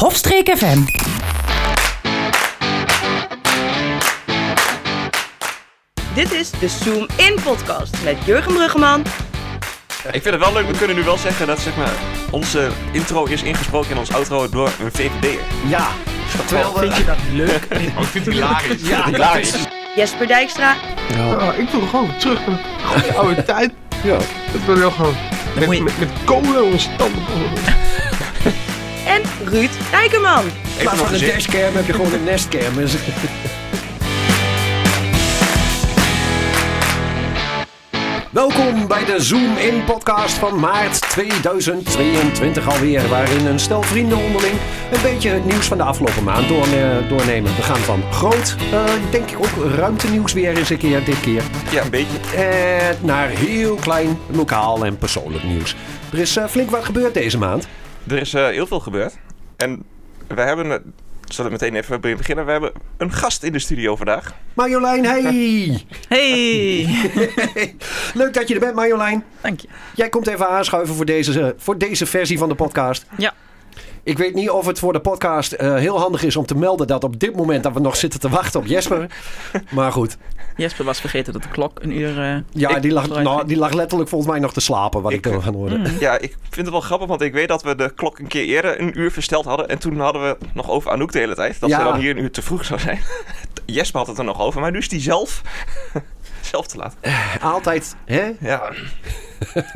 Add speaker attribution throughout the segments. Speaker 1: Hofstreek FM.
Speaker 2: Dit is de Zoom In podcast met Jurgen Bruggeman.
Speaker 3: Ik vind het wel leuk, we kunnen nu wel zeggen dat zeg maar, onze intro is ingesproken en ons outro door een VVD'er.
Speaker 4: Ja, terwijl we...
Speaker 3: eh,
Speaker 5: je dat leuk?
Speaker 6: Oh, ik vind het hilarisch.
Speaker 4: Ja,
Speaker 3: Hilarisch.
Speaker 2: Jesper Dijkstra.
Speaker 1: Oh,
Speaker 6: Ah, ik wil gewoon terug naar de goede oude tijd.
Speaker 4: Ja.
Speaker 6: Dat wil wel gewoon met,
Speaker 5: moet je-
Speaker 6: met, met kolen ons tanden.
Speaker 2: En Ruud Dijkerman.
Speaker 3: Even nog
Speaker 4: maar van een
Speaker 3: gezin.
Speaker 4: dashcam heb je gewoon een nestcam. Dus... Welkom bij de Zoom In podcast van maart 2022 alweer, waarin een stel vrienden onderling een beetje het nieuws van de afgelopen maand doorne- doornemen. We gaan van groot, eh, denk ik ook ruimtenieuws weer eens een keer dit keer.
Speaker 3: Ja, een beetje.
Speaker 4: En naar heel klein, lokaal en persoonlijk nieuws. Er is eh, flink wat gebeurd deze maand.
Speaker 3: Er is eh, heel veel gebeurd. En we hebben, eh, zullen we meteen even bij beginnen, we hebben een gast in de studio vandaag.
Speaker 4: Marjolein, hey!
Speaker 5: Hey!
Speaker 4: Leuk dat je er bent, Marjolein.
Speaker 5: Dank je.
Speaker 4: Jij komt even aanschuiven voor deze, eh, voor deze versie van de podcast.
Speaker 5: Ja.
Speaker 4: Ik weet niet of het voor de podcast eh, heel handig is om te melden dat op dit moment dat we nog zitten te wachten op Jesper. Maar goed,
Speaker 5: Jesper was vergeten dat de klok een uur... eh,
Speaker 4: ja,
Speaker 3: Ik-
Speaker 4: die, lag,
Speaker 5: Vooruit.
Speaker 4: nou, die lag letterlijk volgens mij nog te slapen, wat ik,
Speaker 3: Ik-
Speaker 4: ik gaan horen.
Speaker 3: Ja, ik vind het wel grappig, want ik weet dat we de klok een keer eerder een uur versteld hadden. En toen hadden we het nog over Anouk de hele tijd. Dat
Speaker 4: Ja.
Speaker 3: ze dan hier een uur te vroeg zou zijn. Jesper had het er nog over, maar nu is die zelf, zelf te laat.
Speaker 4: Altijd, hè?
Speaker 3: Ja,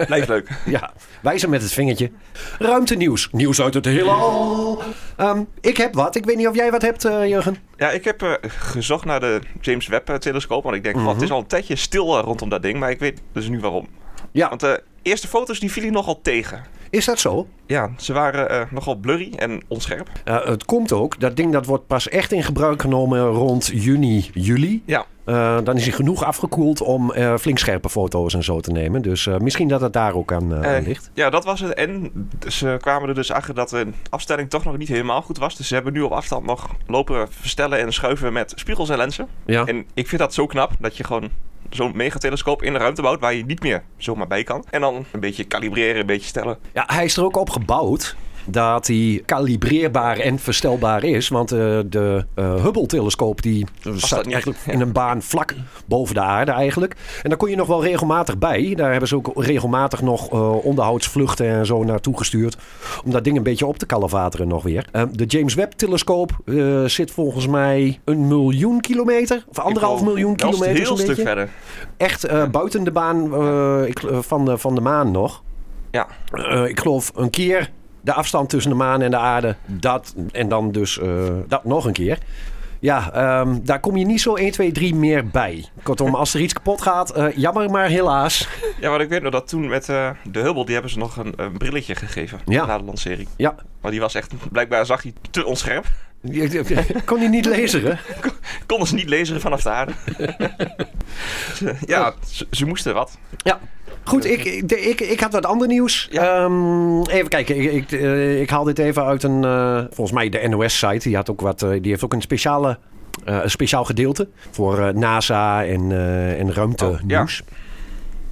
Speaker 3: blijft leuk.
Speaker 4: Ja, wijzen met het vingertje. Ruimtenieuws. Nieuws uit het heelal. Ehm, ik heb wat. Ik weet niet of jij wat hebt, eh, Jurgen.
Speaker 3: Ja, ik heb eh, gezocht naar de James Webb-telescoop. Want ik denk, van, het is al een tijdje stil eh, rondom dat ding. Maar ik weet dus nu waarom.
Speaker 4: Ja,
Speaker 3: Want de eerste foto's die vielen nogal tegen.
Speaker 4: is dat zo?
Speaker 3: Ja, ze waren eh, nogal blurry en onscherp.
Speaker 4: Eh, het komt ook. Dat ding dat wordt pas echt in gebruik genomen rond juni, juli.
Speaker 3: Ja.
Speaker 4: Eh, dan is hij genoeg afgekoeld om eh, flink scherpe foto's en zo te nemen. Dus eh, misschien dat het daar ook aan, eh, aan
Speaker 3: Eh,
Speaker 4: ligt.
Speaker 3: Ja, dat was het. En ze kwamen er dus achter dat de afstelling toch nog niet helemaal goed was. Dus ze hebben nu op afstand nog lopen verstellen en schuiven met spiegels en lenzen.
Speaker 4: Ja.
Speaker 3: En ik vind dat zo knap dat je gewoon zo'n megatelescoop in de ruimte bouwt waar je niet meer zomaar bij kan. En dan een beetje kalibreren, een beetje stellen.
Speaker 4: ja, hij is er ook op gebouwd dat hij kalibreerbaar en verstelbaar is. Want eh, de eh, Hubble-telescoop die staat
Speaker 3: niet?
Speaker 4: eigenlijk
Speaker 3: Ja.
Speaker 4: in een baan vlak boven de aarde eigenlijk. En daar kon je nog wel regelmatig bij. Daar hebben ze ook regelmatig nog eh, onderhoudsvluchten en zo naartoe gestuurd. Om dat ding een beetje op te kalevateren nog weer. Eh, de James Webb-telescoop eh, zit volgens mij een miljoen kilometer. Of anderhalf
Speaker 3: Ik wil-
Speaker 4: miljoen
Speaker 3: dat is een
Speaker 4: kilometer.
Speaker 3: heel
Speaker 4: zo'n
Speaker 3: stuk
Speaker 4: beetje.
Speaker 3: verder.
Speaker 4: Echt eh, buiten de baan eh, ik, eh, van, de, van de maan nog.
Speaker 3: Ja.
Speaker 4: Eh, ik geloof een keer de afstand tussen de maan en de aarde. Dat en dan dus eh, dat nog een keer. Ja, ehm, daar kom je niet zo 1, 2, 3 meer bij. Kortom, als er iets kapot gaat, eh, jammer maar helaas.
Speaker 3: Ja, maar ik weet nog dat toen met eh, de Hubble, die hebben ze nog een, een brilletje gegeven
Speaker 4: Ja.
Speaker 3: na de lancering.
Speaker 4: Ja,
Speaker 3: Maar die was echt, blijkbaar zag hij te onscherp.
Speaker 4: kon je niet lezen, hè?
Speaker 3: Konden ze niet lezen vanaf de aarde. Ze- ja,
Speaker 4: Oh.
Speaker 3: ze, ze moesten wat.
Speaker 4: Ja. Goed, ik, ik, de- ik, ik had wat ander nieuws.
Speaker 3: Ja.
Speaker 4: Ehm, even kijken, ik, ik, eh, ik haal dit even uit een, eh, volgens mij de NOS-site. Die, had ook wat, eh, die heeft ook een, speciale, eh, een speciaal gedeelte voor eh, NASA en, eh en ruimtenieuws.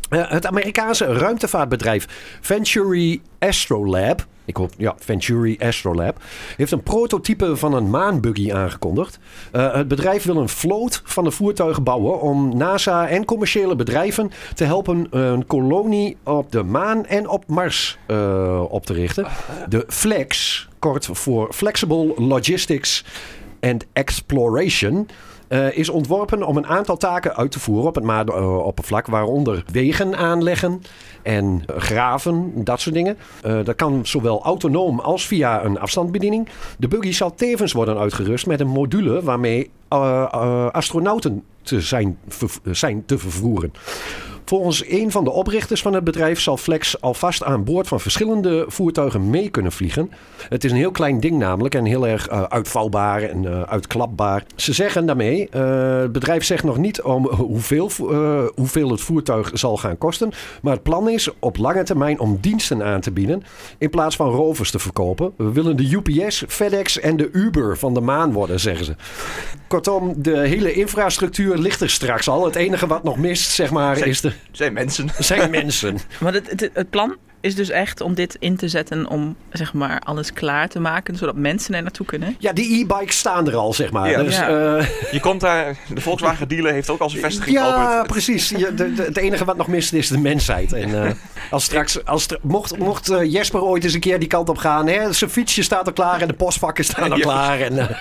Speaker 4: Eh, het Amerikaanse ruimtevaartbedrijf Venturi Astrolab, ik hoop, ja, Venturi Astrolab, heeft een prototype van een maanbuggy aangekondigd. Eh, het bedrijf wil een vloot van de voertuigen bouwen om NASA en commerciële bedrijven te helpen een kolonie op de maan en op Mars eh, op te richten. De FLEX, kort voor Flexible Logistics and Exploration. eh, is ontworpen om een aantal taken uit te voeren op het maanoppervlak, waaronder wegen aanleggen en eh, graven, dat soort dingen. Eh, dat kan zowel autonoom als via een afstandsbediening. De buggy zal tevens worden uitgerust met een module waarmee eh, eh, astronauten te zijn, verv- eh, zijn te vervoeren. Volgens een van de oprichters van het bedrijf zal Flex alvast aan boord van verschillende voertuigen mee kunnen vliegen. Het is een heel klein ding namelijk en heel erg eh, uitvouwbaar en eh, uitklapbaar. Ze zeggen daarmee, eh, het bedrijf zegt nog niet om hoeveel, vo- eh, hoeveel het voertuig zal gaan kosten. Maar het plan is op lange termijn om diensten aan te bieden in plaats van rovers te verkopen. We willen de UPS, FedEx en de Uber van de maan worden, zeggen ze. Kortom, de hele infrastructuur ligt er straks al. Het enige wat nog mist, zeg maar,
Speaker 3: Zeker.
Speaker 4: is de
Speaker 3: Zijn mensen.
Speaker 4: zijn mensen.
Speaker 5: Maar het, het, het plan is dus echt om dit in te zetten om zeg maar alles klaar te maken, zodat mensen er naartoe kunnen.
Speaker 4: Ja, die e-bikes staan er al, zeg maar.
Speaker 3: Ja.
Speaker 4: Dus,
Speaker 5: Ja.
Speaker 4: eh,
Speaker 3: Je komt daar, de Volkswagen dealer heeft ook al zijn vestiging
Speaker 4: ja,
Speaker 3: geopend.
Speaker 4: precies. Ja, de- de- het enige wat nog mist is de mensheid. En, eh, als straks, als stra- mocht, mocht eh, Jesper ooit eens een keer die kant op gaan, hè, zijn fietsje staat al klaar en de postvakken staan al
Speaker 3: Ja.
Speaker 4: klaar. En, eh,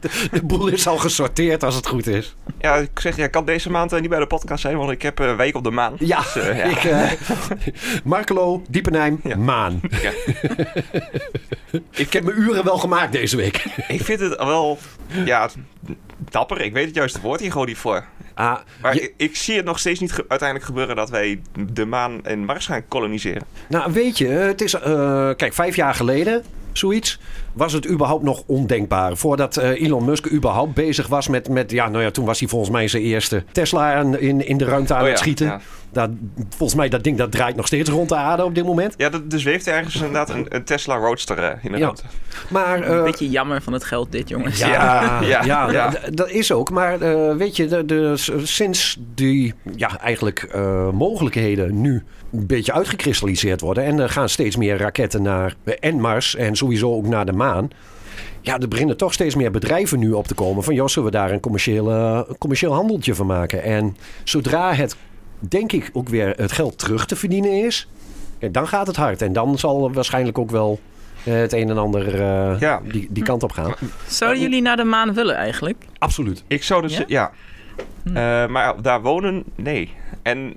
Speaker 4: de, de boel is al gesorteerd als het goed is.
Speaker 3: Ja, ik zeg, ja, ik kan deze maand eh, niet bij de podcast zijn, want ik heb eh, een week op de maan.
Speaker 4: Ja,
Speaker 3: Dus, eh, ja.
Speaker 4: ik, eh, Markelo, Diepenheim,
Speaker 3: Ja.
Speaker 4: Maan.
Speaker 3: Ja.
Speaker 4: Ik heb mijn uren wel gemaakt deze week.
Speaker 3: Ik vind het wel, ja, dapper. Ik weet het juiste woord hier gewoon niet voor.
Speaker 4: Ah,
Speaker 3: Maar
Speaker 4: je-
Speaker 3: ik, ik zie het nog steeds niet ge- uiteindelijk gebeuren dat wij de maan en Mars gaan koloniseren.
Speaker 4: Nou, weet je, het is. eh, kijk, vijf jaar geleden, zoiets, was het überhaupt nog ondenkbaar. Voordat eh, Elon Musk überhaupt bezig was met, met. Ja, nou ja, toen was hij volgens mij zijn eerste Tesla aan- in, in de ruimte aan
Speaker 3: Oh
Speaker 4: het
Speaker 3: ja,
Speaker 4: schieten.
Speaker 3: ja.
Speaker 4: Dat, volgens mij, dat ding dat draait nog steeds rond de aarde op dit moment.
Speaker 3: Ja, dat, dus heeft ergens inderdaad een, een Tesla Roadster eh, inderdaad.
Speaker 4: Maar.
Speaker 5: Een
Speaker 4: eh,
Speaker 5: beetje jammer van het geld dit, jongens.
Speaker 4: ja, ja,
Speaker 3: Ja, ja, ja.
Speaker 4: d- dat is ook. Maar eh, weet je, de, de, s- sinds die ja, eigenlijk eh, mogelijkheden nu een beetje uitgekristalliseerd worden... en er gaan steeds meer raketten naar eh, en Mars en sowieso ook naar de maan... Ja, er beginnen toch steeds meer bedrijven nu op te komen van... joh, zullen we daar een commerciële, een commercieel handeltje van maken? En zodra het, denk ik, ook weer het geld terug te verdienen is... ja, dan gaat het hard. En dan zal er waarschijnlijk ook wel eh, het een en ander eh,
Speaker 3: Ja.
Speaker 4: die, die kant op gaan.
Speaker 5: Zouden jullie naar de maan willen eigenlijk?
Speaker 4: Absoluut.
Speaker 3: Ik zou dus, ja.
Speaker 5: Ja? Hm.
Speaker 3: Eh, maar daar wonen, nee. En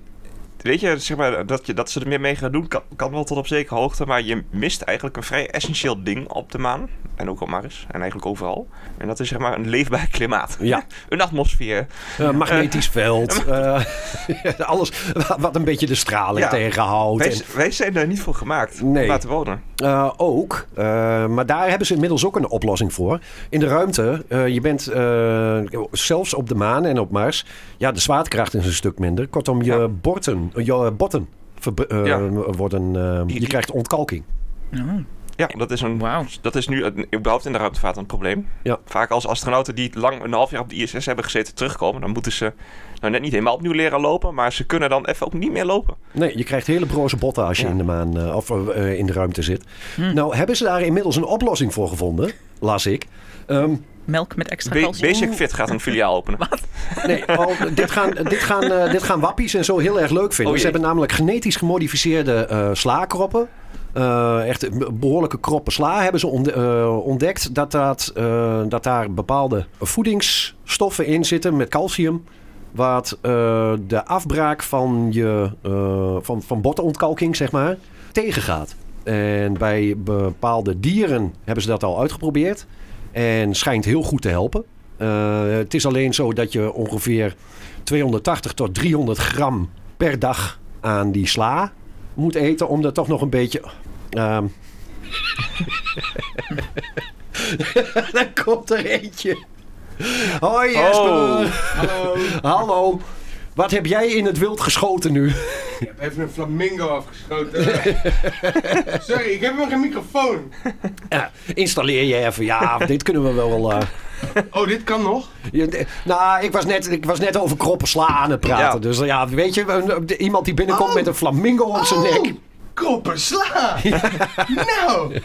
Speaker 3: weet je, zeg maar, dat, je, dat ze er meer mee gaan doen kan, kan wel tot op zekere hoogte. Maar je mist eigenlijk een vrij essentieel ding op de maan. En ook op Mars. En eigenlijk overal. En dat is zeg maar een leefbaar klimaat.
Speaker 4: Ja,
Speaker 3: Een atmosfeer.
Speaker 4: eh, magnetisch veld. eh, alles wa- wat een beetje de straling
Speaker 3: Ja.
Speaker 4: tegenhoudt.
Speaker 3: Wij,
Speaker 4: En,
Speaker 3: z- wij zijn daar niet voor gemaakt
Speaker 4: Nee.
Speaker 3: om daar te wonen.
Speaker 4: eh, ook. eh, maar daar hebben ze inmiddels ook een oplossing voor. In de ruimte, eh, je bent eh, zelfs op de maan en op Mars. Ja, de zwaartekracht is een stuk minder. Kortom, je
Speaker 3: Ja.
Speaker 4: borten, je botten verb- eh,
Speaker 3: Ja.
Speaker 4: worden. eh, je
Speaker 3: Die-
Speaker 4: krijgt ontkalking.
Speaker 5: Oh,
Speaker 3: Ja, dat is, een,
Speaker 5: Wauw.
Speaker 3: dat is nu een, überhaupt in de ruimtevaart een probleem.
Speaker 4: Ja.
Speaker 3: Vaak als astronauten die lang een half jaar op de ISS hebben gezeten terugkomen... dan moeten ze nou net niet helemaal opnieuw leren lopen... maar ze kunnen dan even ook niet meer lopen.
Speaker 4: Nee, je krijgt hele broze botten als je
Speaker 3: Ja. Hm.
Speaker 4: in de maan eh, of eh, in de ruimte zit. Nou, hebben ze daar inmiddels een oplossing voor gevonden? Las ik. Ehm,
Speaker 5: Melk met extra
Speaker 3: Ba-
Speaker 5: calcium.
Speaker 3: Basic Fit gaat een filiaal openen.
Speaker 4: Nee, al- dit, gaan, dit, gaan, eh, dit gaan wappies en zo heel erg leuk vinden.
Speaker 3: Oh jee.
Speaker 4: Ze hebben namelijk genetisch gemodificeerde eh slaakroppen. Eh, echt be- behoorlijke kroppen sla hebben ze onde- eh, ontdekt dat, dat, eh, dat daar bepaalde voedingsstoffen in zitten met calcium. Wat eh, de afbraak van, je, eh, van, van bottenontkalking zeg maar, tegengaat. En bij bepaalde dieren hebben ze dat al uitgeprobeerd. En schijnt heel goed te helpen. Eh, het is alleen zo dat je ongeveer 280 tot 300 gram per dag aan die sla moet eten. Om dat toch nog een beetje. ehm. Daar komt er eentje. Hoi Jesper.
Speaker 3: Oh.
Speaker 1: Hallo,
Speaker 4: Hallo. Wat heb jij in het wild geschoten nu?
Speaker 1: ik heb even een flamingo afgeschoten. Sorry, ik heb nog geen microfoon.
Speaker 4: Ja, installeer je even. Ja, dit kunnen we wel. eh,
Speaker 1: Oh, dit kan nog?
Speaker 4: je- nou, ik was, net, ik was net over kroppen sla aan het praten.
Speaker 3: Ja.
Speaker 4: Dus ja, weet je, een- iemand die binnenkomt met een flamingo op zijn
Speaker 1: Oh.
Speaker 4: nek.
Speaker 1: Koppen sla! nou!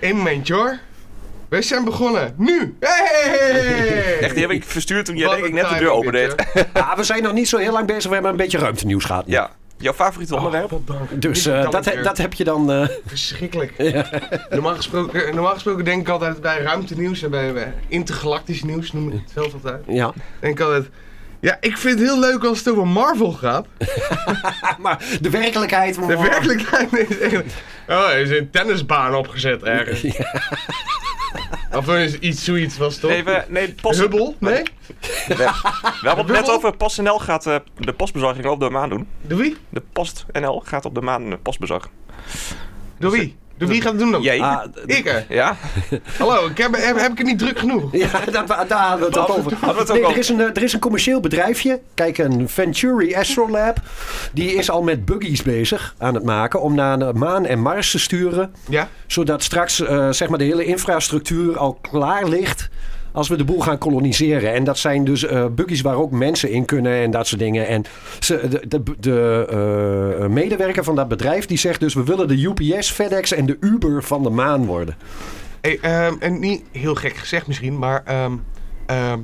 Speaker 1: Eén momentje hoor. We zijn begonnen. Nu! Hey!
Speaker 3: Echt, die heb ik verstuurd toen jij
Speaker 1: Wat
Speaker 3: denk ik
Speaker 1: een
Speaker 3: net de deur
Speaker 1: timing,
Speaker 3: opendeed.
Speaker 1: dit, hè?
Speaker 4: Ja, we zijn nog niet zo heel lang bezig. We hebben een beetje ruimtenieuws gehad. nu.
Speaker 3: Ja. Jouw favoriete onderwerp?
Speaker 1: Oh, dank.
Speaker 4: Dus
Speaker 1: Dit
Speaker 4: eh,
Speaker 1: kan
Speaker 4: dat,
Speaker 1: ik
Speaker 4: he-
Speaker 1: weer.
Speaker 4: dat heb je dan. eh,
Speaker 1: Verschrikkelijk. Normaal, gesproken, normaal gesproken denk ik altijd bij ruimtenieuws en bij eh, intergalactisch nieuws, noem ik het zelf altijd.
Speaker 4: ja.
Speaker 1: Denk ik altijd, ja, ik vind het heel leuk als het over Marvel gaat.
Speaker 4: Maar de werkelijkheid.
Speaker 1: De werkelijkheid is echt... Oh, er is een tennisbaan opgezet ergens. Of er is iets zoiets was het toch?
Speaker 3: Nee, we, nee, post, we
Speaker 1: Hubbel? Nee?
Speaker 3: hebben het net
Speaker 1: Hubbel?
Speaker 3: over PostNL gaat eh, de postbezorging op de maan doen.
Speaker 1: Door wie?
Speaker 3: De PostNL gaat op de maan eh, postbezorgen.
Speaker 1: Door wie? Door wie gaat het doen dan?
Speaker 3: Jij?
Speaker 4: Ah,
Speaker 1: Ik hè?
Speaker 3: ja?
Speaker 1: Hallo, ik heb, heb, heb ik het niet druk genoeg?
Speaker 4: ja, dat- daar hadden we het al over.
Speaker 3: Hadden we het ook
Speaker 4: Nee,
Speaker 3: al?
Speaker 4: er, is een, eh, er is een commercieel bedrijfje. Kijk, een Venturi Astrolab. Die is al met buggies bezig aan het maken. Om naar de maan en Mars te sturen.
Speaker 1: Ja?
Speaker 4: Zodat straks eh, zeg maar de hele infrastructuur al klaar ligt. als we de boel gaan koloniseren. En dat zijn dus eh buggies waar ook mensen in kunnen en dat soort dingen. En ze, de, de, de eh, medewerker van dat bedrijf die zegt dus... we willen de UPS, FedEx en de Uber van de maan worden.
Speaker 1: Hey, ehm, en niet heel gek gezegd misschien, maar ehm, ehm,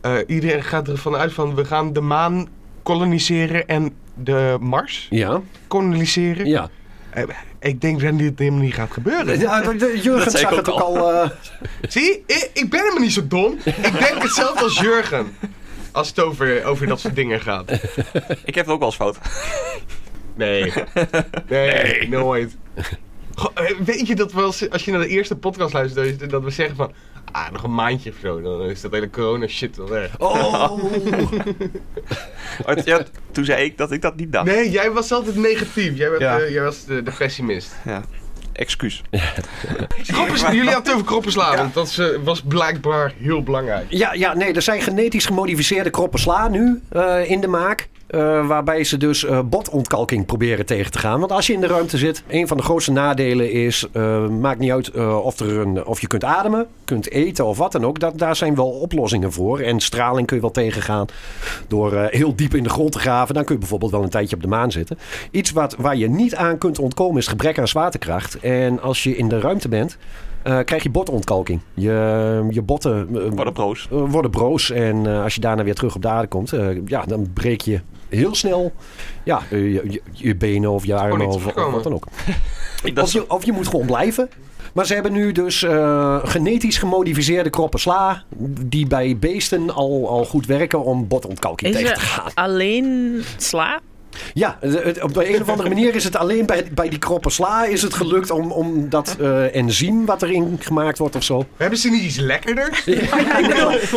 Speaker 1: eh, iedereen gaat ervan uit van we gaan de maan koloniseren en de Mars
Speaker 4: Ja,
Speaker 1: koloniseren.
Speaker 4: ja.
Speaker 1: Eh, ik denk dat dit helemaal niet gaat gebeuren.
Speaker 4: ja de- de- Jurgen
Speaker 3: Dat zei ik
Speaker 4: zag het ook
Speaker 3: ook
Speaker 4: al. eh,
Speaker 1: Zie, ik, ik ben helemaal niet zo dom. Ik denk hetzelfde als Jurgen. Als het over, over dat soort dingen gaat.
Speaker 3: Ik heb het ook wel eens fout.
Speaker 1: Nee. Nee, nooit. Goh, eh, weet je dat we als, als je naar de eerste podcast luistert, dat je- dat we zeggen van... Ah, nog een maandje of zo, dan is dat hele corona shit wel weg.
Speaker 4: oh,
Speaker 3: Maar het- ja, toen zei ik dat ik dat niet dacht.
Speaker 1: Nee, jij was altijd negatief. Jij, bent,
Speaker 3: Ja.
Speaker 1: eh, jij was de, de pessimist.
Speaker 3: Excuus.
Speaker 1: Kroppers, jullie hadden het over kroppenslaan. Dat is, eh, was blijkbaar heel belangrijk.
Speaker 4: Ja, ja, nee, er zijn genetisch gemodificeerde kroppen sla nu eh, in de maak. eh, waarbij ze dus eh, botontkalking proberen tegen te gaan. Want als je in de ruimte zit, een van de grootste nadelen is... eh, maakt niet uit eh, of, er een, of je kunt ademen, kunt eten of wat dan ook. Dat, daar zijn wel oplossingen voor. En straling kun je wel tegengaan door eh, heel diep in de grond te graven. Dan kun je bijvoorbeeld wel een tijdje op de maan zitten. Iets wat, waar je niet aan kunt ontkomen is gebrek aan zwaartekracht. En als je in de ruimte bent, eh, krijg je botontkalking. Je, je botten... eh,
Speaker 3: Wat een broos.
Speaker 4: eh, worden broos. En eh, als je daarna weer terug op de aarde komt, eh, ja, dan breek je heel snel ja, eh, je, je, je benen of je armen
Speaker 1: niet
Speaker 4: of,
Speaker 1: te
Speaker 4: of
Speaker 1: voorkomen.
Speaker 4: wat dan ook.
Speaker 3: Dat
Speaker 4: Of
Speaker 3: is,
Speaker 4: je, of je moet gewoon blijven. Maar ze hebben nu dus eh, genetisch gemodificeerde kroppen sla. Die bij beesten al, al goed werken om botontkalking
Speaker 5: Is
Speaker 4: tegen
Speaker 5: er
Speaker 4: te gaan.
Speaker 5: alleen sla?
Speaker 4: Ja, het- het- op de een of andere manier is het alleen bij, bij die kroppen sla is het gelukt om, om dat eh, enzym wat erin gemaakt wordt of zo.
Speaker 1: Hebben ze niet iets lekkerder?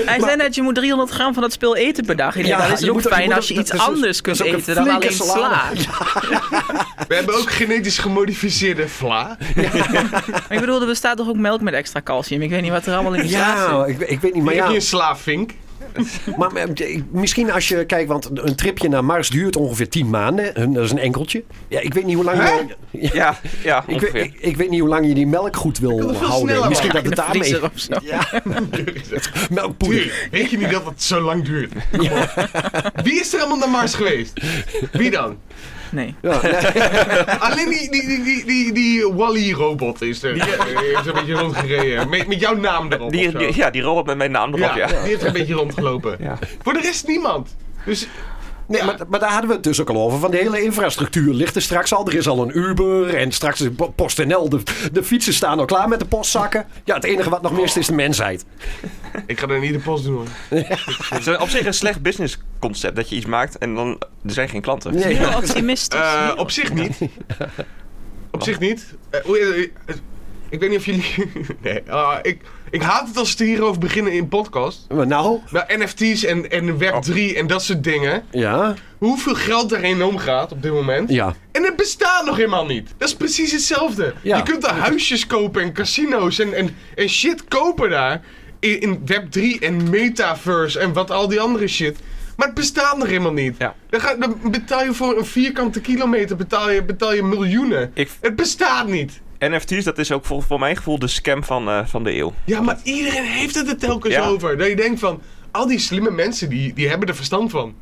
Speaker 5: Hij zei net, je moet 300 gram van dat spul eten per dag. Ik denk,
Speaker 4: Ja,
Speaker 5: dat is
Speaker 4: je
Speaker 5: ook
Speaker 4: moet er- je
Speaker 5: fijn
Speaker 4: moet
Speaker 5: als
Speaker 4: er-
Speaker 5: je
Speaker 4: dat
Speaker 5: iets
Speaker 4: is een-
Speaker 5: anders kunt
Speaker 4: dat is ook een
Speaker 5: eten dan
Speaker 4: flinke
Speaker 5: alleen sla.
Speaker 4: salade.
Speaker 1: We hebben ook genetisch gemodificeerde vla.
Speaker 5: Maar ik bedoel, er bestaat toch ook melk met extra calcium? Ik weet niet wat er allemaal in die sla zit.
Speaker 4: Ja, ik, ik weet niet. Maar
Speaker 1: heb
Speaker 4: ja,
Speaker 1: je een slavink?
Speaker 4: Maar eh, ik- misschien als je kijkt, want een tripje naar Mars duurt ongeveer 10 maanden. Hun- Dat is een enkeltje. Ja, ik weet niet hoe lang.
Speaker 1: Hè?
Speaker 4: je- Ja,
Speaker 3: ja, ja,
Speaker 4: ik, weet,
Speaker 3: ongeveer.
Speaker 4: ik, ik weet niet hoe lang je die melk goed wil
Speaker 1: kan veel
Speaker 4: houden.
Speaker 1: sneller,
Speaker 4: Misschien dat
Speaker 5: In
Speaker 4: het
Speaker 5: de
Speaker 4: daarmee.
Speaker 5: vriezer of zo.
Speaker 4: Melkpoeder.
Speaker 1: Duur. Weet je niet dat het zo lang duurt? Wie is er allemaal naar Mars geweest? Wie dan?
Speaker 5: Nee.
Speaker 4: Ja, nee,
Speaker 1: Alleen die, die, die, die, die, die Wally-robot is er. Die heeft een beetje rondgereden. Met, met jouw naam erop. of
Speaker 3: Die,
Speaker 1: zo.
Speaker 3: die- ja, die robot met mijn naam erop,
Speaker 1: Ja,
Speaker 3: ja.
Speaker 1: die heeft een beetje rondgelopen.
Speaker 3: Ja.
Speaker 1: Voor de rest niemand. Dus
Speaker 4: nee,
Speaker 1: Ja.
Speaker 4: maar, maar daar hadden we het dus ook al over. Van de hele infrastructuur ligt er straks al. Er is al een Uber en straks is Po- PostNL. De, de fietsen staan al klaar met de postzakken. Ja, het enige wat nog mist is de mensheid.
Speaker 1: ik ga er niet de post doen hoor.
Speaker 3: Het is op zich een slecht business concept dat je iets maakt en dan er zijn geen klanten.
Speaker 4: Nee.
Speaker 5: Heel optimistisch.
Speaker 1: Eh,
Speaker 5: Heel
Speaker 1: op zich niet. Op zich niet. Eh, hoe- eh, eh, ik weet niet of jullie... Nee, ah, ik, ik haat het als ze het hierover beginnen in podcast.
Speaker 4: Maar nou,
Speaker 1: Maar NFT's en, en
Speaker 4: Oh.
Speaker 1: Web3 en dat soort dingen.
Speaker 4: ja,
Speaker 1: hoeveel geld daarheen omgaat op dit moment.
Speaker 4: ja.
Speaker 1: En het bestaat nog helemaal niet. Dat is precies hetzelfde.
Speaker 4: Ja.
Speaker 1: Je kunt daar huisjes kopen en casino's en, en, en shit kopen daar. In, in Web3 en Metaverse en wat al die andere shit. Maar het bestaat nog helemaal niet.
Speaker 3: Ja.
Speaker 1: Dan, ga, dan betaal je voor een vierkante kilometer betaal je, betaal je miljoenen.
Speaker 3: Ik,
Speaker 1: Het bestaat niet.
Speaker 3: NFT's, dat is ook voor, voor mijn gevoel de scam van, eh, van de eeuw.
Speaker 1: Ja, maar iedereen heeft het er telkens
Speaker 3: Ja.
Speaker 1: over. Dat je denkt van, al die slimme mensen, die, die hebben er verstand van.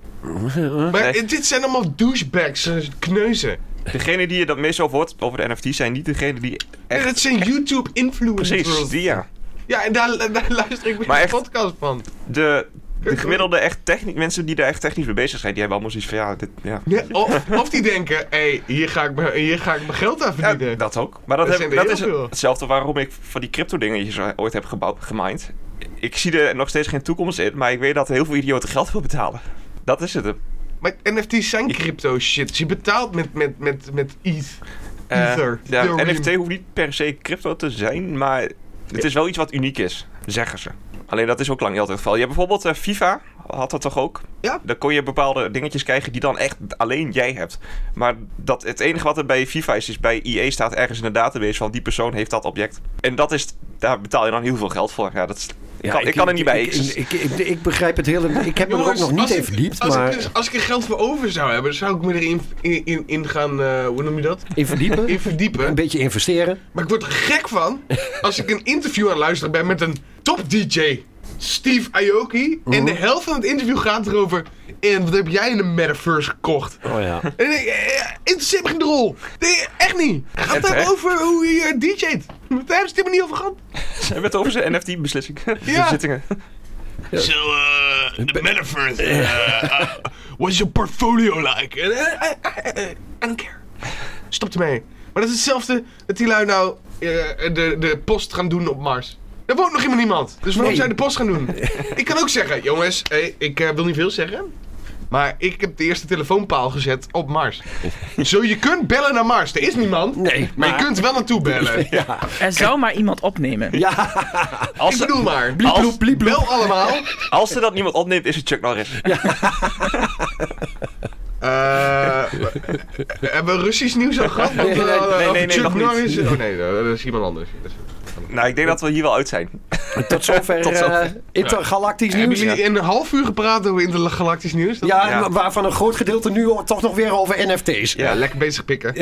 Speaker 1: Maar
Speaker 3: Nee.
Speaker 1: dit zijn allemaal douchebags, eh, kneuzen.
Speaker 3: Degene die je dat meest over hoort over de NFT's zijn niet degene die
Speaker 1: En
Speaker 3: echt...
Speaker 1: dat zijn
Speaker 3: Precies,
Speaker 1: YouTube-influencers.
Speaker 3: die ja.
Speaker 1: Ja, en daar, daar luister ik weer
Speaker 3: Maar
Speaker 1: een
Speaker 3: echt-
Speaker 1: podcast van.
Speaker 3: De, de gemiddelde echt technisch, mensen die daar echt technisch mee bezig zijn, die hebben allemaal zoiets van ja, dit, ja.
Speaker 1: Ja, of, of die denken, hé, hey, hier ga ik mijn- hier ga ik mijn geld aan
Speaker 3: Ja,
Speaker 1: verdienen.
Speaker 3: dat ook. Maar dat,
Speaker 1: Dat
Speaker 3: heb,
Speaker 1: zijn er
Speaker 3: dat is
Speaker 1: heel veel.
Speaker 3: hetzelfde waarom ik van die crypto dingetjes ooit heb gebouwd, gemind. Ik zie er nog steeds geen toekomst in, maar ik weet dat heel veel idioten geld voor betalen. Dat is het.
Speaker 1: Maar NFT's zijn crypto shit. Dus Je betaalt met, met, met, met ETH.
Speaker 3: Eh,
Speaker 1: Ether,
Speaker 3: ja,
Speaker 1: Ethereum.
Speaker 3: NFT hoeft niet per se crypto te zijn, maar het is wel iets wat uniek is, zeggen ze. Alleen dat is ook lang niet altijd het geval. Je hebt bijvoorbeeld eh, FIFA, had dat toch ook?
Speaker 1: Ja.
Speaker 3: Dan kon je bepaalde dingetjes krijgen die dan echt alleen jij hebt. Maar dat, het enige wat er bij FIFA is, is bij EA staat ergens in de database van die persoon heeft dat object. En dat is, daar betaal je dan heel veel geld voor. Ja, dat is, ik, kan, ik, kan er niet bij.
Speaker 4: Ik,
Speaker 3: Ik-
Speaker 4: ik, ik, ik verdiept. het hele. Ik heb me er ook nog niet
Speaker 1: als
Speaker 4: in
Speaker 1: ik- dus-
Speaker 4: verdiept.
Speaker 1: Als,
Speaker 4: Maar,
Speaker 1: ik, als ik er geld voor over zou hebben, dan zou ik me erin in, in, in gaan, eh, hoe noem je dat?
Speaker 4: in verdiepen?
Speaker 1: In
Speaker 4: Een
Speaker 1: verdiepen.
Speaker 4: beetje investeren.
Speaker 1: Maar ik word er gek van als ik een interview aan het luisteren ben met een top DJ. Steve Aoki. En de helft van het interview gaat erover. En wat heb jij in de metaverse gekocht?
Speaker 4: Oh ja.
Speaker 1: En ik, eh, interesseert me geen drol. Nee, echt niet. Gaat het
Speaker 3: terecht.
Speaker 1: over hoe je eh, DJ't? Daar hebben ze het helemaal niet over gehad.
Speaker 3: Ze hebben het over zijn NFT-beslissing.
Speaker 1: Ja.
Speaker 3: Bezittingen.
Speaker 1: Zo, de metaverse. uh, what's your portfolio like? En, eh, eh, eh, eh, I don't care. Stop ermee. Maar dat is hetzelfde dat die lui nou eh, de, de post gaan doen op Mars. Daar woont nog helemaal niemand. Dus waarom
Speaker 4: Nee.
Speaker 1: zou je de post gaan doen? ik kan ook zeggen, jongens, eh, ik eh, wil niet veel zeggen. Maar ik heb de eerste telefoonpaal gezet op Mars. Zo, je kunt bellen naar Mars. Er is niemand.
Speaker 4: Nee,
Speaker 1: Maar je
Speaker 4: maar-
Speaker 1: kunt wel naartoe bellen.
Speaker 5: Er zou maar iemand opnemen.
Speaker 3: Als,
Speaker 1: Ik
Speaker 3: ze-
Speaker 1: bedoel maar.
Speaker 3: Als-
Speaker 1: Als- Bel allemaal.
Speaker 3: als er dat niemand opneemt, is het Chuck Norris.
Speaker 1: Eh, hebben we Russisch nieuws al gehad? Want,
Speaker 4: Nee, nee,
Speaker 1: eh,
Speaker 4: nee,
Speaker 1: over
Speaker 3: nee,
Speaker 1: Chuck
Speaker 3: nog niet.
Speaker 1: Norris- Oh nee, eh, dat is iemand anders. Dat is-
Speaker 3: Nou, ik denk dat we hier wel uit zijn.
Speaker 4: Tot zover,
Speaker 3: Tot zover.
Speaker 4: eh, intergalactisch
Speaker 1: Hebben
Speaker 4: nieuws.
Speaker 1: jullie in een half uur gepraat over intergalactisch nieuws? Dat-
Speaker 4: Ja,
Speaker 3: Ja.
Speaker 4: waarvan een groot gedeelte nu toch nog weer over NFT's.
Speaker 1: Ja, lekker bezig pikken.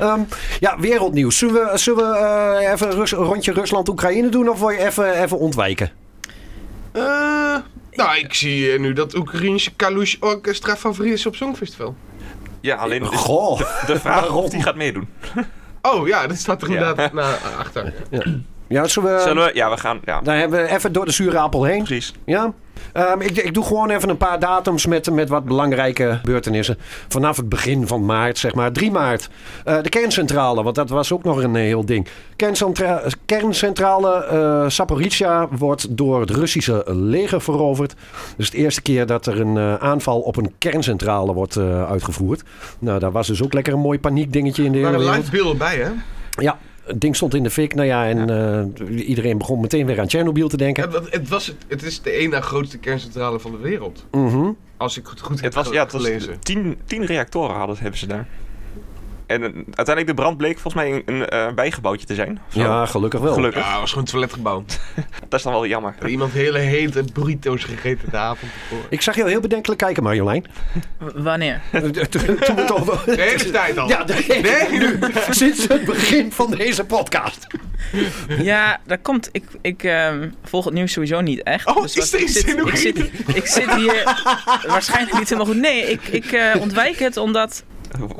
Speaker 4: Ehm, ja, wereldnieuws. Zullen we, zullen we eh, even Rus- een rondje Rusland-Oekraïne doen of wil je even, even ontwijken?
Speaker 1: Eh, nou, ik zie eh, nu dat Oekraïnse Kalush Orchestra favoriet is op Songfestival.
Speaker 3: Ja, alleen is
Speaker 4: Goh.
Speaker 3: de vraag
Speaker 4: Waarom?
Speaker 3: of die gaat meedoen.
Speaker 1: Oh ja, dat staat er
Speaker 3: Ja.
Speaker 1: inderdaad na- achter.
Speaker 4: Ja, zullen we,
Speaker 3: Zullen we? Ja, we gaan. Ja,
Speaker 4: Daar hebben we even door de zure appel heen.
Speaker 3: precies.
Speaker 4: Ja. Ehm, ik, ik doe gewoon even een paar datums met, met wat belangrijke gebeurtenissen. Vanaf het begin van maart, zeg maar. 3 maart. eh, de kerncentrale, want dat was ook nog een eh, heel ding. Kerncentra kerncentrale eh Zaporizhia wordt door het Russische leger veroverd. Dus de eerste keer dat er een eh, aanval op een kerncentrale wordt eh, uitgevoerd. Nou, daar was dus ook lekker een mooi paniekdingetje in de
Speaker 1: Er
Speaker 4: hele
Speaker 1: waren
Speaker 4: wereld.
Speaker 1: live beelden bij, hè?
Speaker 4: Ja, het ding stond in de fik. Nou ja, en eh, iedereen begon meteen weer aan Tsjernobyl te denken.
Speaker 1: Ja, want Het, was, het- het is de één na grootste kerncentrale van de wereld.
Speaker 4: Mhm.
Speaker 1: Als ik het goed heb
Speaker 3: Het was,
Speaker 1: ge-
Speaker 3: ja, het was
Speaker 1: gelezen.
Speaker 3: tien, tien reactoren hadden, hebben ze daar. En eh, uiteindelijk de brand bleek volgens mij een, een eh, bijgebouwtje te zijn. Zo.
Speaker 4: Oh, Ja, gelukkig wel.
Speaker 3: Gelukkig.
Speaker 1: Ja, het was gewoon een toiletgebouw.
Speaker 3: Dat is dan wel jammer.
Speaker 1: Had Iemand hele hete burrito's gegeten de avond ervoor.
Speaker 4: Ik zag jou heel bedenkelijk kijken, Marjolein.
Speaker 5: W- wanneer?
Speaker 4: Toen het over...
Speaker 1: De hele tijd al.
Speaker 4: Ja, de-
Speaker 1: Nee,
Speaker 4: nu, sinds het begin van deze podcast.
Speaker 5: Ja, dat komt. Ik, ik ehm, volg het nieuws sowieso niet echt.
Speaker 1: Oh, is
Speaker 5: wat-
Speaker 1: er
Speaker 5: ik
Speaker 1: iets
Speaker 5: zit-
Speaker 1: in
Speaker 5: ik zit, ik zit hier waarschijnlijk niet helemaal goed. Nee, ik, ik eh, ontwijk het omdat...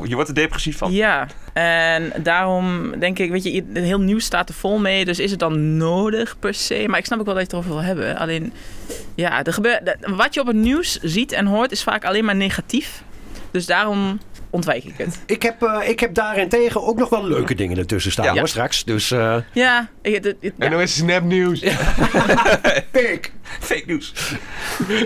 Speaker 3: Je wordt er depressief van.
Speaker 5: Ja, en daarom denk ik, weet je, i- het heel nieuws staat er vol mee. Dus is het dan nodig per se? Maar ik snap ook wel dat je het erover wil hebben. Alleen, ja, er gebeurt, dat- wat je op het nieuws ziet en hoort is vaak alleen maar negatief. Dus daarom ontwijk ik het.
Speaker 4: Ik heb, eh, ik heb daarentegen ook nog wel leuke dingen ertussen staan,
Speaker 3: Ja.
Speaker 4: hoor, straks. Dus, eh
Speaker 5: Ja, ik, het- het- ja.
Speaker 1: En dan is Snap News.
Speaker 4: pik.
Speaker 3: Fake news.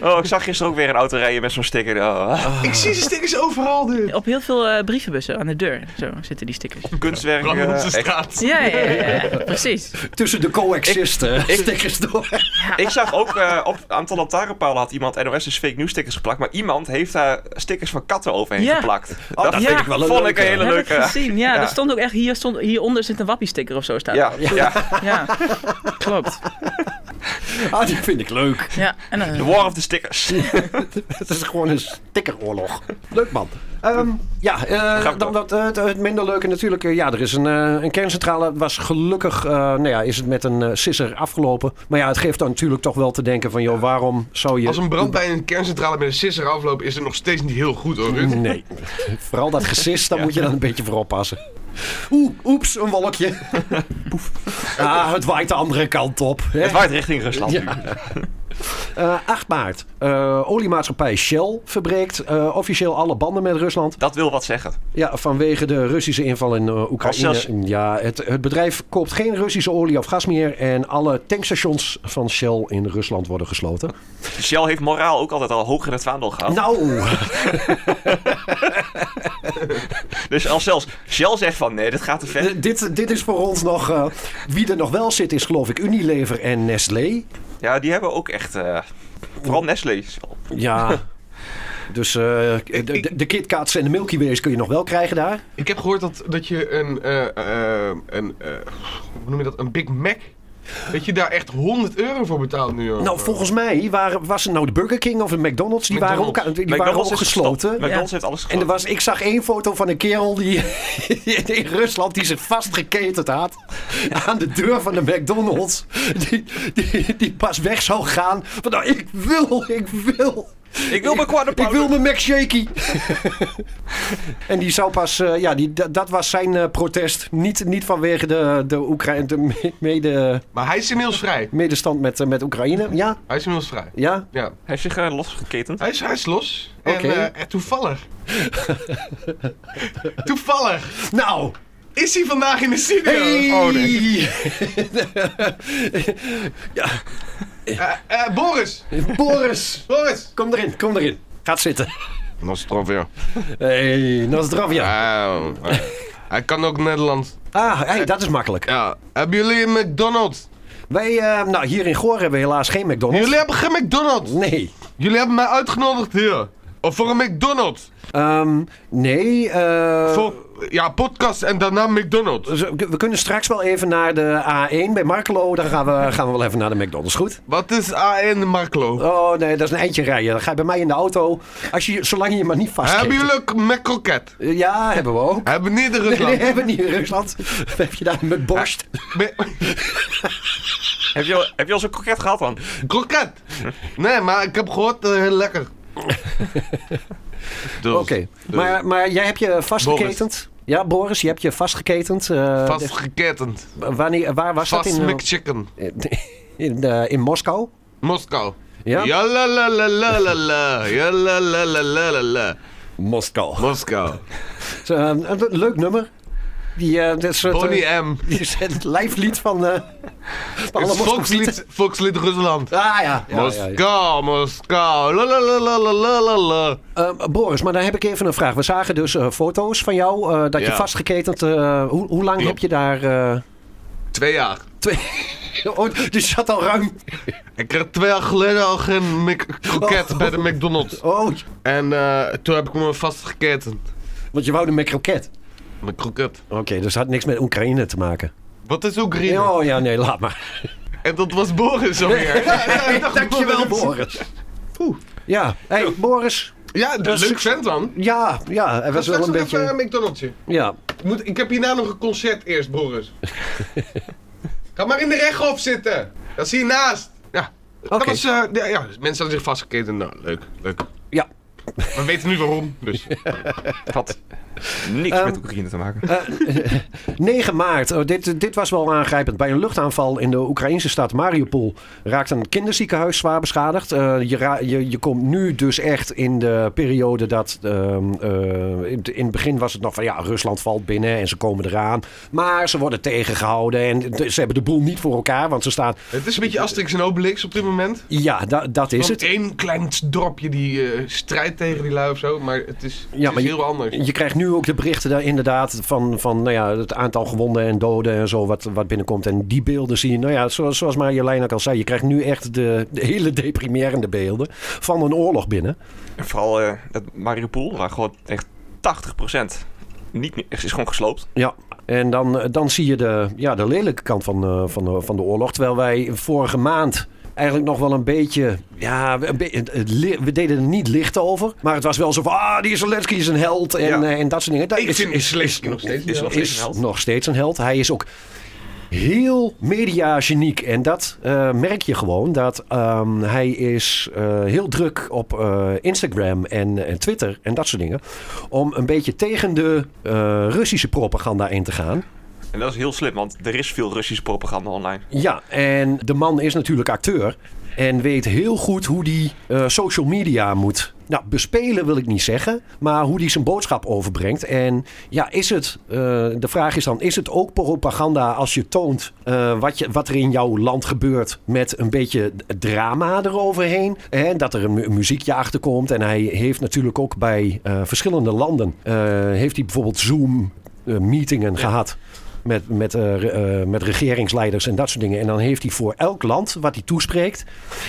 Speaker 3: Oh, ik zag gisteren ook weer een auto rijden met zo'n sticker. Oh,
Speaker 1: Ik zie ze stickers overal nu.
Speaker 5: op heel veel eh, brievenbussen aan de deur. Zo zitten die stickers.
Speaker 3: kunstwerk.
Speaker 1: Brand
Speaker 3: eh,
Speaker 1: op de
Speaker 3: ik,
Speaker 1: straat.
Speaker 5: Ja, ja, ja, ja, precies.
Speaker 4: Tussen de coexisten. Stickers door.
Speaker 3: ik zag ook eh, op een aantal lantaarnpalen had iemand NOS is dus fake news stickers geplakt. Maar iemand heeft daar stickers van katten overheen
Speaker 5: Ja.
Speaker 3: geplakt.
Speaker 4: dat
Speaker 5: vind ik
Speaker 4: wel een
Speaker 3: vond ik
Speaker 4: leuke.
Speaker 3: een hele
Speaker 5: Heb
Speaker 3: leuke.
Speaker 5: ik gezien, ja.
Speaker 3: Ja.
Speaker 5: Er stond ook echt, hier stond, hieronder zit een wappie-sticker of zo staat.
Speaker 3: Ja, ja.
Speaker 5: er. ja. Klopt.
Speaker 4: Ah, die vind ik leuk.
Speaker 5: Ja, en dan-
Speaker 3: De war of the stickers.
Speaker 4: Het is gewoon een stickeroorlog. Leuk man. Ehm, ja, eh,
Speaker 3: Gaan we
Speaker 4: dan dat, eh, het, het minder leuke natuurlijk. eh, ja, er is een, eh, een kerncentrale. Was gelukkig, eh, nou ja, is het met een eh, sisser afgelopen. Maar ja, het geeft dan natuurlijk toch wel te denken van, joh, waarom zou je...
Speaker 1: Als een brand bij een kerncentrale met een sisser afloopt, is het nog steeds niet heel goed hoor, Ruud.
Speaker 4: Nee, vooral dat gesis, daar moet je dan een beetje voor oppassen. Oeh, oeps, een wolkje. Poef. Ah, het waait de andere kant op. Hè?
Speaker 3: Het waait richting Rusland.
Speaker 4: Ja. Eh, 8 maart. Eh, oliemaatschappij Shell verbreekt eh, officieel alle banden met Rusland.
Speaker 3: Dat wil wat zeggen.
Speaker 4: Ja, vanwege de Russische inval in eh, Oekraïne.
Speaker 3: Als zelfs-
Speaker 4: Ja, het, het bedrijf koopt geen Russische olie of gas meer. En alle tankstations van Shell in Rusland worden gesloten.
Speaker 3: Shell heeft moraal ook altijd al hoog in het vaandel gehad.
Speaker 4: Nou,
Speaker 3: Dus als zelfs Shell zegt van nee, dit gaat te ver.
Speaker 4: d- eh, dit, dit is voor ons nog... eh, wie er nog wel zit is geloof ik Unilever en Nestlé.
Speaker 3: Ja, die hebben ook echt... eh, vooral Nestlé.
Speaker 4: Ja... Dus eh, de, de, de KitKats en de Milky Ways kun je nog wel krijgen daar.
Speaker 1: Ik heb gehoord dat, dat je een, eh, eh, een eh, hoe noem je dat, een Big Mac Dat je daar echt 100 euro voor betaalt nu. hoor.
Speaker 3: Eh.
Speaker 4: Nou, volgens mij waren, was het nou de Burger King of de McDonald's. Die waren ook,
Speaker 1: McDonald's.
Speaker 4: aan- die waren
Speaker 3: McDonald's
Speaker 4: ook
Speaker 3: heeft
Speaker 4: gesloten.
Speaker 3: gestopt. McDonald's heeft alles
Speaker 4: En er
Speaker 3: gesloten.
Speaker 4: was, ik zag één foto van een kerel die in Rusland die zich vastgeketend had aan de deur van de McDonald's. Die, die, die pas weg zou gaan. Van nou, ik wil, ik wil.
Speaker 3: Ik wil mijn quarter
Speaker 4: Ik
Speaker 3: pounder.
Speaker 4: wil mijn McShakey. en die zou pas, eh, ja, die, dat, dat was zijn eh, protest. Niet, niet vanwege de, de, Oekraïne, de me- mede,
Speaker 1: Maar hij is inmiddels vrij.
Speaker 4: medestand met, eh, met Oekraïne. Ja,
Speaker 1: Hij is inmiddels vrij.
Speaker 4: ja.
Speaker 1: Ja.
Speaker 3: Hij heeft zich eh, losgeketend.
Speaker 1: Hij is, hij is los. En,
Speaker 4: Oké.
Speaker 1: eh, en toevallig. toevallig.
Speaker 4: Nou,
Speaker 1: Is hij vandaag in de studio?
Speaker 4: hey!
Speaker 1: Oh, nee. Eh, eh, Boris.
Speaker 4: Boris,
Speaker 1: Boris.
Speaker 4: kom erin, kom erin. Gaat zitten.
Speaker 1: Nostrovio.
Speaker 4: Hey, Nozdravja.
Speaker 1: ja. Eh, hij kan ook Nederlands.
Speaker 4: Ah, hey, dat is makkelijk.
Speaker 1: Ja. Hebben jullie een McDonald's?
Speaker 4: Wij, eh, nou, hier in Goor hebben we helaas geen McDonald's.
Speaker 1: Jullie hebben geen McDonald's.
Speaker 4: Nee.
Speaker 1: Jullie hebben mij uitgenodigd hier. Of voor een McDonald's.
Speaker 4: Ehm, nee. eh,
Speaker 1: Voor, ja, podcast en daarna McDonald's.
Speaker 4: z- We kunnen straks wel even naar de A1 bij Markelo. Dan gaan we, gaan we wel even naar de McDonald's, goed?
Speaker 1: Wat is AN Marklo?
Speaker 4: Oh nee, dat is een eindje rijden. Dan ga je bij mij in de auto. Als je, zolang je je maar niet vastgeeft.
Speaker 1: hebben jullie ook McCroket?
Speaker 4: Eh, Ja, hebben we ook.
Speaker 1: Hebben niet in
Speaker 4: Nee,
Speaker 1: Rusland?
Speaker 4: nee, hebben we niet in Rusland. Heb je daar met borst?
Speaker 1: Me-
Speaker 3: Heb je, al, heb je al zo'n kroket gehad dan?
Speaker 1: Kroket! Nee, maar ik heb gehoord, eh, heel lekker. Dus,
Speaker 4: Oké. Maar, maar jij hebt je vastgeketend? Ja, Boris, je hebt je vastgeketend. eh,
Speaker 1: Vastgeketend.
Speaker 4: de- wanneer, waar was dat
Speaker 1: Vast
Speaker 4: in? eh,
Speaker 1: McChicken.
Speaker 4: in, eh, in Moskou?
Speaker 1: Moskou.
Speaker 4: Ja?
Speaker 1: Ja la la la la la la. Ja la la la la la la.
Speaker 4: Moskou.
Speaker 1: Moskou.
Speaker 4: een leuk nummer. Die, eh dat is het, eh,
Speaker 1: Bonnie M.
Speaker 4: die is het lijflied van, eh van
Speaker 1: Het
Speaker 4: alle
Speaker 1: is
Speaker 4: Moskovieten.
Speaker 1: volkslied, volkslied Rusland.
Speaker 4: Ah ja. ja, ja, ja.
Speaker 1: Moskou, Moskou. La la la la la la la la.
Speaker 4: Eh, Boris, maar dan heb ik even een vraag. We zagen dus eh, foto's van jou eh, dat je
Speaker 1: Ja.
Speaker 4: vastgeketend. eh, hoe, hoe lang
Speaker 1: Klopt.
Speaker 4: heb je daar. eh,
Speaker 1: Twee jaar.
Speaker 4: twee... oh, dus je zat al ruim.
Speaker 1: Ik kreeg twee jaar geleden al geen Mc- kroket bij de McDonald's.
Speaker 4: Oh,
Speaker 1: En eh, toen heb ik me vastgeketend.
Speaker 4: want je wou een kroket.
Speaker 1: Mijn kroket.
Speaker 4: Oké, dus dat had niks met Oekraïne te maken.
Speaker 1: Wat is Oekraïne?
Speaker 4: Oh ja, nee, laat maar.
Speaker 1: En dat was Boris alweer. Ja, ja, dag,
Speaker 4: Dankjewel, Boris. Oeh. Ja, hey, Boris.
Speaker 1: Ja,
Speaker 4: Dat
Speaker 1: dat
Speaker 4: is
Speaker 1: leuk vent dan.
Speaker 4: Ja, ja, hij dus- was ehm, wel een
Speaker 1: even
Speaker 4: beetje.
Speaker 1: een McDonald'sje.
Speaker 4: Ja,
Speaker 1: Ik, moet, ik heb hierna nog een concert eerst, Boris. Ga maar in de rechthof zitten. Dat is hiernaast. Ja, dat
Speaker 4: Oké.
Speaker 1: was... eh, ja, ja, mensen hadden zich vastgeketen. Nou, leuk, leuk.
Speaker 4: ja.
Speaker 1: We weten nu waarom, dus...
Speaker 3: Het had niks
Speaker 4: Ehm.
Speaker 3: met Oekraïne te maken.
Speaker 4: 9 maart, oh, dit, dit was wel aangrijpend. Bij een luchtaanval in de Oekraïnse stad Mariupol raakt een kinderziekenhuis zwaar beschadigd. Eh, je, ra- je, je komt nu dus echt in de periode dat. ehm, eh, in, in het begin was het nog van ja, Rusland valt binnen en ze komen eraan. Maar ze worden tegengehouden en d- ze hebben de boel niet voor elkaar, want ze staan.
Speaker 1: Het is een beetje Asterix en Obelix op dit moment.
Speaker 4: Ja, da- dat is
Speaker 1: Is
Speaker 4: het.
Speaker 1: één klein dorpje die eh, strijdt tegen die lui of zo, maar het is, het
Speaker 4: Ja,
Speaker 1: is
Speaker 4: maar je-
Speaker 1: heel anders.
Speaker 4: Je krijgt nu ook de berichten daar inderdaad van, van nou ja, het aantal gewonden en doden en zo wat, wat binnenkomt. En die beelden zie je, nou ja, zoals, zoals Marjolein ook al zei, je krijgt nu echt de, de hele deprimerende beelden van een oorlog binnen.
Speaker 3: En vooral eh het Mariupol, waar gewoon echt 80% niet meer, is gewoon gesloopt.
Speaker 4: Ja. En dan, eh, dan zie je de, ja, de lelijke kant van, eh, van, de, van de oorlog. Terwijl wij vorige maand eigenlijk nog wel een beetje... Ja, we- een be- het- het li- we deden er niet licht over. Maar het was wel zo van... Ah, die Zelensky is een held. En,
Speaker 3: Ja.
Speaker 4: eh, en dat soort dingen. Dat
Speaker 1: Ik
Speaker 4: is-
Speaker 1: vind
Speaker 4: is-
Speaker 1: Zelensky nog steeds
Speaker 3: Is nog
Speaker 1: een held.
Speaker 3: steeds een
Speaker 4: is
Speaker 3: held.
Speaker 4: nog steeds een held. Hij is ook heel mediageniek. En dat eh, merk je gewoon. Dat ehm, hij is eh, heel druk op eh, Instagram en, en Twitter en dat soort dingen. Om een beetje tegen de eh, Russische propaganda in te gaan.
Speaker 3: En dat is heel slim, want er is veel Russische propaganda online.
Speaker 4: Ja, en de man is natuurlijk acteur. En weet heel goed hoe die eh, social media moet. Nou, bespelen wil ik niet zeggen. Maar hoe die zijn boodschap overbrengt. En ja, is het. eh, de vraag is dan: is het ook propaganda als je toont. eh, wat, je, wat er in jouw land gebeurt. met een beetje drama eroverheen? En dat er een, mu- een muziekje achter komt. En hij heeft natuurlijk ook bij eh, verschillende landen. eh, heeft hij bijvoorbeeld Zoom-meetingen gehad met, met, eh, re- eh, met regeringsleiders en dat soort dingen. En dan heeft hij voor elk land wat hij toespreekt,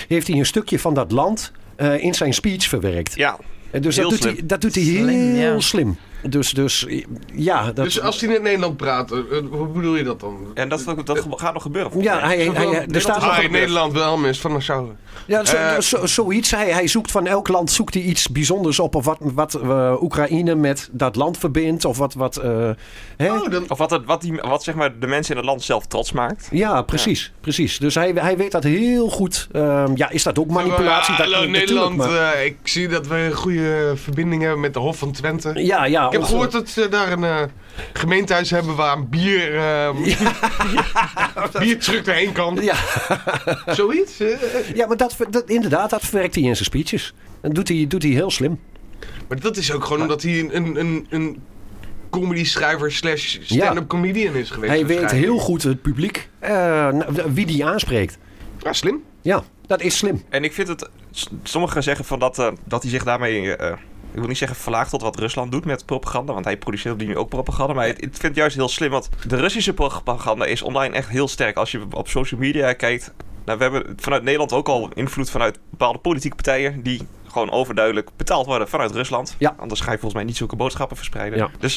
Speaker 4: heeft hij een stukje van dat land eh, in zijn speech verwerkt.
Speaker 3: Ja,
Speaker 4: En dus
Speaker 3: heel
Speaker 4: dat doet,
Speaker 3: slim.
Speaker 4: hij, dat doet hij
Speaker 5: Slim,
Speaker 4: heel
Speaker 5: ja.
Speaker 4: slim. Dus, dus ja. Dat,
Speaker 1: Dus als hij in Nederland praat, eh, eh, hoe bedoel je dat dan?
Speaker 3: En dat, is ook- dat ge- gaat nog gebeuren. volgens
Speaker 4: Eh. ja,
Speaker 3: mij.
Speaker 4: hij, hij, hij- er staat nog
Speaker 1: Ah,
Speaker 4: een-
Speaker 1: in Nederland wel, mis van Nassau.
Speaker 4: ja, zo,
Speaker 1: eh,
Speaker 4: zo- zoiets. Hij, hij zoekt van elk land zoekt hij iets bijzonders op. Of wat, wat eh, Oekraïne met dat land verbindt. Of wat. wat eh, hè?
Speaker 1: Oh, dan,
Speaker 3: Of wat, het, wat, die, wat zeg maar, de mensen in het land zelf trots maakt.
Speaker 4: Ja, precies. precies. Dus hij, hij weet dat heel goed. Ehm, ja, is dat ook manipulatie?
Speaker 1: Ah,
Speaker 4: dat,
Speaker 1: hallo
Speaker 4: natuurlijk,
Speaker 1: Nederland,
Speaker 4: maar-
Speaker 1: eh, ik zie dat we een goede verbinding hebben met de Hof van Twente.
Speaker 4: ja, ja.
Speaker 1: ik heb
Speaker 4: ons-
Speaker 1: gehoord dat ze daar een eh, gemeentehuis hebben waar een bier, ehm biertruck erheen kan.
Speaker 4: Ja.
Speaker 1: Zoiets? eh, eh.
Speaker 4: Ja, maar dat, dat, inderdaad, dat verwerkt hij in zijn speeches. En doet hij, doet hij heel slim.
Speaker 1: maar dat is ook gewoon omdat hij een, een, een, een comedy schrijver slash stand-up
Speaker 4: Ja.
Speaker 1: comedian is geweest.
Speaker 4: Hij weet
Speaker 1: waarschijnlijk.
Speaker 4: heel goed het publiek, eh, nou, wie die aanspreekt.
Speaker 1: Ja, slim.
Speaker 4: Ja, dat is slim.
Speaker 3: En ik vind het... s- Sommigen zeggen van dat, eh, dat hij zich daarmee... eh, ik wil niet zeggen verlaagt tot wat Rusland doet met propaganda. Want hij produceert op die manier ook propaganda. Maar het- ik vind het juist heel slim. Want de Russische propaganda is online echt heel sterk. Als je op social media kijkt... Nou, we hebben vanuit Nederland ook al invloed vanuit bepaalde politieke partijen... die gewoon overduidelijk betaald worden vanuit Rusland.
Speaker 4: Ja.
Speaker 3: Anders ga je volgens mij niet zulke boodschappen verspreiden.
Speaker 4: Ja.
Speaker 3: Dus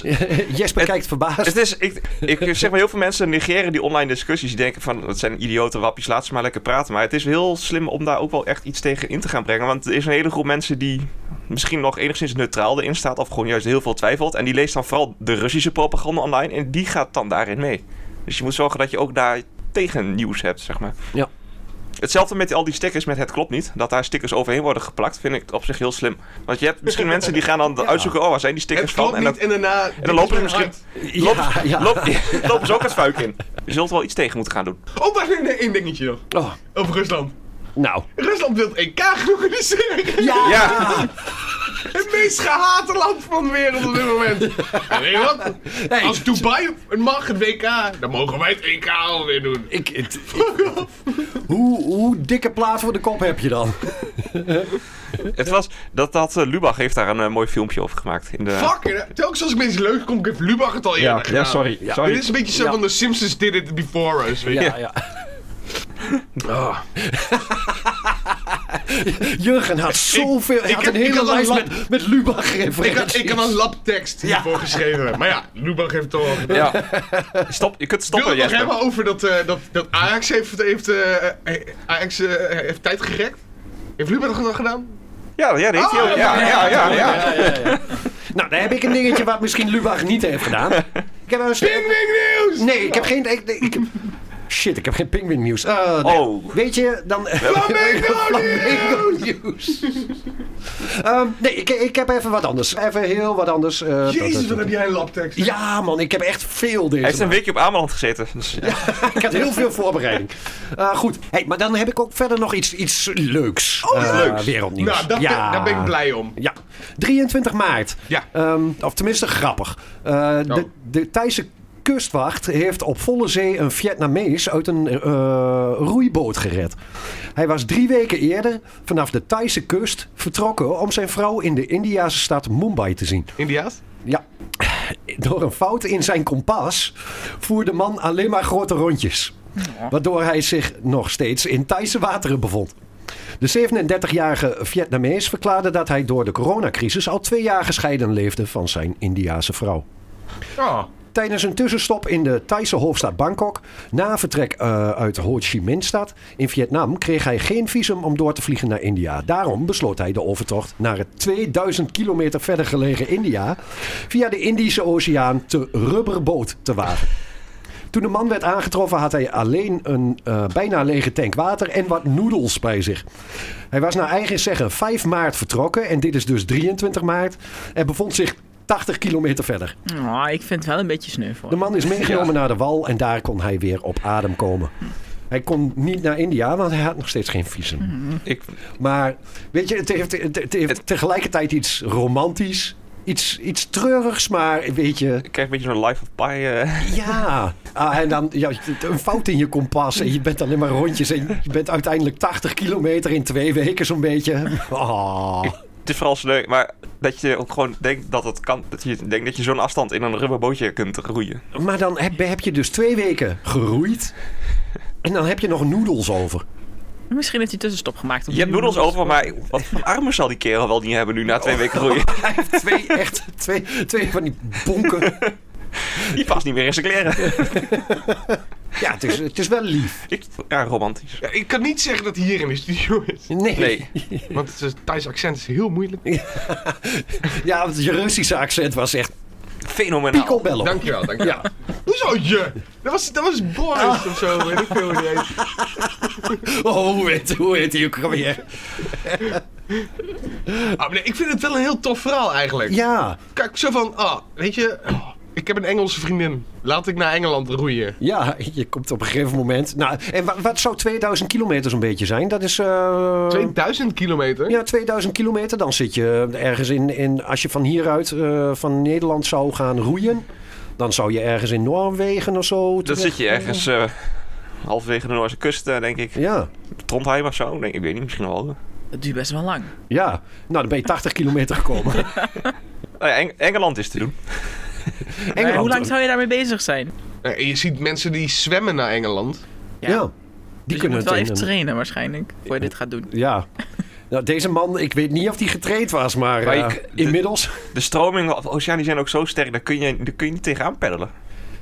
Speaker 4: Jesper
Speaker 3: Het-
Speaker 4: kijkt verbaasd.
Speaker 3: Dus Het is, ik, ik zeg maar, heel veel mensen negeren die online discussies. Die denken van, dat zijn idiote wappies, laat ze maar lekker praten. Maar het is heel slim om daar ook wel echt iets tegen in te gaan brengen. Want er is een hele groep mensen die misschien nog enigszins neutraal erin staat... of gewoon juist heel veel twijfelt. En die leest dan vooral de Russische propaganda online en die gaat dan daarin mee. Dus je moet zorgen dat je ook daar tegen nieuws hebt, zeg maar.
Speaker 4: Ja.
Speaker 3: Hetzelfde met al die stickers met het klopt niet. Dat daar stickers overheen worden geplakt, vind ik op zich heel slim. Want je hebt misschien mensen die gaan dan uitzoeken... oh, waar zijn die stickers
Speaker 1: Het klopt
Speaker 3: van? En
Speaker 1: niet
Speaker 3: dat-
Speaker 1: en, daarna... En
Speaker 3: dan lopen er misschien-
Speaker 4: Ja, ja.
Speaker 3: Loop, lopen ze dus ook het vuik in. Je zult er wel iets tegen moeten gaan doen.
Speaker 1: Oh, maar één- één dingetje nog.
Speaker 4: Oh,
Speaker 1: Over Rusland.
Speaker 4: nou.
Speaker 1: Rusland wil het EK gaan organiseren.
Speaker 4: Ja,
Speaker 3: Ja.
Speaker 1: Het meest gehate land van de wereld op dit moment. En weet je wat?
Speaker 4: Nee.
Speaker 1: Als Dubai het mag, het WK, dan mogen wij het EK alweer doen.
Speaker 4: Ik, het- ik- hoe, hoe dikke plaat voor de kop heb je dan?
Speaker 3: Het was, dat, dat eh, Lubach heeft daar een eh, mooi filmpje over gemaakt. In de,
Speaker 1: Fuck, eh, telkens als ik mensen leuk kom, heeft Lubach het al eerder gedaan.
Speaker 4: Ja.
Speaker 1: Dit is een beetje zo
Speaker 4: Ja.
Speaker 1: van The Simpsons did it before us. Weet je?
Speaker 4: Ja, ja.
Speaker 1: Oh.
Speaker 4: Jurgen had zoveel. Hij
Speaker 1: ik
Speaker 4: had
Speaker 1: heb-
Speaker 4: een
Speaker 1: ik
Speaker 4: hele
Speaker 1: had een
Speaker 4: lijst
Speaker 1: lab-
Speaker 4: met, met Lubach
Speaker 1: Ik, had,
Speaker 4: referenties.
Speaker 1: ik had een labtekst hiervoor geschreven. Maar ja, Lubach heeft het al gedaan.
Speaker 3: Ja. Stop, je kunt
Speaker 1: Ik wil
Speaker 3: stoppen,
Speaker 1: het nog
Speaker 3: Jesper.
Speaker 1: hebben over dat, eh, dat, dat Ajax heeft, heeft, eh, eh, Ajax, eh, heeft tijd gerekt. Heeft Lubach dat nog gedaan?
Speaker 3: Ja, ja, dat heeft hij ook. Oh, Ja, ja, ja, ja.
Speaker 4: Ja, ja, ja. Nou, daar heb ik een dingetje wat misschien Lubach niet heeft gedaan. Ik heb een
Speaker 1: Ding, ding, nieuws!
Speaker 4: Nee, ik heb geen. Ik, nee, ik heb- shit, ik heb geen Penguin nieuws. Eh, nee.
Speaker 3: Oh.
Speaker 4: Weet je, dan.
Speaker 1: Flamingo
Speaker 4: Flamingo nieuws. Ehm, nee, ik, ik heb even wat anders. Even heel wat anders. eh, dat-
Speaker 1: Jezus,
Speaker 4: dat-
Speaker 1: wat heb jij een labtekst.
Speaker 4: Ja, man, ik heb echt veel deze.
Speaker 3: Hij heeft een
Speaker 4: maand.
Speaker 3: weekje op Ameland gezeten. Dus, ja.
Speaker 4: Ik had heel veel voorbereiding. Eh, goed, hey, maar dan heb ik ook verder nog iets, iets leuks. Oh,
Speaker 1: leuks.
Speaker 4: Wereldnieuws.
Speaker 1: Nou, dat
Speaker 4: Ja.
Speaker 1: ben- daar ben ik blij om.
Speaker 4: Ja, 23 maart.
Speaker 1: Ja.
Speaker 4: Ehm, of tenminste grappig. Eh, de, de Thaise kustwacht heeft op volle zee een Vietnamees uit een eh, roeiboot gered. Hij was drie weken eerder vanaf de Thaise kust vertrokken om zijn vrouw in de Indiase stad Mumbai te zien.
Speaker 1: Indiaas?
Speaker 4: Ja. Door een fout in zijn kompas voer de man alleen maar grote rondjes. Waardoor hij zich nog steeds in Thaise wateren bevond. De 37-jarige Vietnamees verklaarde dat hij door de coronacrisis al twee jaar gescheiden leefde van zijn Indiase vrouw.
Speaker 1: Oh.
Speaker 4: Tijdens een tussenstop in de Thaise hoofdstad Bangkok, na vertrek eh, uit Ho Chi Minh-stad in Vietnam, kreeg hij geen visum om door te vliegen naar India. Daarom besloot hij de overtocht naar het 2000 kilometer verder gelegen India via de Indische Oceaan te rubberboot te wagen. Toen de man werd aangetroffen had hij alleen een eh, bijna lege tank water en wat noedels bij zich. Hij was naar eigen zeggen 5 maart vertrokken en dit is dus 23 maart en bevond zich 80 kilometer verder.
Speaker 5: Nou, ik vind het wel een beetje sneu voor.
Speaker 4: De
Speaker 5: hem.
Speaker 4: man is meegenomen naar de wal en daar kon hij weer op adem komen. Hij kon niet naar India, want hij had nog steeds geen visum.
Speaker 3: eh, Ik,
Speaker 4: Maar weet je, het heeft, het- Mhm. het heeft tegelijkertijd iets romantisch, iets, iets treurigs, maar weet je,
Speaker 3: ik krijg een beetje zo'n life of pie. eh.
Speaker 4: ja. Ah, en dan ja, een fout in je kompas en je bent alleen maar rondjes en je bent uiteindelijk 80 kilometer in twee weken zo'n beetje. Ah.
Speaker 3: Het is vooral sneu, maar dat je ook gewoon denkt dat het kan. Dat je denkt dat je zo'n afstand in een rubberbootje kunt roeien.
Speaker 4: Maar dan heb, heb je dus twee weken geroeid en dan heb je nog noedels over.
Speaker 5: Misschien heeft hij tussenstop gemaakt.
Speaker 3: Je hebt noedels over, maar wat voor armen zal die kerel wel niet hebben nu na twee weken groeien?
Speaker 4: Hij heeft twee, echt, twee, twee van die bonken.
Speaker 3: Die past niet meer in zijn kleren.
Speaker 4: Ja, het is, het is wel lief.
Speaker 3: Ik- Ja, romantisch.
Speaker 1: Ja, ik kan niet zeggen dat hij hier in de studio is.
Speaker 4: Nee.
Speaker 3: Nee.
Speaker 1: Want het is- Thais accent is heel moeilijk.
Speaker 4: Ja, want je Russische accent was echt
Speaker 3: Fenomenaal.
Speaker 4: picobello.
Speaker 1: Dankjewel, dankjewel. Hoezo je? Dat was, dat was Boris of zo, weet ik veel hoe die heet.
Speaker 4: Oh, hoe heet, hoe heet die ook alweer?
Speaker 1: Ah, maar nee, ik vind het wel een heel tof verhaal eigenlijk.
Speaker 4: Ja,
Speaker 1: Kijk, zo van, ah, weet je, oh, ik heb een Engelse vriendin. Laat ik naar Engeland roeien.
Speaker 4: ja, je komt op een gegeven moment... Nou, en wa- wat zou 2000 kilometer zo'n beetje zijn? Dat is... eh,
Speaker 1: 2000 kilometer?
Speaker 4: Ja, 2000 kilometer. Dan zit je ergens in... in als je van hieruit, eh, van Nederland zou gaan roeien... dan zou je ergens in Noorwegen of zo...
Speaker 3: Dan
Speaker 4: terecht-
Speaker 3: zit je ergens eh, halverwege de Noorse kust, eh, denk ik.
Speaker 4: Ja,
Speaker 3: Trondheim of zo? Nee, ik weet niet, misschien wel. Oh
Speaker 5: Dat duurt best wel lang.
Speaker 4: ja. Nou, dan ben je 80 kilometer gekomen.
Speaker 3: Nou ja, Eng- Engeland is te doen.
Speaker 5: Maar
Speaker 4: Engeland.
Speaker 5: hoe lang zou je daarmee bezig zijn? Dus
Speaker 1: Eh, En je ziet mensen die zwemmen naar Engeland.
Speaker 4: Ja. Die
Speaker 5: Ja. Dus je
Speaker 4: kunnen
Speaker 5: moet wel
Speaker 4: het
Speaker 5: even
Speaker 4: in een-
Speaker 5: trainen waarschijnlijk, voor je dit gaat doen.
Speaker 4: Ja. Nou, deze man, ik weet niet of die getraind was, maar,
Speaker 3: Maar
Speaker 4: eh,
Speaker 3: ik- de-
Speaker 4: inmiddels...
Speaker 3: De stromingen op de oceaan die zijn ook zo sterk, daar kun je, daar kun je niet tegenaan peddelen.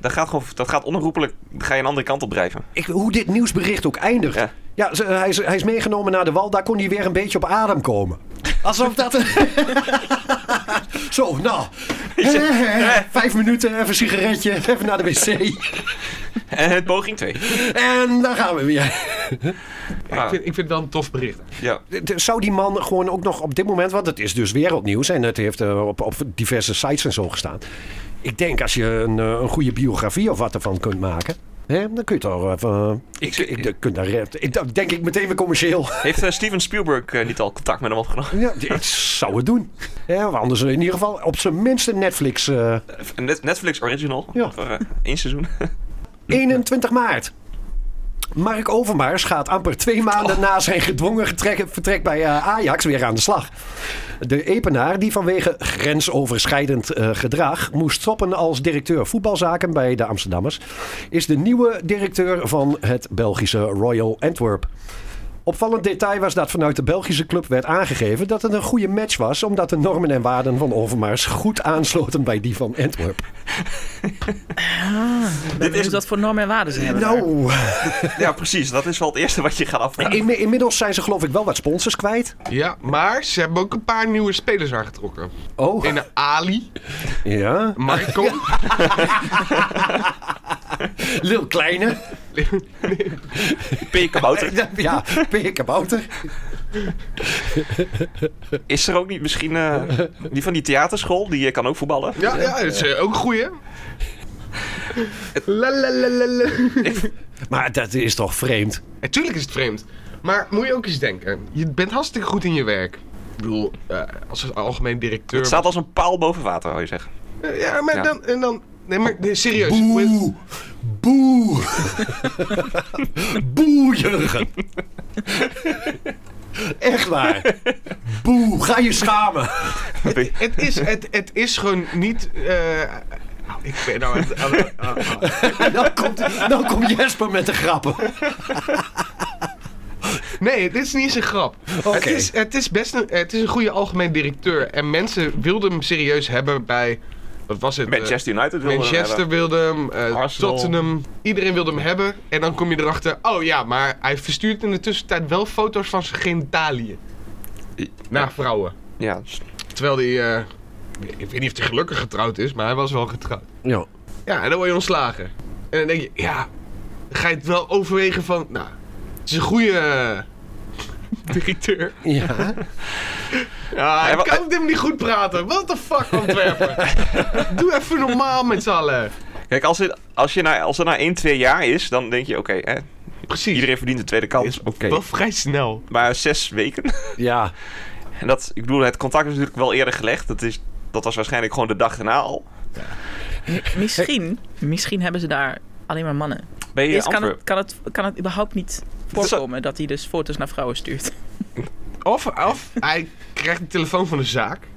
Speaker 3: Dat gaat, gewoon, dat gaat onherroepelijk, ga je een andere kant op drijven.
Speaker 4: Ik, hoe dit nieuwsbericht ook eindigt. Ja,
Speaker 3: Ja.
Speaker 4: ze- hij, is, hij is meegenomen naar de wal. Daar kon hij weer een beetje op adem komen. Alsof dat... Zo, nou. Eh, Vijf minuten, even een sigaretje, even naar de wc.
Speaker 3: En het Eh, poging 2.
Speaker 4: En daar gaan we weer.
Speaker 1: Ja, ik, vind, ik vind het wel een tof bericht.
Speaker 3: Ah, Ja.
Speaker 4: D- Zou die man gewoon ook nog op dit moment... Want het is dus wereldnieuws en het heeft eh, op, op diverse sites en zo gestaan. Ik denk als je een, eh, een goede biografie of wat ervan kunt maken... Hè, dan kun je toch even... Ik, ik, ik, kun daar, ik, dan denk ik meteen weer commercieel.
Speaker 3: Heeft eh, Steven Spielberg eh, niet al contact met hem opgenomen?
Speaker 4: Ja, ik zou het doen. Ja, maar anders in ieder geval op zijn minst een Netflix. eh,
Speaker 3: Een Net- Netflix original.
Speaker 4: Ja.
Speaker 3: Voor eh, één seizoen.
Speaker 4: 21 maart. Mark Overmars gaat amper twee maanden na zijn gedwongen getrek- vertrek bij eh, Ajax weer aan de slag. De Epenaar, die vanwege grensoverschrijdend eh, gedrag moest stoppen als directeur voetbalzaken bij de Amsterdammers, is de nieuwe directeur van het Belgische Royal Antwerp. Opvallend detail was dat vanuit de Belgische club werd aangegeven dat het een goede match was, omdat de normen en waarden van Overmars goed aansloten bij die van Antwerp.
Speaker 5: Dit is dat voor normen en waarden zijn. hebben daar.
Speaker 4: Nou,
Speaker 3: ja, precies. Dat is wel het eerste wat je gaat afvragen.
Speaker 4: Inmi- inmiddels zijn ze geloof ik wel wat sponsors kwijt.
Speaker 1: Ja, maar ze hebben ook een paar nieuwe spelers aangetrokken.
Speaker 4: Oh,
Speaker 1: In Ali,
Speaker 4: ja.
Speaker 1: Marco,
Speaker 4: Lil Kleine.
Speaker 3: P. Kabouter.
Speaker 4: Ja, Peer Kabouter.
Speaker 3: Is er ook niet misschien eh, die van die theaterschool? Die eh, kan ook voetballen.
Speaker 1: Ja, ja, dat is eh, ook een goeie. La, la, la, la, la.
Speaker 4: Maar dat is toch vreemd.
Speaker 1: Natuurlijk is het vreemd. Maar moet je ook eens denken. Je bent hartstikke goed in je werk. Ik bedoel, eh, als algemeen directeur...
Speaker 3: Het staat als een paal boven water, wou je zeggen.
Speaker 1: Eh, ja, maar
Speaker 3: Ja.
Speaker 1: dan... En dan nee, maar nee, serieus.
Speaker 4: Boe. Boe. Boe, Jurgen. Echt waar. Boe, ga je schamen.
Speaker 1: Het is, het, het is gewoon niet... eh, nou, ik ben nou... aan het- aan het- aan het-
Speaker 4: Dan komt, dan komt Jesper met de grappen.
Speaker 1: Nee, dit is niet eens een grap. Het, is, het is best een, het is een goede algemeen directeur. En mensen wilden hem serieus hebben bij... Wat was het? Eh,
Speaker 3: Manchester United wil
Speaker 1: Manchester wilde hem, eh,
Speaker 3: Arsenal.
Speaker 1: Tottenham, iedereen wilde hem hebben. En dan kom je erachter, oh ja, maar hij verstuurt in de tussentijd wel foto's van zijn genitaliën naar vrouwen.
Speaker 3: Ja,
Speaker 1: Terwijl hij, eh, ik weet niet of hij gelukkig getrouwd is, maar hij was wel getrouwd.
Speaker 4: Ja.
Speaker 1: Ja, en dan word je ontslagen. En dan denk je, ja, ga je het wel overwegen van, nou, het is een goede eh, directeur.
Speaker 4: Ja.
Speaker 1: Ja,
Speaker 3: Hij
Speaker 1: ik
Speaker 3: wa-
Speaker 1: kan met hem niet goed praten. What the fuck, Antwerpen? Doe even normaal met z'n allen.
Speaker 3: Kijk, als, het, als, je na, als het na 1, 2 jaar is, dan denk je, oké, hè,
Speaker 1: Precies.
Speaker 3: iedereen verdient een tweede kans. Oké.
Speaker 1: Wel vrij snel.
Speaker 3: Maar zes weken.
Speaker 4: Ja.
Speaker 3: En dat, ik bedoel, het contact is natuurlijk wel eerder gelegd. Dat, is, dat was waarschijnlijk gewoon de dag daarna al.
Speaker 5: Misschien, misschien hebben ze daar alleen maar mannen.
Speaker 3: Ben je in
Speaker 5: Eerst kan
Speaker 3: Antwerpen?
Speaker 5: het, kan, het, kan het überhaupt niet voorkomen dat hij dus foto's naar vrouwen stuurt.
Speaker 1: Of, of hij krijgt de telefoon van de zaak.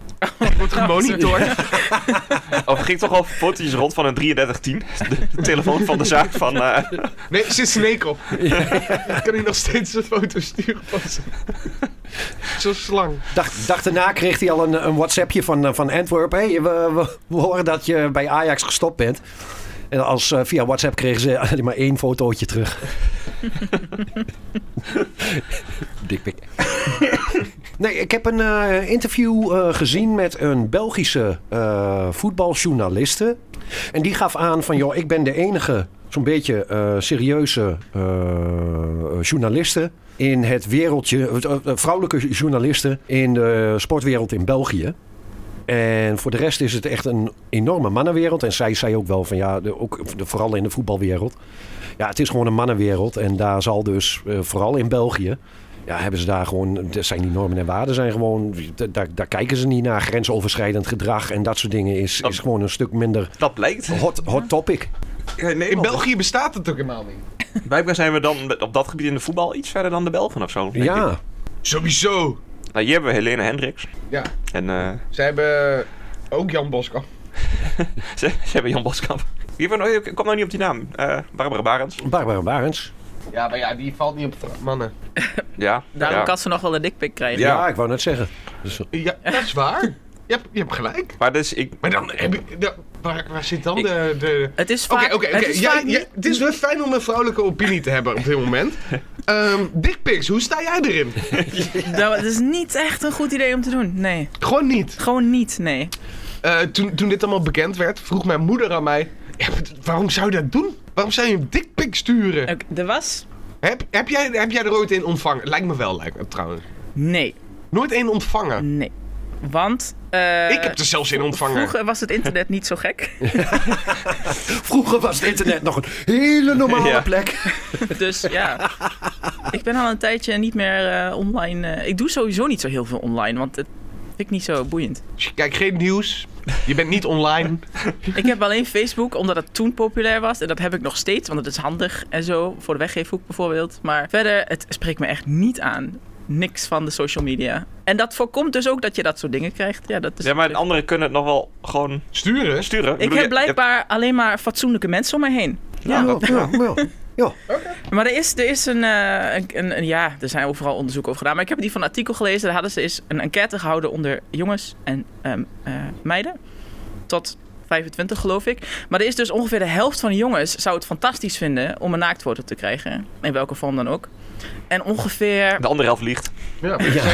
Speaker 1: wordt gemonitord.
Speaker 3: Of er ging toch al fotootjes rond van een 3310. De telefoon van de zaak van... eh,
Speaker 1: Nee, zit Snake op. Kan hij nog steeds een foto sturen van zijn- Zo'n slang.
Speaker 4: Dag, dag daarna kreeg hij al een, een WhatsAppje van, eh, van Antwerp. Hé, hey, we, we, we horen dat je bij Ajax gestopt bent. En als, eh, via WhatsApp kregen ze alleen maar één fotootje terug. Dikpik. nee, ik heb een eh, interview eh, gezien met een Belgische eh, voetbaljournaliste. En die gaf aan van, joh, ik ben de enige zo'n beetje eh, serieuze eh journaliste in het wereldje, eh, eh, vrouwelijke journalisten in de sportwereld in België. En voor de rest is het echt een enorme mannenwereld. En zij zei ook wel van ja, de- ook de- vooral in de voetbalwereld. Ja, het is gewoon een mannenwereld. En daar zal dus, eh, vooral in België, ja, hebben ze daar gewoon, er zijn die normen en waarden zijn gewoon, da- daar, daar kijken ze niet naar. Grensoverschrijdend gedrag en dat soort dingen is, is gewoon een stuk minder
Speaker 3: dat blijkt.
Speaker 4: hot, hot topic.
Speaker 3: Nee,
Speaker 1: In België bestaat het ook helemaal niet.
Speaker 3: Blijkbaar Oh. zijn we dan op dat gebied in de voetbal iets verder dan de Belgen of zo. denk ik.
Speaker 4: Ja,
Speaker 1: Sowieso.
Speaker 3: Nou, hier hebben we Helene Hendricks.
Speaker 1: Ja,
Speaker 3: En eh,
Speaker 1: zij hebben ook Jan Oh. Boskamp.
Speaker 3: ze, ze hebben Jan Boskamp. Die hebben we nog- Ik kom nou niet op die naam. Eh, Barbara Barends.
Speaker 4: Barbara Barends.
Speaker 1: Ja, maar ja, die valt niet op de mannen.
Speaker 3: Ja.
Speaker 5: Daarom
Speaker 3: ja.
Speaker 5: kan ze nog wel een dikpik krijgen.
Speaker 4: Ja.
Speaker 3: Ja.
Speaker 4: ik wou net zeggen.
Speaker 1: Ja, dat is waar. Je hebt, je hebt gelijk.
Speaker 3: Maar dus ik...
Speaker 1: Maar dan heb je... da- waar, waar zit dan
Speaker 3: Ik-
Speaker 1: de... de...
Speaker 5: Het is vaak...
Speaker 1: Oké, oké,
Speaker 5: het
Speaker 1: oké.
Speaker 5: is
Speaker 1: Ja,
Speaker 5: vaak
Speaker 1: ja,
Speaker 5: niet-
Speaker 1: Het is wel fijn om een vrouwelijke opinie te hebben op dit moment. Ehm Dickpics, hoe sta jij erin?
Speaker 5: Nou, het is niet echt een goed idee om te doen. Nee.
Speaker 1: Gewoon niet.
Speaker 5: Gewoon niet, nee.
Speaker 1: Eh, toen, toen dit allemaal bekend werd, vroeg mijn moeder aan mij... "Ja, maar d- waarom zou je dat doen? Waarom zou je een dickpic sturen?
Speaker 5: Oké, er was...
Speaker 1: Heb, heb, jij, heb jij er ooit een ontvangen? Lijkt me wel, lijkt me trouwens.
Speaker 5: Nee.
Speaker 1: Nooit een ontvangen.
Speaker 5: Nee. Want... eh,
Speaker 1: Ik heb er zelfs een ontvangen.
Speaker 5: Vroeger was het internet niet zo gek.
Speaker 4: Vroeger was het internet nog een hele normale
Speaker 3: Ja.
Speaker 4: plek.
Speaker 5: Dus ja. Ik ben al een tijdje niet meer eh, online. eh, ik doe sowieso niet zo heel veel online, want het vind ik niet zo boeiend.
Speaker 1: Dus je kijkt geen nieuws. Je bent niet online.
Speaker 5: Ik heb alleen Facebook, omdat het toen populair was. En dat heb ik nog steeds, want het is handig en zo. Voor de weggeefhoek bijvoorbeeld. Maar verder, het spreekt me echt niet aan. Niks van de social media. En dat voorkomt dus ook dat je dat soort dingen krijgt. Ja, dat is
Speaker 3: Ja, maar de anderen kunnen het nog wel gewoon
Speaker 1: Sturen?
Speaker 3: sturen.
Speaker 5: Dus-
Speaker 3: bedoel,
Speaker 5: Ik heb
Speaker 3: je- je hebt-
Speaker 5: blijkbaar alleen maar fatsoenlijke mensen om me heen.
Speaker 4: Ja, ja, ja. ja.
Speaker 5: Maar er is, er is een, eh, een, een- een- Ja, er zijn overal onderzoeken over gedaan. Maar ik heb die van een artikel gelezen. Daar hadden ze eens een enquête gehouden onder jongens en ehm, eh, meiden. Tot 25, geloof ik. Maar er is dus ongeveer de helft van de jongens zou het fantastisch vinden om een naaktfoto te krijgen. In welke vorm dan ook. En ongeveer,
Speaker 3: De andere helft liegt.
Speaker 1: Ja, ja.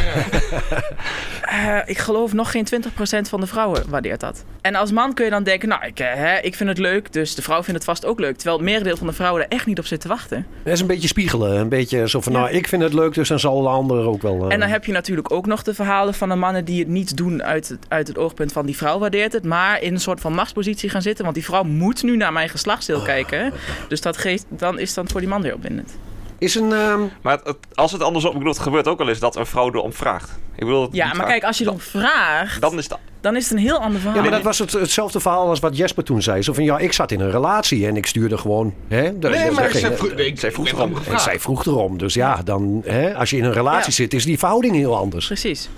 Speaker 5: eh, ik geloof nog geen 20% van de vrouwen waardeert dat. En als man kun je dan denken, nou, ik, eh, hè, ik vind het leuk, dus de vrouw vindt het vast ook leuk. Terwijl het merendeel van de vrouwen er echt niet op zit te wachten.
Speaker 4: Dat is een beetje spiegelen. Een beetje zo van, nou, ik vind het leuk, dus dan zal de ander ook wel... eh,
Speaker 5: En dan heb je natuurlijk ook nog de verhalen van de mannen die het niet doen uit het, uit het oogpunt van die vrouw waardeert het, maar in een soort van machtspositie gaan zitten, want die vrouw moet nu naar mijn geslachtsdeel kijken. Dus dat geeft, dan is dan voor die man weer opwindend.
Speaker 4: Is een... ehm,
Speaker 3: Maar het- het- als het andersom... Ik bedoel, het gebeurt ook wel eens dat een vrouw erom vraagt. Ik bedoel, dat
Speaker 5: Ja,
Speaker 3: niet
Speaker 5: maar
Speaker 3: vaak.
Speaker 5: kijk, als je dan vraagt,
Speaker 3: Dan is dat...
Speaker 5: dan is het een heel ander
Speaker 4: ja,
Speaker 5: verhaal.
Speaker 4: maar dat was het, hetzelfde verhaal als wat Jesper toen zei. Zo van, ja, ik zat in een relatie en ik stuurde gewoon... Hè, daar-
Speaker 1: Nee,
Speaker 4: daar
Speaker 1: maar
Speaker 4: ging-
Speaker 1: zij vroeg, nee, ik,
Speaker 3: zij
Speaker 1: ik
Speaker 3: vroeg
Speaker 1: ben
Speaker 3: erom.
Speaker 1: gewoon
Speaker 4: en
Speaker 1: gevraagd.
Speaker 4: zij vroeg erom. Dus ja, dan, hè, als je in een relatie
Speaker 5: Ja.
Speaker 4: zit, is die verhouding heel anders.
Speaker 5: Precies.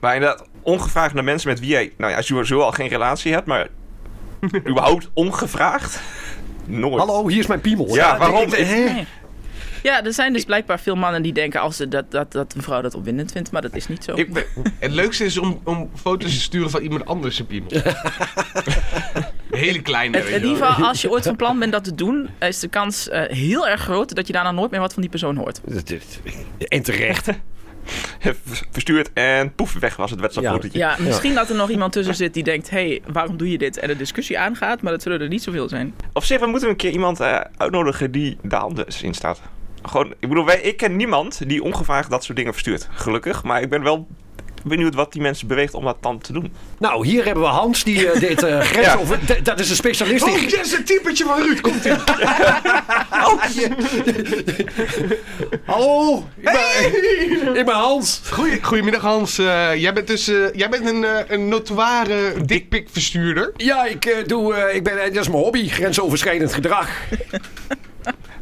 Speaker 3: Maar inderdaad, ongevraagd naar mensen met wie jij... Nou ja, als je sowieso al geen relatie hebt, maar... überhaupt ongevraagd? Nooit.
Speaker 4: Hallo, hier is mijn piemel.
Speaker 3: Ja, waarom?
Speaker 4: ik- hè?
Speaker 5: Nee. Ja, er zijn dus blijkbaar veel mannen die denken als ze dat, dat, dat een vrouw dat opwindend vindt, maar dat is niet zo.
Speaker 3: Ik ben-
Speaker 1: Het leukste is om, om foto's te sturen van iemand anders zijn piemel. Hele kleine.
Speaker 5: Het-
Speaker 1: weet
Speaker 5: in
Speaker 1: je wel.
Speaker 5: ieder geval, als je ooit van plan bent dat te doen, is de kans eh, heel erg groot dat je daarna nooit meer wat van die persoon hoort.
Speaker 4: En terecht.
Speaker 3: verstuurd en poef, weg was het WhatsApp-fotootje.
Speaker 5: Ja, misschien dat er nog iemand tussen zit die denkt: hé, hey, waarom doe je dit? En de discussie aangaat, maar dat zullen er niet zoveel zijn.
Speaker 3: Op zich, we moeten een keer iemand eh, uitnodigen die daar anders in staat. Gewoon, ik bedoel, wij, ik ken niemand die ongevraagd dat soort dingen verstuurt. Gelukkig, maar ik ben wel benieuwd wat die mensen beweegt om dat dan te doen.
Speaker 4: Nou, hier hebben we Hans, die eh, dit eh grens
Speaker 3: Ja.
Speaker 4: over... d- Dat is een specialist. die-
Speaker 1: Oh, yes, het typetje van Ruud komt in.
Speaker 4: Hallo, ik ben, ik ben Hans.
Speaker 1: Goeie, goedemiddag Hans. Eh, jij bent dus eh, jij bent een, eh, een notoire dikpik verstuurder.
Speaker 4: Ja, ik, eh, doe, eh, ik ben, eh, dat is mijn hobby, grensoverschrijdend gedrag.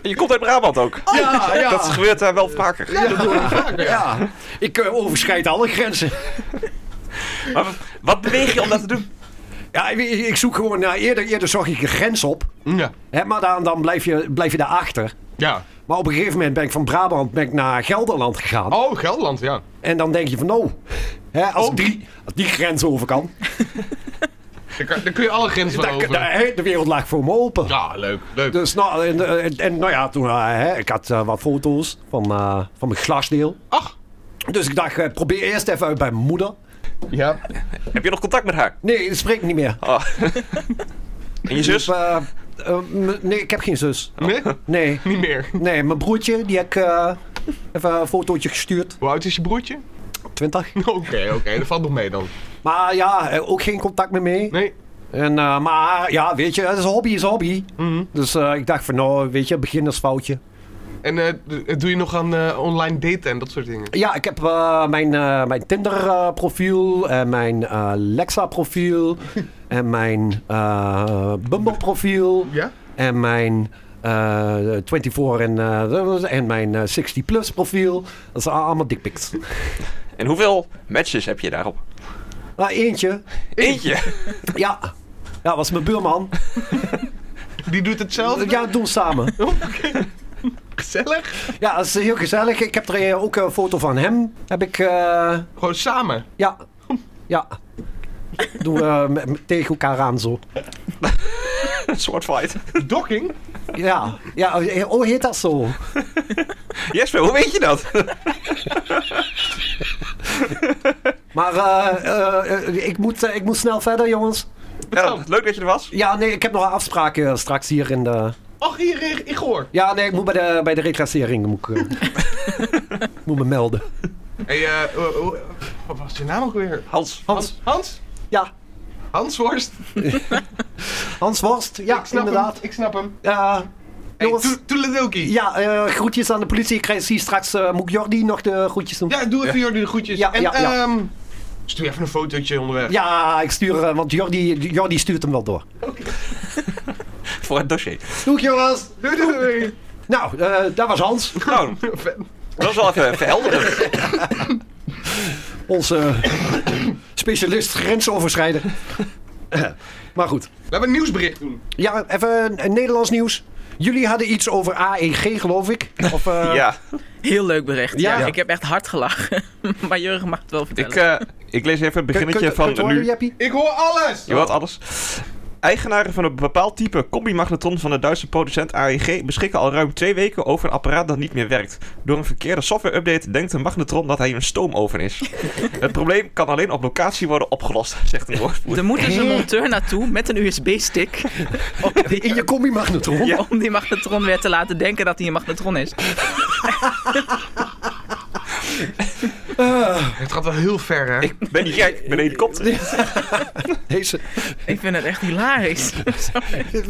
Speaker 3: En je komt uit Brabant ook.
Speaker 4: ja, ja.
Speaker 3: Dat gebeurt daar wel vaker.
Speaker 1: Ja, dat doen we vaak. Ja.
Speaker 4: Ja, ik eh, overschrijd alle grenzen.
Speaker 3: Maar wat- wat beweeg je om dat te doen?
Speaker 4: Ja, ik, ik zoek gewoon naar. Eerder, eerder zag ik een grens op.
Speaker 1: Ja.
Speaker 4: Hè, maar dan, dan blijf, je, blijf je daarachter.
Speaker 1: ja.
Speaker 4: Maar op een gegeven moment ben ik van Brabant ben ik naar Gelderland gegaan.
Speaker 1: Oh, Gelderland, ja.
Speaker 4: En dan denk je van, oh, hè, als,
Speaker 1: Oh.
Speaker 4: ik die, als die grens over kan,
Speaker 1: Daar, kan- daar kun je alle grenzen van
Speaker 4: dan,
Speaker 1: over.
Speaker 4: dan- hè, de wereld lag voor me open.
Speaker 1: Ja, leuk, leuk.
Speaker 4: Dus nou, en, eh, en, en nou ja, toen, eh, hè, ik had eh, wat foto's van, eh, van mijn glasdeel.
Speaker 1: Ach.
Speaker 4: Dus ik dacht, eh, probeer eerst even uit bij mijn moeder.
Speaker 1: Ja.
Speaker 3: Heb je nog contact met haar?
Speaker 4: Nee, ik spreek niet meer.
Speaker 3: Oh. En je zus?
Speaker 4: Dus, eh, eh, m- nee, ik heb geen zus.
Speaker 1: Nee?
Speaker 4: Nee,
Speaker 1: Niet meer.
Speaker 4: nee mijn broertje, die heb ik eh, even een fotootje gestuurd.
Speaker 1: Hoe oud is je broertje?
Speaker 4: 20.
Speaker 1: Oké, oké. Dat valt nog mee dan.
Speaker 4: Maar ja, eh, ook geen contact meer mee.
Speaker 1: Nee.
Speaker 4: En, eh, maar ja, weet je, het is hobby, is hobby.
Speaker 1: Mhm.
Speaker 4: Dus eh, ik dacht van, nou, weet je, beginnersfoutje.
Speaker 1: En eh, d- doe je nog aan eh, online daten en dat soort dingen?
Speaker 4: Ja, ik heb eh, mijn, eh, mijn Tinder-profiel en mijn eh Lexa-profiel en mijn eh, Bumble-profiel
Speaker 1: Ja?
Speaker 4: en mijn eh, 24 en, eh, en mijn eh, 60-plus-profiel. Dat zijn allemaal dickpics.
Speaker 3: En hoeveel matches heb je daarop?
Speaker 4: Maar Nou, eentje,
Speaker 3: Eentje.
Speaker 4: ja. Ja, was mijn buurman.
Speaker 1: Die doet hetzelfde?
Speaker 4: Ja, doen we samen.
Speaker 1: Gezellig?
Speaker 4: Ja, dat is heel gezellig. Ik heb er eh, ook een foto van hem. Heb ik, eh,
Speaker 1: Gewoon samen?
Speaker 4: ja. Ja. Doen we eh, met- met- tegen elkaar aan zo.
Speaker 3: Een soort fight.
Speaker 1: Docking?
Speaker 4: Ja, ja oh, heet dat zo?
Speaker 3: Jesper, hoe weet je dat?
Speaker 4: Maar eh, eh, eh, ik, moet, eh, ik moet snel verder, jongens.
Speaker 3: Ja, leuk dat je er was.
Speaker 4: Ja, nee, ik heb nog een afspraak eh, straks hier in de...
Speaker 1: Ach, hier, hier, Igor.
Speaker 4: Ja, nee, ik moet bij de, bij de reclassering. Moet ik, eh, moet me melden.
Speaker 1: Hey, eh, hoe- hoe- wat was je naam ook weer?
Speaker 3: Hans.
Speaker 4: Hans,
Speaker 1: Hans?
Speaker 4: ja.
Speaker 1: Hans Worst?
Speaker 4: Hans Worst, ja,
Speaker 1: ik snap
Speaker 4: inderdaad.
Speaker 1: hem. Ik snap hem.
Speaker 4: Ja,
Speaker 1: Hey,
Speaker 4: jongens,
Speaker 1: to- toedeledokie.
Speaker 4: ja, eh, groetjes aan de politie. Ik krijg zie straks... eh, moet ik Jordi nog de groetjes doen?
Speaker 1: Ja, doe even Jordi de groetjes.
Speaker 4: Ja,
Speaker 1: en
Speaker 4: ja, ja.
Speaker 1: ehm, stuur even een fotootje onderweg.
Speaker 4: Ja, ik stuur... eh, want Jordi, Jordi stuurt hem wel door.
Speaker 3: Voor het dossier.
Speaker 4: Doeg, jongens.
Speaker 1: Doei, doei, doei.
Speaker 4: Nou, eh daar was Hans.
Speaker 3: Nou,
Speaker 1: Vet.
Speaker 3: dat is wel even verhelderend.
Speaker 4: Onze specialist grensoverschrijden. maar goed.
Speaker 1: Laten we een nieuwsbericht doen.
Speaker 4: Ja, even een- een Nederlands nieuws. Jullie hadden iets over AEG, geloof ik. Of, eh,
Speaker 3: Ja,
Speaker 5: Heel leuk bericht. Ja,
Speaker 4: Ja. Ja.
Speaker 5: ik heb echt hard gelachen. maar Jurgen mag het wel vertellen.
Speaker 3: ik, eh, ik lees even het
Speaker 4: kun- kun- kun-
Speaker 3: beginnetje
Speaker 4: kun- kun-
Speaker 3: van
Speaker 4: horen,
Speaker 3: nu.
Speaker 4: Jeppie?
Speaker 1: Ik hoor alles!
Speaker 3: Je hoort alles. Eigenaren van een bepaald type combi-magnetron van de Duitse producent AEG beschikken al ruim twee weken over een apparaat dat niet meer werkt. Door een verkeerde software-update denkt de magnetron dat hij een stoomoven is. het probleem kan alleen op locatie worden opgelost, zegt een woordvoerder.
Speaker 5: Er moet dus een monteur naartoe met een USB-stick. om, die-
Speaker 4: In je combi-magnetron.
Speaker 3: Ja.
Speaker 5: om die magnetron weer te laten denken dat hij een magnetron is.
Speaker 1: Het gaat wel heel ver, hè?
Speaker 3: Ik ben niet gek, ik ben een helikopter.
Speaker 4: Deze.
Speaker 5: Ik vind het echt hilarisch. Sorry.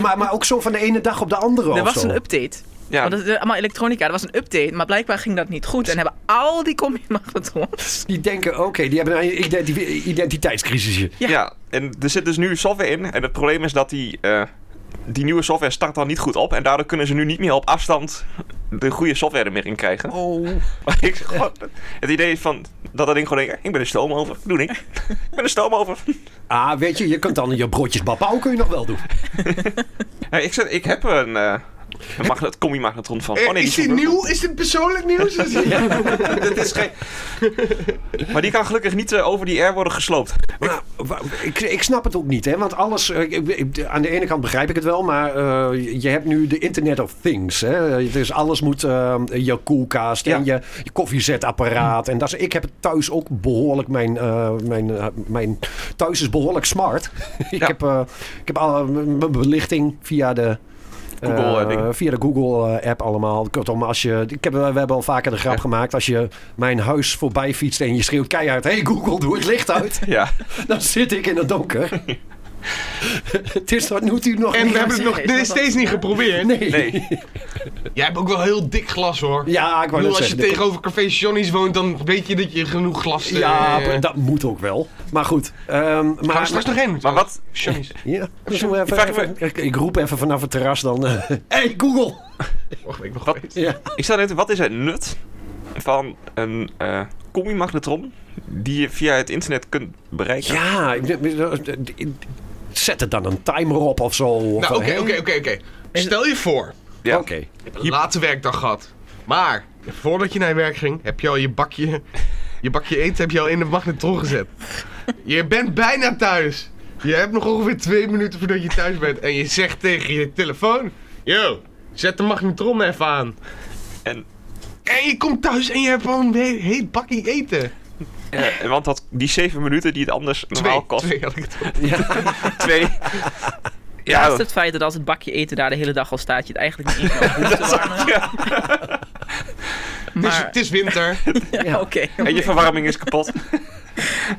Speaker 4: Maar, maar ook zo van de ene dag op de andere.
Speaker 5: Er
Speaker 4: of
Speaker 5: was
Speaker 4: zo.
Speaker 5: een update.
Speaker 3: Ja,
Speaker 5: Want het Oh, is allemaal elektronica. Er was een update, maar blijkbaar ging dat niet goed. En hebben al die combi-magnetrons.
Speaker 4: Die denken, oké, die hebben een identi- identiteitscrisisje.
Speaker 5: ja.
Speaker 3: ja. en er zit dus nu software in. En het probleem is dat die, eh, die nieuwe software start dan niet goed op. En daardoor kunnen ze nu niet meer op afstand de goede software er meer in krijgen.
Speaker 5: Oh.
Speaker 3: Maar ik, gewoon, het idee van dat dat ding gewoon denkt, ik ben een stoomover. Doe ik. Ik ben een stoomover.
Speaker 4: Ah, weet je, je kunt dan je broodjes babau kun je nog wel doen.
Speaker 3: Ja, ik, zet- ik heb een, eh een magnet, combi-magnetron van. Oh,
Speaker 1: Eh, is
Speaker 3: die
Speaker 1: dit
Speaker 3: van-
Speaker 1: nieuw? Is dit persoonlijk nieuws? Is dit-
Speaker 3: Dit is geen... Maar die kan gelukkig niet eh, over die R worden gesloopt.
Speaker 4: Maar, wa- ik, ik snap het ook niet, hè? Want alles. eh, ik- ik- aan de ene kant begrijp ik het wel, maar eh, je- je hebt nu de Internet of Things. Hè? Dus alles moet. eh, je koelkast en je, je koffiezetapparaat. En dat is, ik heb het thuis ook behoorlijk. Mijn, eh, mijn, eh, mijn thuis is behoorlijk smart. ik,
Speaker 3: Ja.
Speaker 4: heb, eh, ik heb al mijn mijn belichting via de. eh,
Speaker 3: Google, eh, ding.
Speaker 4: via de Google-app allemaal. Kortom, als je, ik heb, we hebben al vaker de grap
Speaker 3: Ja.
Speaker 4: gemaakt. Als je mijn huis voorbij fietst en je schreeuwt keihard... Hey Google, doe het licht uit.
Speaker 3: Ja.
Speaker 4: Dan zit ik in het donker. het is tot nu toe nog
Speaker 1: En
Speaker 4: niet-
Speaker 1: we hebben het nog
Speaker 5: serieus,
Speaker 1: dit is
Speaker 5: wat-
Speaker 1: steeds niet geprobeerd.
Speaker 4: Nee.
Speaker 3: Nee.
Speaker 1: Jij hebt ook wel heel dik glas, hoor.
Speaker 4: Ja, ik wou net
Speaker 1: Ik bedoel, als je
Speaker 4: zeggen. de-
Speaker 1: tegenover Café Johnny's woont, dan weet je dat je genoeg glas... eh,
Speaker 4: Ja,
Speaker 1: eh,
Speaker 4: dat moet ook wel. Maar goed. ehm,
Speaker 1: Gaan we
Speaker 4: maar,
Speaker 1: straks nog heen?
Speaker 3: Maar wat...
Speaker 1: Johnny's.
Speaker 4: Ja, dus doen we even-
Speaker 3: Ik vraag me-
Speaker 4: even- ik, ik roep even vanaf het terras dan... eh, hey Google!
Speaker 1: Och, ik ben
Speaker 3: Wat?
Speaker 1: geweest.
Speaker 4: Ja.
Speaker 3: Ik stel net, wat is het nut van een eh combi-magnetron die je via het internet kunt bereiken.
Speaker 4: Ja, ik- ik- ik- zet er dan een timer op of zo. Of
Speaker 1: Nou,
Speaker 4: wel,
Speaker 1: oké,
Speaker 4: hè?
Speaker 1: oké, oké, oké. Stel je voor,
Speaker 3: Ja.
Speaker 4: Oké.
Speaker 1: je hebt een late werkdag gehad. Maar, voordat je naar je werk ging, heb je al je bakje, je bakje eten heb je al in de magnetron gezet. Je bent bijna thuis. Je hebt nog ongeveer twee minuten voordat je thuis bent. En je zegt tegen je telefoon, yo, zet de magnetron even aan.
Speaker 3: En,
Speaker 1: En je komt thuis en je hebt gewoon een he- heet bakje eten.
Speaker 3: eh, want dat, die zeven minuten die het anders normaal
Speaker 1: Twee,
Speaker 3: kost.
Speaker 1: twee had ik het op.
Speaker 3: Twee. Ja,
Speaker 5: Naast het feit dat als het bakje eten daar de hele dag al staat, je het eigenlijk niet in kan hoeven te warmen.
Speaker 1: Het is-
Speaker 5: Maar,
Speaker 1: Het is winter.
Speaker 5: ja, oké.
Speaker 3: en je verwarming is kapot.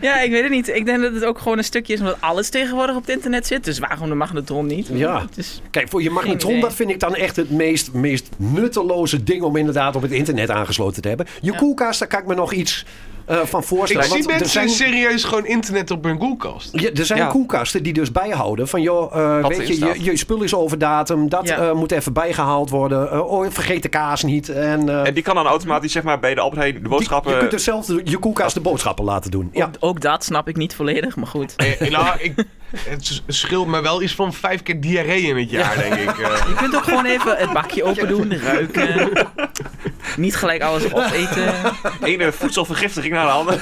Speaker 5: Ja, ik weet het niet. Ik denk dat het ook gewoon een stukje is omdat alles tegenwoordig op het internet zit. Dus waarom de magnetron niet? Dus
Speaker 4: Ja.
Speaker 5: Het is-
Speaker 4: Kijk, voor je magnetron,
Speaker 5: idee.
Speaker 4: dat vind ik dan echt het meest, meest nutteloze ding om inderdaad op het internet aangesloten te hebben. Je koelkast, daar kan ik me nog iets eh, van
Speaker 1: Ik
Speaker 4: voorstellen.
Speaker 1: zie
Speaker 4: want
Speaker 1: mensen
Speaker 4: er zijn,
Speaker 1: serieus gewoon internet op hun koelkast.
Speaker 4: ja, er zijn
Speaker 3: Ja.
Speaker 4: koelkasten die dus bijhouden van, joh, eh,
Speaker 3: Wat
Speaker 4: weet
Speaker 3: is
Speaker 4: je,
Speaker 3: dat?
Speaker 4: je, je spul is over datum, dat
Speaker 5: Ja.
Speaker 4: eh, moet even bijgehaald worden. Eh, oh, vergeet de kaas niet. En, eh,
Speaker 3: En die kan dan automatisch zeg maar, bij de Albert Heijn de
Speaker 4: die- je
Speaker 3: boodschappen...
Speaker 4: kunt dus zelf de- je koelkast de boodschappen laten doen. Ja.
Speaker 5: ook, ook dat snap ik niet volledig, maar goed.
Speaker 1: Eh, nou, ik, het s- scheelt me wel iets van vijf keer diarree in het jaar, denk ik. eh.
Speaker 5: Je kunt ook gewoon even het bakje open doen, ruiken. Niet gelijk alles opeten.
Speaker 3: ene voedselvergiftiging naar de andere.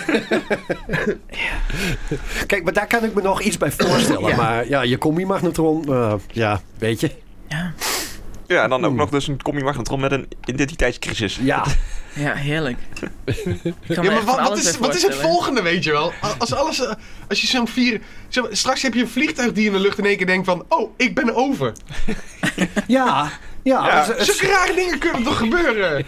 Speaker 4: Kijk, maar daar kan ik me nog iets bij voorstellen.
Speaker 5: Ja.
Speaker 4: Maar ja, je combi-magnetron, eh, ja, weet je.
Speaker 3: Ja, en dan ook nog dus een combi magnetron met een identiteitscrisis.
Speaker 4: Ja.
Speaker 5: Ja, heerlijk. Ik kan
Speaker 1: Ja,
Speaker 5: me
Speaker 1: maar
Speaker 5: echt van
Speaker 1: wat, wat,
Speaker 5: alles
Speaker 1: is,
Speaker 5: bij
Speaker 1: wat is het
Speaker 5: voorstellen.
Speaker 1: volgende, weet je wel? A- Als, alles, eh, als je zo'n vier... zeg maar, straks heb je een vliegtuig die in de lucht in één keer denkt van... Oh, ik ben over.
Speaker 4: Ja. Ja.
Speaker 3: Ja.
Speaker 4: het- het-
Speaker 1: Zulke rare dingen kunnen toch gebeuren?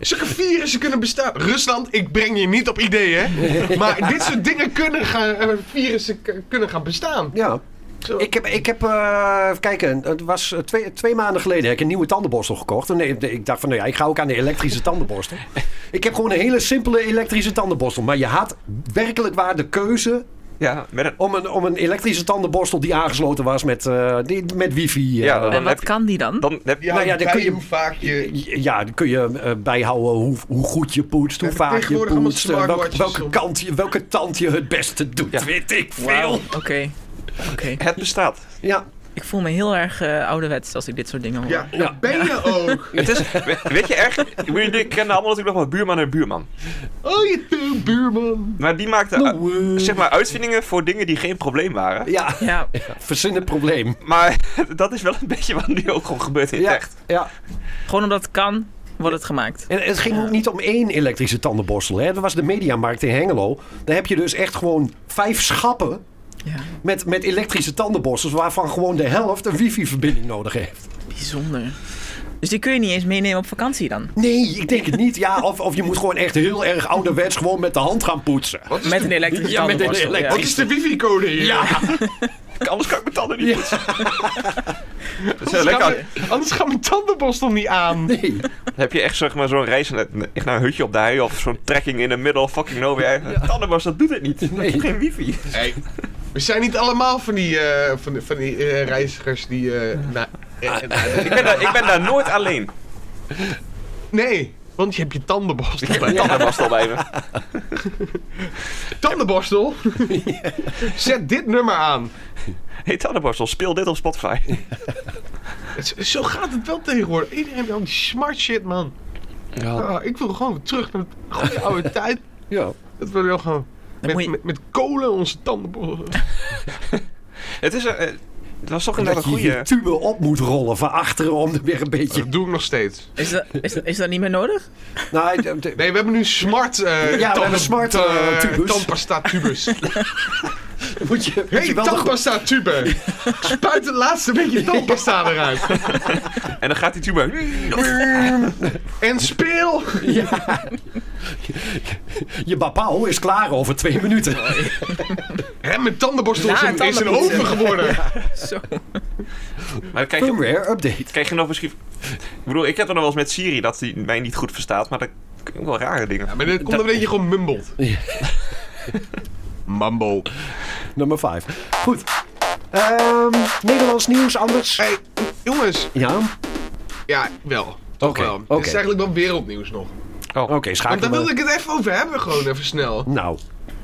Speaker 1: Zulke virussen kunnen bestaan. Rusland, ik breng je niet op ideeën. Maar dit soort dingen kunnen gaan... eh, virussen k- kunnen gaan bestaan.
Speaker 4: ja.
Speaker 1: Zo.
Speaker 4: Ik heb, ik heb eh, even kijken, het was eh, twee, twee maanden geleden heb ik een nieuwe tandenborstel gekocht. En nee, nee, ik dacht van, nee, ik ga ook aan de elektrische tandenborstel. Ik heb gewoon een hele simpele elektrische tandenborstel. Maar je had werkelijk waar de keuze
Speaker 3: Ja, met een...
Speaker 4: om een, om een elektrische tandenborstel die aangesloten was met, eh, die, met wifi. eh.
Speaker 3: Ja, dat-
Speaker 5: En wat kan die dan?
Speaker 3: Dan heb je...
Speaker 4: Nou ja, dan
Speaker 1: bij
Speaker 4: kun je-
Speaker 1: hoe vaak je...
Speaker 4: Ja, dan kun je eh, bijhouden hoe, hoe goed je poetst, hoe
Speaker 1: Ja,
Speaker 4: vaak je
Speaker 1: tegenwoordig allemaal
Speaker 4: poetst, eh, welke,
Speaker 1: smartwatches
Speaker 4: welke,
Speaker 1: op.
Speaker 4: kant je, welke tand je het beste doet.
Speaker 3: Ja.
Speaker 4: Weet ik
Speaker 5: Wauw,
Speaker 4: veel.
Speaker 5: Oké. Oké.
Speaker 3: Het bestaat.
Speaker 4: Ja,
Speaker 5: Ik voel me heel erg eh, ouderwets als ik dit soort dingen hoor.
Speaker 1: Ja,
Speaker 4: Ja.
Speaker 1: ben je ook?
Speaker 3: Het is, we- weet je erg? Jullie kennen allemaal natuurlijk nog wel buurman en buurman.
Speaker 1: Oh, je buurman.
Speaker 3: Maar die maakte
Speaker 4: Nou,
Speaker 3: uh,
Speaker 4: eh.
Speaker 3: zeg maar uitvindingen voor dingen die geen probleem waren.
Speaker 4: ja.
Speaker 5: Ja,
Speaker 4: Verzin het probleem.
Speaker 3: Maar dat is wel een beetje wat nu ook gewoon gebeurt in het
Speaker 4: Ja,
Speaker 3: echt.
Speaker 4: ja.
Speaker 5: gewoon omdat het kan, wordt het gemaakt.
Speaker 4: En het ging ook niet om één elektrische tandenborstel. Hè. Dat was de Mediamarkt in Hengelo. Daar heb je dus echt gewoon vijf schappen
Speaker 5: Ja,
Speaker 4: met, met elektrische tandenborstels... waarvan gewoon de helft een wifi-verbinding nodig heeft.
Speaker 5: bijzonder. Dus die kun je niet eens meenemen op vakantie dan?
Speaker 4: Nee, ik denk het niet. Ja, of, of je moet gewoon echt heel erg ouderwets gewoon met de hand gaan poetsen.
Speaker 5: Met een elektrische
Speaker 4: Ja, met een
Speaker 5: tandenborstel.
Speaker 4: elektrische-
Speaker 1: Wat is de wifi-code hier?
Speaker 4: Ja,
Speaker 3: Anders kan ik mijn tanden niet
Speaker 4: Ja.
Speaker 3: poetsen. Dat is wel
Speaker 1: Anders,
Speaker 3: lekker.
Speaker 1: gaan mijn- anders gaat mijn tandenborstel niet aan.
Speaker 4: nee.
Speaker 3: Dan heb je echt zeg maar, zo'n reis naar, echt naar een hutje op de hei of zo'n trekking in de middle of fucking nowhere. Tandenborstel, dat doet het niet.
Speaker 4: Nee.
Speaker 3: Geen wifi.
Speaker 1: Hey, we zijn niet allemaal van die, eh, van die, van die eh, reizigers die... eh, na- eh, eh,
Speaker 3: Ik ben, daar, ik ben daar nooit alleen.
Speaker 1: nee, want je hebt je tandenborstel
Speaker 3: Ik heb
Speaker 1: bij.
Speaker 3: mijn tandenborstel bij me.
Speaker 1: Tandenborstel? Zet dit nummer aan.
Speaker 3: Hey tandenborstel, speel dit op Spotify.
Speaker 1: Het is- Zo gaat het wel tegenwoordig. Iedereen wil die smart shit, man. Ah, ik wil gewoon terug naar de goede oude tijd.
Speaker 4: Ja.
Speaker 1: Dat wil wel gewoon... Met,
Speaker 5: moet je-
Speaker 1: met, met kolen onze tandenborstel.
Speaker 3: Het is een, eh, het was toch
Speaker 4: Dat
Speaker 3: inderdaad een
Speaker 4: je je
Speaker 3: goede...
Speaker 4: tube op moet rollen van achteren om er weer een beetje...
Speaker 1: Dat doe ik nog steeds.
Speaker 5: Is dat, is, dat- is dat niet meer nodig?
Speaker 4: Nou, de- de-
Speaker 1: Nee, we hebben nu smart... eh ja,
Speaker 4: hebben smart, eh, tubus.
Speaker 1: Tandpasta tubus.
Speaker 4: moet je, moet
Speaker 1: Hey,
Speaker 4: je wel de go-
Speaker 1: tandpasta tube! Spuit het laatste beetje tandpasta eruit.
Speaker 3: En dan gaat die tuba.
Speaker 1: En speel!
Speaker 4: je babau is klaar over twee minuten.
Speaker 1: Hè, mijn tandenborstel is
Speaker 5: Ja,
Speaker 1: een, is een
Speaker 5: tandenpoetsen.
Speaker 1: oven geworden.
Speaker 5: Zo.
Speaker 3: Maar dan krijg je,
Speaker 4: Firmware update.
Speaker 3: krijg je nog misschien... Ik bedoel, ik heb er nog wel eens met Siri dat hij mij niet goed verstaat, maar dat kun je ook wel rare dingen.
Speaker 1: Ja, maar dat komt omdat je gewoon mumbelt. Mumble.
Speaker 4: Nummer 5. Goed. Ehm, Nederlands nieuws anders.
Speaker 1: Hey, jongens.
Speaker 4: Ja,
Speaker 1: Ja, wel. Toch
Speaker 4: Oké,
Speaker 1: wel.
Speaker 4: oké.
Speaker 1: Dit is eigenlijk wel wereldnieuws nog.
Speaker 4: oké,
Speaker 1: Want
Speaker 4: schakel
Speaker 1: daar
Speaker 4: maar.
Speaker 1: wilde ik het even over hebben, gewoon even snel.
Speaker 4: Nou,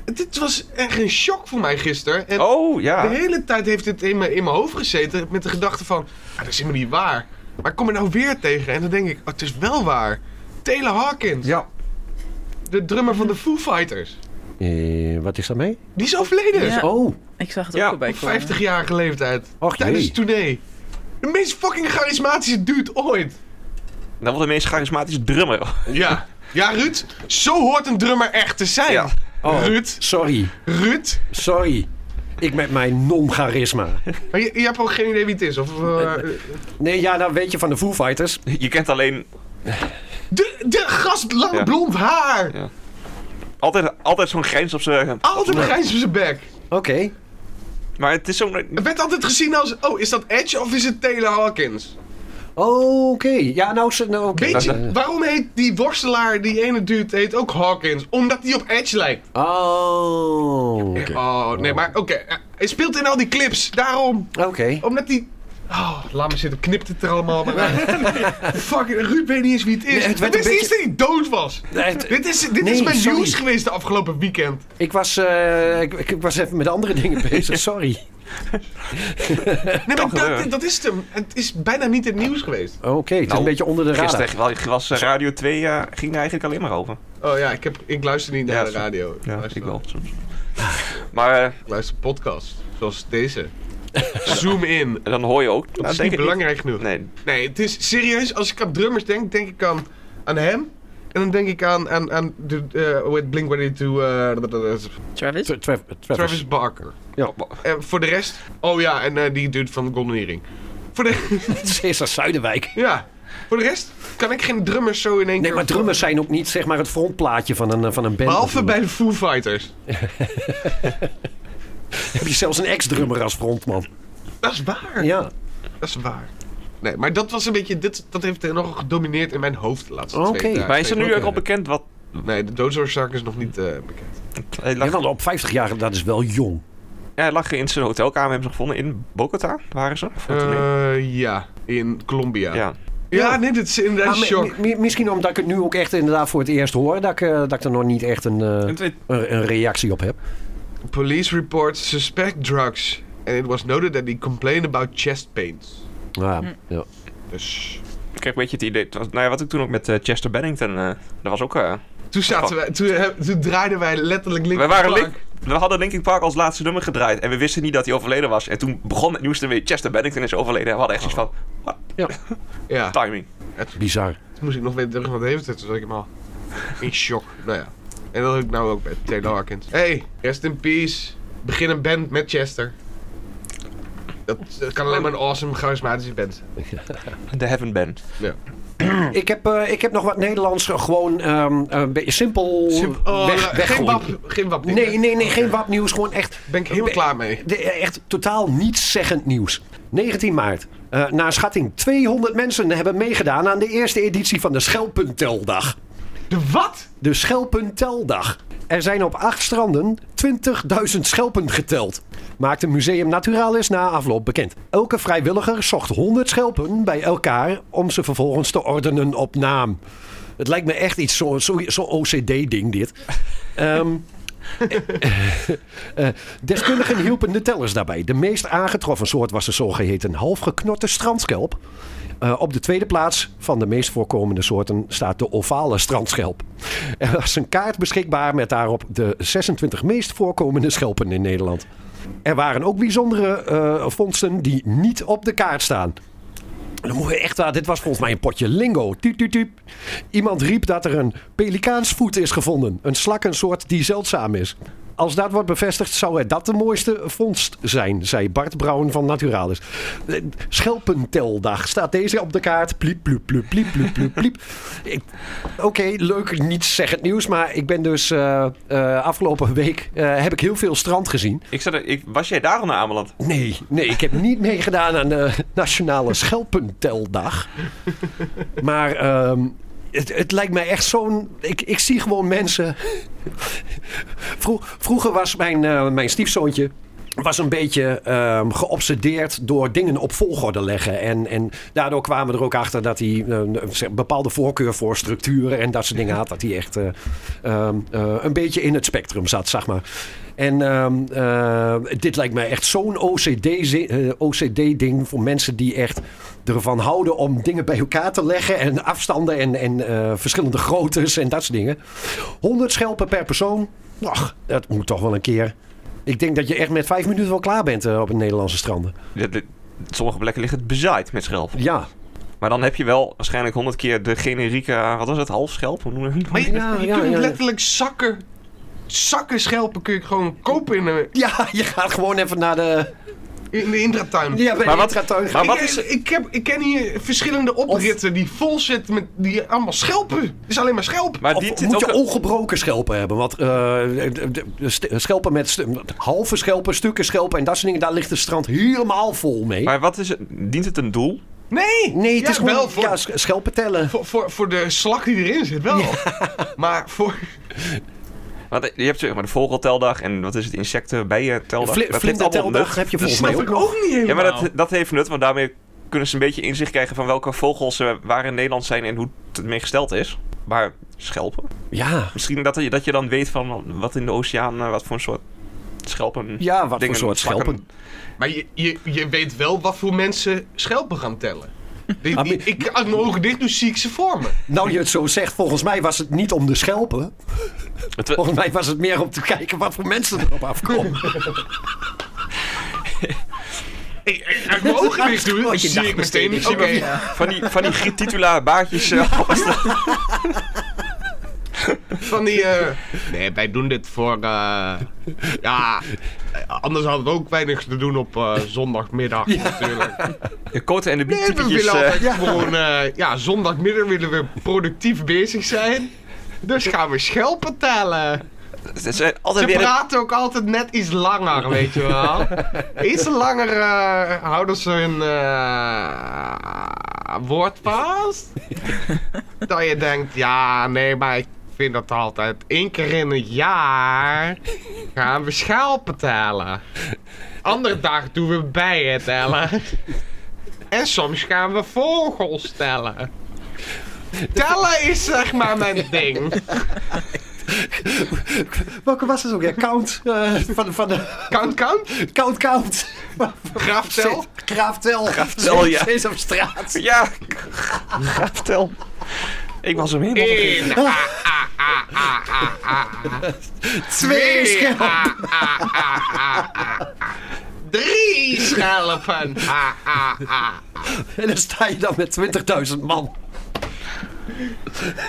Speaker 1: Dit was echt een shock voor mij gisteren. En
Speaker 3: Oh,
Speaker 1: De
Speaker 3: ja.
Speaker 1: hele tijd heeft dit in mijn, in mijn hoofd gezeten met de gedachte van, ah, dat is helemaal niet waar. Maar ik kom er nou weer tegen en dan denk ik, oh, het is wel waar. Taylor Hawkins,
Speaker 3: Ja.
Speaker 1: de drummer van de Foo Fighters,
Speaker 4: Eh, wat is daarmee?
Speaker 1: die is overleden.
Speaker 5: Ja.
Speaker 4: Oh,
Speaker 5: Ik zag het
Speaker 3: Ja,
Speaker 5: ook al bij
Speaker 1: Op
Speaker 5: komen.
Speaker 1: 50-jarige leeftijd.
Speaker 4: Och,
Speaker 1: tijdens
Speaker 4: jee.
Speaker 1: het tournee. De meest fucking charismatische dude ooit.
Speaker 3: Dan wordt de meest charismatische drummer.
Speaker 1: Ja. Ja, Ruud, zo hoort een drummer echt te zijn.
Speaker 3: Ja.
Speaker 4: Oh.
Speaker 1: Ruud,
Speaker 4: sorry.
Speaker 1: Ruud.
Speaker 4: Sorry. Ik met mijn non-charisma.
Speaker 1: Maar je, je hebt ook geen idee wie het is. Of, eh, eh,
Speaker 4: Nee, ja, nou weet je van de Foo Fighters.
Speaker 3: Je kent alleen
Speaker 1: de, de gast, lang
Speaker 3: Ja.
Speaker 1: blond haar.
Speaker 3: Ja. altijd, altijd zo'n grijns op zijn...
Speaker 1: Altijd een grijns op zijn bek.
Speaker 4: Oké.
Speaker 3: Maar het is zo'n...
Speaker 1: Het werd altijd gezien als, oh, is dat Edge of is het Taylor Hawkins?
Speaker 4: Oké. Ja, nou... ze- nou oké.
Speaker 1: Weet
Speaker 4: Eh,
Speaker 1: je, waarom heet die worstelaar, die ene dude, heet ook Hawkins? Omdat hij op Edge lijkt.
Speaker 4: Oh. Oké.
Speaker 1: Oh, nee, maar oké. eh, Hij speelt in al die clips, daarom.
Speaker 4: Oké.
Speaker 1: Omdat die... Oh, laat me zitten, knipt het er allemaal maar uit. Fucking, Ruud weet niet eens wie het is.
Speaker 4: Nee,
Speaker 1: het
Speaker 4: het werd
Speaker 1: wist
Speaker 4: een
Speaker 1: niet eens dat hij dood was.
Speaker 4: Nee, het-
Speaker 1: dit is, dit is
Speaker 4: nee,
Speaker 1: mijn
Speaker 4: sorry.
Speaker 1: nieuws geweest de afgelopen weekend.
Speaker 4: Ik was, eh, ik, ik was even met andere dingen bezig, sorry.
Speaker 1: Nee, maar dat,
Speaker 3: gebeuren.
Speaker 1: dat is het hem. Het is bijna niet het nieuws geweest.
Speaker 4: Oké, het is
Speaker 3: Nou,
Speaker 4: een beetje onder de radar.
Speaker 3: Gisteren was- was eh, Radio 2, eh, ging daar eigenlijk alleen maar over.
Speaker 1: Oh ja, ik, heb, ik luister niet naar
Speaker 3: Ja,
Speaker 1: de
Speaker 3: zo-
Speaker 1: radio. Ik
Speaker 3: Ja,
Speaker 1: luister-
Speaker 3: ik wel soms. Maar eh,
Speaker 1: Ik luister podcasts, zoals deze. Zoom in. Dat
Speaker 3: dan hoor je ook... Nou,
Speaker 1: is
Speaker 3: denk
Speaker 1: niet
Speaker 3: ik
Speaker 1: belangrijk genoeg. Nee.
Speaker 3: Nee,
Speaker 1: het is serieus. Als ik aan drummers denk, denk ik aan, aan hem. En dan denk ik aan, aan, aan de, eh, hoe heet Blink-182, eh, dat- dat- dat-
Speaker 5: Travis?
Speaker 4: Tra- Tra- Travis.
Speaker 1: Travis Barker.
Speaker 4: Ja.
Speaker 1: En voor de rest, oh ja, en eh, die dude van Golden Earring. Voor de,
Speaker 4: Cesar Zuiderwijk.
Speaker 1: ja, voor de rest kan ik geen drummers zo in één
Speaker 4: Nee,
Speaker 1: keer...
Speaker 4: maar drummers zijn ook niet zeg maar het frontplaatje van een, eh, van een band.
Speaker 1: Behalve
Speaker 4: natuurlijk.
Speaker 1: bij de Foo Fighters.
Speaker 4: Heb je zelfs een ex-drummer als frontman.
Speaker 1: Dat is waar.
Speaker 4: Ja.
Speaker 1: Dat is waar. Nee, maar dat was een beetje... Dit, dat heeft er nog gedomineerd in mijn hoofd de laatste
Speaker 4: Oké,
Speaker 1: twee dagen.
Speaker 3: maar is er nu
Speaker 4: Oké.
Speaker 3: ook al bekend wat...
Speaker 1: Nee, de doodsoorzaak is nog niet eh, bekend.
Speaker 3: Hij
Speaker 4: ja,
Speaker 3: lag,
Speaker 4: want op 50 jaar, dat is wel jong.
Speaker 3: ja, hij lag in zijn hotelkamer, hebben ze gevonden. In Bogota waren ze. voor het toernooi.
Speaker 1: Eh, ja, in Colombia. Ja,
Speaker 3: ja.
Speaker 1: nee, dit is inderdaad
Speaker 4: Maar Ah, mi-
Speaker 1: shock.
Speaker 4: mi- mi- misschien omdat ik het nu ook echt inderdaad voor het eerst hoor, dat ik, eh, dat ik er nog niet echt een, eh,
Speaker 3: En twee-
Speaker 4: een, een reactie op heb.
Speaker 1: Police report suspect drugs. And it was noted that he complained about chest pains.
Speaker 4: Ja, ja.
Speaker 1: Dus...
Speaker 3: Ik kreeg een beetje het idee... het was- nou ja, wat ik toen ook met eh, Chester Bennington... eh, dat was ook... eh,
Speaker 1: Toen zaten wij... Toen, eh, toen draaiden wij letterlijk links.
Speaker 3: we, waren Link- we hadden Linkin Park als laatste nummer gedraaid. En we wisten niet dat hij overleden was. En toen begon het nieuws ermee. Chester Bennington is overleden. En we hadden echt zoiets van... What
Speaker 1: Ja,
Speaker 3: timing?
Speaker 4: Bizar.
Speaker 1: toen moest ik nog weer terug naar de heeft. Toen zat ik helemaal in shock. Nou ja. En dat heb ik nou ook bij Taylor Hawkins. Hey, rest in peace. Begin een band met Chester. Dat, dat kan alleen maar een awesome, charismatische band zijn.
Speaker 3: De Heaven Band.
Speaker 1: Hm.
Speaker 4: Ik heb, eh, ik heb nog wat Nederlands eh, gewoon ehm, een beetje simpel
Speaker 1: Oh,
Speaker 4: weg,
Speaker 1: eh, geen
Speaker 4: weggooien.
Speaker 1: wap, geen wap.
Speaker 4: Nee, nee, nee, geen wapnieuws. Gewoon echt,
Speaker 1: Ben ik helemaal
Speaker 4: Be-
Speaker 1: klaar mee.
Speaker 4: de- echt totaal nietszeggend nieuws. 19 maart. Na naar schatting 200 mensen hebben meegedaan aan de eerste editie van de Schelpenteldag.
Speaker 1: De wat?
Speaker 4: De Schelpenteldag. Er zijn op acht stranden 20.000 schelpen geteld. Maakt het Museum Naturalis na afloop bekend. Elke vrijwilliger zocht 100 schelpen bij elkaar om ze vervolgens te ordenen op naam. Het lijkt me echt iets zo'n zo, zo OCD-ding dit. Ehm eh, deskundigen hielpen de tellers daarbij. De meest aangetroffen soort was de zogeheten halfgeknotte strandschelp. Eh, op de tweede plaats van de meest voorkomende soorten staat de ovale strandschelp. Er was een kaart beschikbaar met daarop de 26 meest voorkomende schelpen in Nederland. Er waren ook bijzondere eh vondsten die niet op de kaart staan. Dan moet je echt waar, dit was volgens mij een potje lingo. Tuut, tuut, tuut. Iemand riep dat er een pelikaansvoet is gevonden. Een slakkensoort die zeldzaam is. Als dat wordt bevestigd, zou het dat de mooiste vondst zijn, zei Bart Brouwen van Naturalis. Eh, Schelpenteldag. Staat deze op de kaart? Pliep, pliep, pliep, pliep, pliep, pliep, pliep. Ik- Oké, leuk, niets zeggend nieuws. Maar ik ben dus eh, eh, afgelopen week eh, heb ik heel veel strand gezien.
Speaker 3: Ik zat, er- ik, was jij daar al naar Ameland?
Speaker 4: Nee, nee, ik heb niet meegedaan aan de Nationale Schelpenteldag. Maar ehm, het, het lijkt mij echt zo'n... Ik, ik zie gewoon mensen... Vro- vroeger was mijn, eh, mijn stiefzoontje... was een beetje ehm, geobsedeerd door dingen op volgorde leggen. En, en daardoor kwamen we er ook achter dat hij eh, een zeg- bepaalde voorkeur voor structuren en dat soort dingen had. Dat hij echt eh, ehm, eh, een beetje in het spectrum zat, zeg maar. En ehm, eh, dit lijkt mij echt zo'n OCD-ding voor mensen die echt ervan houden om dingen bij elkaar te leggen. En afstanden en, en eh, verschillende groottes en dat soort dingen. 100 schelpen per persoon. Ach, dat moet toch wel een keer. Ik denk dat je echt met vijf minuten wel klaar bent eh, op het Nederlandse stranden.
Speaker 3: Ja, de- sommige plekken ligt het bezaaid met schelp.
Speaker 4: Ja.
Speaker 3: Maar dan heb je wel waarschijnlijk honderd keer de generieke, wat was het, halfschelp? Hoe noemen we het?
Speaker 1: Maar je,
Speaker 4: Ja,
Speaker 1: je
Speaker 4: ja,
Speaker 1: kunt
Speaker 4: ja.
Speaker 1: letterlijk zakken. Zakken schelpen kun je gewoon kopen in de,
Speaker 4: Ja, je gaat gewoon even naar de...
Speaker 1: in de Intratuin.
Speaker 4: Ja, bij
Speaker 3: Maar
Speaker 4: de
Speaker 3: wat-
Speaker 4: intratuin.
Speaker 3: maar wat
Speaker 1: ik,
Speaker 3: is-
Speaker 1: ik, heb, ik ken hier verschillende opritten die vol zitten met die allemaal schelpen. Het is alleen maar schelp.
Speaker 3: Maar
Speaker 4: Of
Speaker 3: dit
Speaker 4: moet
Speaker 3: ook
Speaker 4: je
Speaker 3: een-
Speaker 4: ongebroken schelpen hebben? Want eh, de- de- de st- schelpen met stu- halve schelpen, stukken schelpen en dat soort dingen, daar ligt het strand helemaal vol mee.
Speaker 3: Maar wat is het, dient het een doel?
Speaker 1: nee,
Speaker 4: nee, het
Speaker 1: Ja,
Speaker 4: is gewoon
Speaker 1: wel voor,
Speaker 4: ja, sch- schelpen tellen.
Speaker 1: voor, voor, voor de slak die erin zit, wel. Maar voor.
Speaker 3: Want eh, je hebt zeg maar de vogelteldag en wat is het, insecten, bijen, teldag.
Speaker 4: Vli-
Speaker 3: dat heeft allemaal
Speaker 4: Vlinderteldag
Speaker 3: nut.
Speaker 4: heb je
Speaker 1: Dat
Speaker 4: volgens mij
Speaker 1: snap
Speaker 4: ook
Speaker 1: ik
Speaker 4: nog.
Speaker 1: ook niet helemaal.
Speaker 3: Ja, maar dat, dat heeft nut, want daarmee kunnen ze een beetje inzicht krijgen van welke vogels er waar in Nederland zijn en hoe het ermee gesteld is. Maar schelpen?
Speaker 4: Oh, Ja,
Speaker 3: Misschien dat je, dat je dan weet van wat in de oceaan, eh, wat voor een soort schelpen...
Speaker 4: ja wat
Speaker 3: dingen,
Speaker 4: voor soort
Speaker 3: slakken.
Speaker 4: schelpen.
Speaker 1: Maar je, je, je weet wel wat voor mensen schelpen gaan tellen. Die-
Speaker 4: Ah, Maar
Speaker 1: die-
Speaker 4: mi-
Speaker 1: ik, als ik mijn ogen dicht doe, zie ik ze voor me.
Speaker 4: Nou, je het zo zegt, volgens mij was het niet om de schelpen.
Speaker 3: Het wa-
Speaker 4: Volgens mij was het meer om te kijken wat voor mensen erop afkomen.
Speaker 1: Ik, ik- als ik mijn ogen dicht doe,
Speaker 4: Wat je
Speaker 1: zie
Speaker 4: dacht
Speaker 1: ik meteen. Oké,
Speaker 3: Van die, van die gietitula baardjes. eh,
Speaker 1: van die. eh, nee, wij doen dit voor. eh, ja, eh, anders hadden we ook weinig te doen op eh, zondagmiddag natuurlijk.
Speaker 3: de koten en de
Speaker 1: Nee, we
Speaker 3: bietypetjes.
Speaker 1: willen
Speaker 3: eh,
Speaker 1: altijd gewoon. eh, ja, zondagmiddag willen we productief bezig zijn. Dus gaan we schelpen tellen.
Speaker 3: ze zijn eh, altijd
Speaker 1: Ze
Speaker 3: weer...
Speaker 1: praten ook altijd net iets langer, weet je wel. Iets langer eh, houden ze hun eh, woord vast. dat je denkt, ja, nee, maar ik vind dat altijd één keer in het jaar gaan we schelpen tellen. Andere dag doen we bijen tellen. En soms gaan we vogels tellen. Tellen is zeg maar mijn ding.
Speaker 4: Welke was het ook? Ja, count. eh, van, van de,
Speaker 1: Count, count.
Speaker 4: count, count.
Speaker 1: Graaftel.
Speaker 4: Graaftel.
Speaker 3: Graaftel, ja.
Speaker 4: Steeds op straat.
Speaker 3: Ja, vertel. Ik was hem helemaal vergeten.
Speaker 1: Eén. Ah, ah, ah, ah, ah, ah, ah.
Speaker 4: Twee schelpen.
Speaker 1: Ah, ah, ah, ah, ah, ah. Drie schelpen. Ah, ah, ah.
Speaker 4: En dan sta je dan met 20.000 man.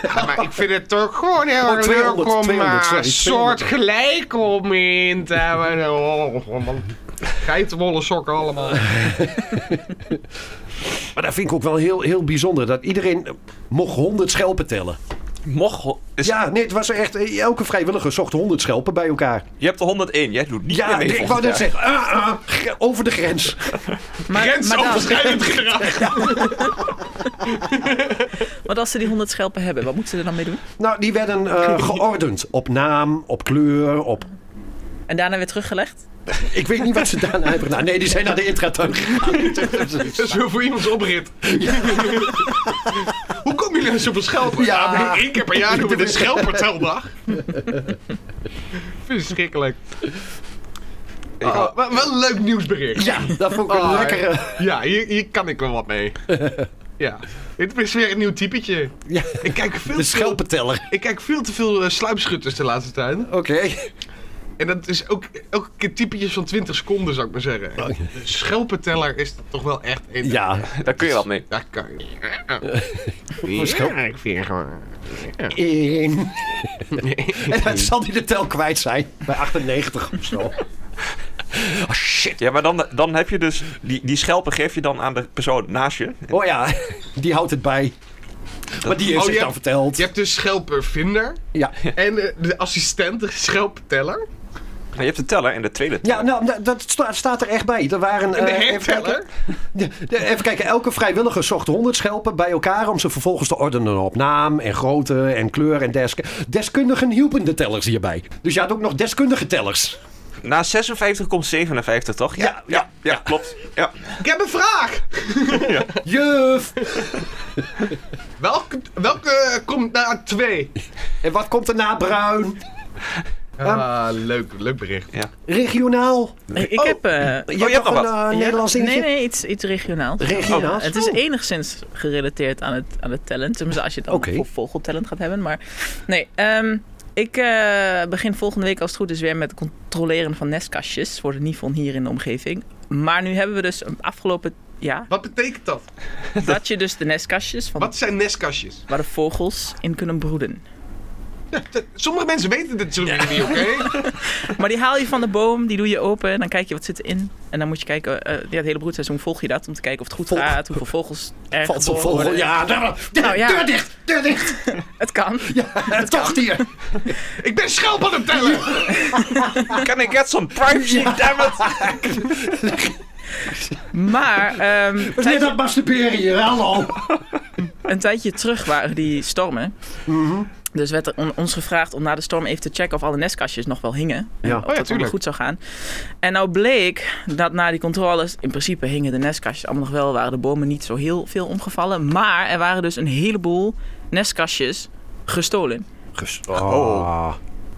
Speaker 1: Ja, maar ik vind het toch gewoon heel
Speaker 4: Oh,
Speaker 1: erg
Speaker 4: 200,
Speaker 1: leuk om
Speaker 4: 200,
Speaker 1: eh,
Speaker 4: sorry, 200.
Speaker 1: soortgelijk om in te hebben. Oh, man. Geitenwolle sokken allemaal.
Speaker 4: Maar dat vind ik ook wel heel, heel bijzonder. Dat iedereen eh, mocht 100 schelpen tellen.
Speaker 3: Mocht. is-
Speaker 4: Ja, nee, het was echt... eh, Elke vrijwilliger zocht 100 schelpen bij elkaar.
Speaker 3: Je hebt de 101, jij doet niet
Speaker 4: Ja,
Speaker 3: meer mee.
Speaker 4: nee, ik wou
Speaker 3: volgend
Speaker 4: net
Speaker 3: jaar.
Speaker 4: zeggen. ah, ah, gr- over de grens.
Speaker 5: Maar, maar, dan,
Speaker 1: Grensoverschrijdend gedrag.
Speaker 5: want als ze die 100 schelpen hebben, wat moeten ze er dan mee doen?
Speaker 4: Nou, die werden eh, geordend. Op naam, op kleur, op...
Speaker 5: En daarna weer teruggelegd?
Speaker 4: Ik weet niet wat ze daarna hebben gedaan. Nee, die zijn naar de intratuin gegaan.
Speaker 1: Dat is weer voor iemands oprit. Hoe kom je nou zoveel schelpen?
Speaker 4: Ja.
Speaker 1: Ja, één keer per jaar doen we de schelperteldag. Verschrikkelijk. Oh, wel wel een leuk nieuwsbericht.
Speaker 4: Ja, dat vond ik een
Speaker 1: Ah,
Speaker 4: lekkere...
Speaker 1: Ja, hier, hier kan ik wel wat mee. Ja. Dit is weer een nieuw typetje.
Speaker 4: Ja,
Speaker 1: Ik kijk
Speaker 4: de
Speaker 1: veel, te veel,
Speaker 4: schelpenteller.
Speaker 1: ik kijk veel te veel eh, sluipschutters de laatste tijd.
Speaker 4: Oké.
Speaker 1: En dat is ook elke keer typetjes van 20 seconden, zou ik maar zeggen. De schelpenteller is toch wel echt een...
Speaker 4: Oh, Ja,
Speaker 3: Daar kun je wat mee.
Speaker 1: Daar kan je. Ja, ik vind gewoon...
Speaker 4: in. en dan zal hij de tel kwijt zijn. Bij 98 of zo. Oh shit.
Speaker 3: Ja, maar dan, dan heb je dus... Die, die schelpen geef je dan aan de persoon naast je. Nou,
Speaker 4: Oh ja, die houdt het bij. Maar die heeft
Speaker 1: Oh, je
Speaker 4: zich dan
Speaker 1: hebt-
Speaker 4: verteld.
Speaker 1: Je hebt dus schelpenvinder
Speaker 4: Ja.
Speaker 1: en eh, de assistent, de schelpenteller.
Speaker 3: Maar je hebt de teller en de tweede
Speaker 4: Ja,
Speaker 3: teller.
Speaker 4: nou, nou, dat sta- staat er echt bij. Er waren,
Speaker 1: En de
Speaker 4: eh, even,
Speaker 1: herteller.
Speaker 4: kijken, De- de- even kijken, elke vrijwilliger zocht 100 schelpen bij elkaar om ze vervolgens te ordenen op naam en grootte en kleur en desk. Deskundigen hielpen de tellers hierbij. Dus je had ook nog deskundige tellers.
Speaker 3: Na 56 komt 57, toch? Ja, ja, ja, klopt. Ja.
Speaker 1: Ik heb een vraag!
Speaker 4: Juf!
Speaker 1: Welke, welke eh, komt na twee?
Speaker 4: En wat komt er na Bruin?
Speaker 1: Ah, leuk, leuk bericht.
Speaker 4: Regionaal.
Speaker 5: Ik, ik heb... eh,
Speaker 4: Je
Speaker 3: Oh, hebt nog
Speaker 4: nog
Speaker 3: wat?
Speaker 4: een eh, Nederlands
Speaker 5: nee,
Speaker 4: dingetje?
Speaker 5: nee, iets, iets regionaals.
Speaker 4: Regionaals?
Speaker 5: Ja, het is enigszins gerelateerd aan het, aan het talent. Tenminste, als je het dan
Speaker 4: Oké.
Speaker 5: voor vogeltalent gaat hebben. Maar nee, ehm, ik eh, begin volgende week als het goed is weer met het controleren van nestkastjes voor de Nifon hier in de omgeving. Maar nu hebben we dus een afgelopen jaar
Speaker 1: Wat betekent dat?
Speaker 5: dat je dus de nestkastjes van
Speaker 1: Wat zijn nestkastjes?
Speaker 5: waar de vogels in kunnen broeden.
Speaker 1: Sommige mensen weten dit soort dingen niet, oké?
Speaker 5: Maar die haal je van de boom, die doe je open en dan kijk je wat zit erin. En dan moet je kijken, eh, ja, het hele broedseizoen volg je dat om te kijken of het goed
Speaker 4: Volg-
Speaker 5: gaat, hoeveel vogels er
Speaker 4: Valt zo'n
Speaker 5: geboren
Speaker 4: vogel.
Speaker 5: worden.
Speaker 4: Ja, daar, deur,
Speaker 5: Nou, Oh, ja.
Speaker 4: deur dicht, deur dicht.
Speaker 5: Het kan.
Speaker 4: Het tocht hier.
Speaker 1: Ik ben schelp aan het tellen!
Speaker 3: Can I get some privacy, damn it?
Speaker 5: Maar ehm, een,
Speaker 4: Wat is dit
Speaker 5: tijdje,
Speaker 4: dat masturberen hier? Hallo.
Speaker 5: een tijdje terug waren die stormen.
Speaker 4: Mhm.
Speaker 5: Dus werd er on- ons gevraagd om na de storm even te checken of alle nestkastjes nog wel hingen.
Speaker 4: Ja. Oh
Speaker 5: En Of
Speaker 4: ja,
Speaker 5: dat allemaal
Speaker 1: tuurlijk.
Speaker 5: goed zou gaan. En nou bleek dat na die controles, in principe hingen de nestkastjes allemaal nog wel. Waren de bomen niet zo heel veel omgevallen. Maar er waren dus een heleboel nestkastjes gestolen.
Speaker 4: Oh.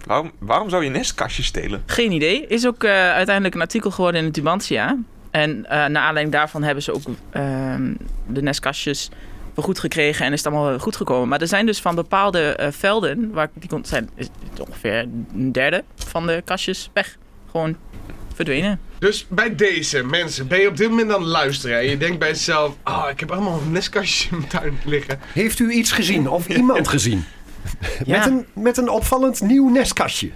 Speaker 3: Waarom, waarom zou je nestkastje stelen?
Speaker 5: Geen idee. Is ook eh, uiteindelijk een artikel geworden in het Tubantia. En eh, naar aanleiding daarvan hebben ze ook ehm, de nestkastjes vergoed gekregen en is het allemaal goed gekomen. Maar er zijn dus van bepaalde eh, velden, waar die kon, zijn is het ongeveer een derde van de kastjes weg. Gewoon verdwenen.
Speaker 1: Dus bij deze mensen ben je op dit moment aan het luisteren en je denkt bij jezelf: ah, ik heb allemaal nestkastjes in mijn tuin liggen.
Speaker 4: Heeft u iets gezien of iemand gezien?
Speaker 5: Ja.
Speaker 4: Met, een, met een opvallend nieuw nestkastje.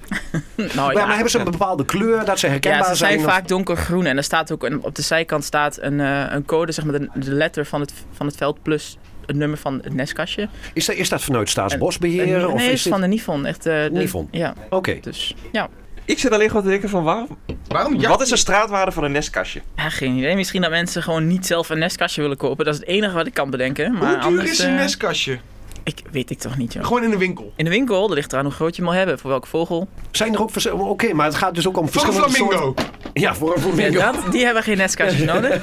Speaker 5: Nou,
Speaker 4: Maar, maar hebben ze een bepaalde kleur dat ze herkenbaar
Speaker 5: Ja, ze zijn
Speaker 4: zijn? of-
Speaker 5: vaak donkergroen en er staat ook een, op de zijkant staat een, eh, een code, zeg maar de, de letter van het, van het veld plus het nummer van het nestkastje.
Speaker 4: Is, dat, is dat vanuit
Speaker 5: En-
Speaker 4: Staatsbosbeheer? of
Speaker 5: nee,
Speaker 4: is
Speaker 5: is
Speaker 4: dit-
Speaker 5: van de Nifon. Echt, eh, de-
Speaker 4: Nifon.
Speaker 5: Ja,
Speaker 4: Oké.
Speaker 5: dus ja.
Speaker 3: Ik zit alleen gewoon te denken van waarom...
Speaker 1: Waarom? Ja,
Speaker 3: Wat is de straatwaarde van een nestkastje?
Speaker 5: Ja, geen idee. Misschien dat mensen gewoon niet zelf een nestkastje willen kopen. Dat is het enige wat ik kan bedenken. Maar
Speaker 3: Ah,
Speaker 1: hoe duur
Speaker 5: anders,
Speaker 1: is een
Speaker 5: eh,
Speaker 1: nestkastje?
Speaker 5: Ik weet ik toch niet, joh.
Speaker 1: Gewoon in de winkel.
Speaker 5: In de winkel, dat ligt eraan hoe groot je hem al hebben. Voor welke vogel.
Speaker 4: Zijn er ook verschillende... Oké, maar het gaat dus ook om
Speaker 1: Van een
Speaker 4: verschillende
Speaker 1: flamingo.
Speaker 4: soorten... Ja, voor een
Speaker 5: Ja,
Speaker 4: flamingo.
Speaker 5: dat, die hebben geen nestkastjes nodig.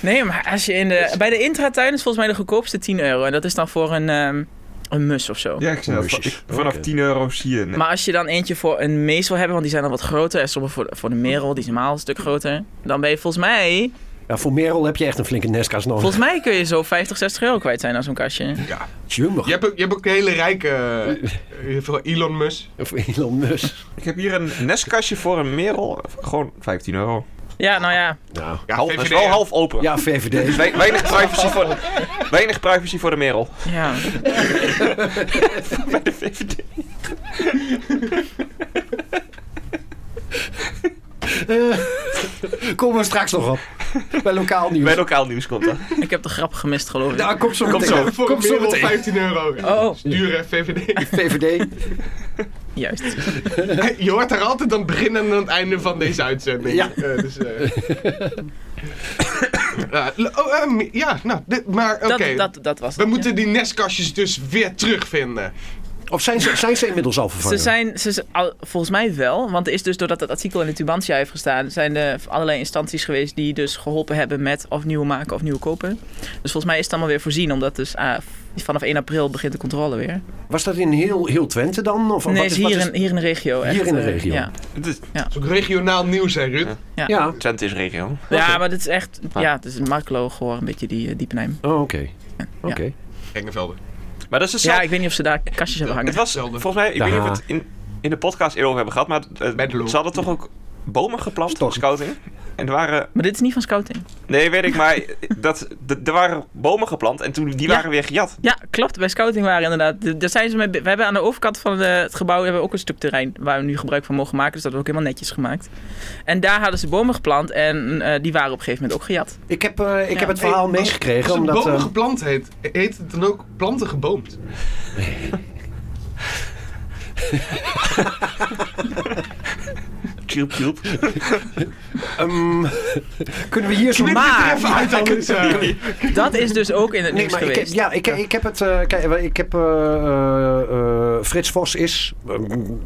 Speaker 5: nee, maar als je in de...
Speaker 1: Dus-
Speaker 5: Bij de intratuin is volgens mij de goedkoopste 10 euro. En dat is dan voor een, ehm, een mus of zo.
Speaker 3: Ja, ik zei
Speaker 4: Musjes.
Speaker 3: ik- Vanaf
Speaker 4: Oké.
Speaker 3: 10 euro zie je... een-
Speaker 5: Maar als je dan eentje voor een mees wil hebben, want die zijn dan wat groter. En sommige voor, voor de merel, die is normaal een stuk groter. Dan ben je volgens mij...
Speaker 4: Ja, voor Merel heb je echt een flinke nestkast nodig.
Speaker 5: Volgens mij kun je zo 50, 60 euro kwijt zijn aan zo'n kastje.
Speaker 4: Jumbo.
Speaker 1: Je hebt, ook- je hebt ook een hele rijke. eh, eh, Elon Musk.
Speaker 4: Of Elon Musk.
Speaker 3: Ik heb hier een nestkastje voor een merel. Gewoon 15 euro.
Speaker 5: Ja, nou ja.
Speaker 4: Nou,
Speaker 1: Ja,
Speaker 3: Half, dat is
Speaker 1: VVD.
Speaker 3: wel half open. Dus
Speaker 4: ja,
Speaker 5: Dus
Speaker 4: VVD.
Speaker 3: We- weinig, privacy voor, weinig privacy voor de merel.
Speaker 5: ja.
Speaker 3: Bij de VVD.
Speaker 4: Komen we straks nog op. Bij lokaal nieuws.
Speaker 3: Bij lokaal nieuws komt dat.
Speaker 5: Ik heb de grap gemist, geloof ik.
Speaker 4: Nou, kom zo
Speaker 3: Komt
Speaker 4: meteen.
Speaker 3: zo.
Speaker 1: Voor
Speaker 4: Kom
Speaker 1: een
Speaker 4: zo
Speaker 1: merel
Speaker 4: meteen.
Speaker 1: 15 euro.
Speaker 5: Oh,
Speaker 1: Dure VVD.
Speaker 4: VVD.
Speaker 5: juist.
Speaker 1: Je hoort daar altijd aan het begin en aan het einde van deze uitzending.
Speaker 4: Ja.
Speaker 1: Eh, dus, eh. Ah, l- oh, ehm, ja, nou, dit, maar oké.
Speaker 5: Dat, dat, dat was
Speaker 1: We
Speaker 5: het,
Speaker 1: moeten die nestkastjes dus weer terugvinden.
Speaker 4: Of zijn ze, zijn ze inmiddels al
Speaker 5: ja. Ze
Speaker 4: vervangen?
Speaker 5: zijn, ze, zijn- al- volgens mij wel, want er is dus doordat dat artikel in de Tubantia heeft gestaan, zijn er allerlei instanties geweest die dus geholpen hebben met of nieuw maken of nieuw kopen. Dus volgens mij is het allemaal weer voorzien, omdat dus ah, vanaf 1 april begint de controle weer.
Speaker 4: Was dat in heel, heel Twente dan? Of
Speaker 5: nee,
Speaker 4: wat
Speaker 5: is
Speaker 4: wat
Speaker 5: hier, in, hier in de regio. echt,
Speaker 4: Hier in de
Speaker 5: eh,
Speaker 4: regio.
Speaker 5: Ja,
Speaker 3: Het is,
Speaker 1: Dat is ook regionaal nieuws, hè, Ruud?
Speaker 3: Ja.
Speaker 4: Ja.
Speaker 3: Twente is regio.
Speaker 5: ja maar dit is echt,
Speaker 3: Ah.
Speaker 5: ja, het is een marklo gewoon, een beetje die eh, diepe Nijm.
Speaker 4: Oh, oké. Oké.
Speaker 1: Engevelden.
Speaker 3: Maar dat is
Speaker 5: Ja,
Speaker 3: hetzelfde.
Speaker 5: ik weet niet of ze daar kastjes hebben
Speaker 3: het
Speaker 5: hangen.
Speaker 3: was
Speaker 1: Hetzelfde.
Speaker 3: volgens mij, ik weet niet
Speaker 4: Ja.
Speaker 3: of we het in, in de podcast erover hebben gehad, maar eh,
Speaker 1: Bedlo.
Speaker 3: ze hadden toch ook bomen geplant
Speaker 4: Stok.
Speaker 3: voor scouting? En er waren,
Speaker 5: Maar dit is niet van scouting.
Speaker 3: nee weet ik, maar dat, d- er waren bomen geplant en toen, die
Speaker 5: Ja.
Speaker 3: waren weer gejat.
Speaker 5: Ja, klopt. Bij scouting waren inderdaad. d- Daar zijn ze mee, be- we hebben aan de overkant van eh, het gebouw hebben we ook een stuk terrein waar we nu gebruik van mogen maken. Dus dat wordt ook helemaal netjes gemaakt. En daar hadden ze bomen geplant en eh, die waren op een gegeven moment ook gejat.
Speaker 4: Ik, heb, eh, ik
Speaker 5: Ja.
Speaker 4: heb het verhaal
Speaker 1: Hey,
Speaker 4: meegekregen.
Speaker 1: Als een
Speaker 4: omdat,
Speaker 1: boom
Speaker 4: eh,
Speaker 1: geplant heet, heet het dan ook planten geboomd?
Speaker 3: kierp, kierp.
Speaker 4: Ehm, kunnen we hier zo...
Speaker 5: Maar-
Speaker 1: Even uit eh, dan kunnen ze-
Speaker 5: Dat is dus ook in het
Speaker 4: Nee,
Speaker 5: nieuws
Speaker 4: maar ik heb,
Speaker 5: geweest.
Speaker 4: ja, ik, ik heb het. eh, kijk, ik heb. eh, eh, eh, Frits Vos is eh,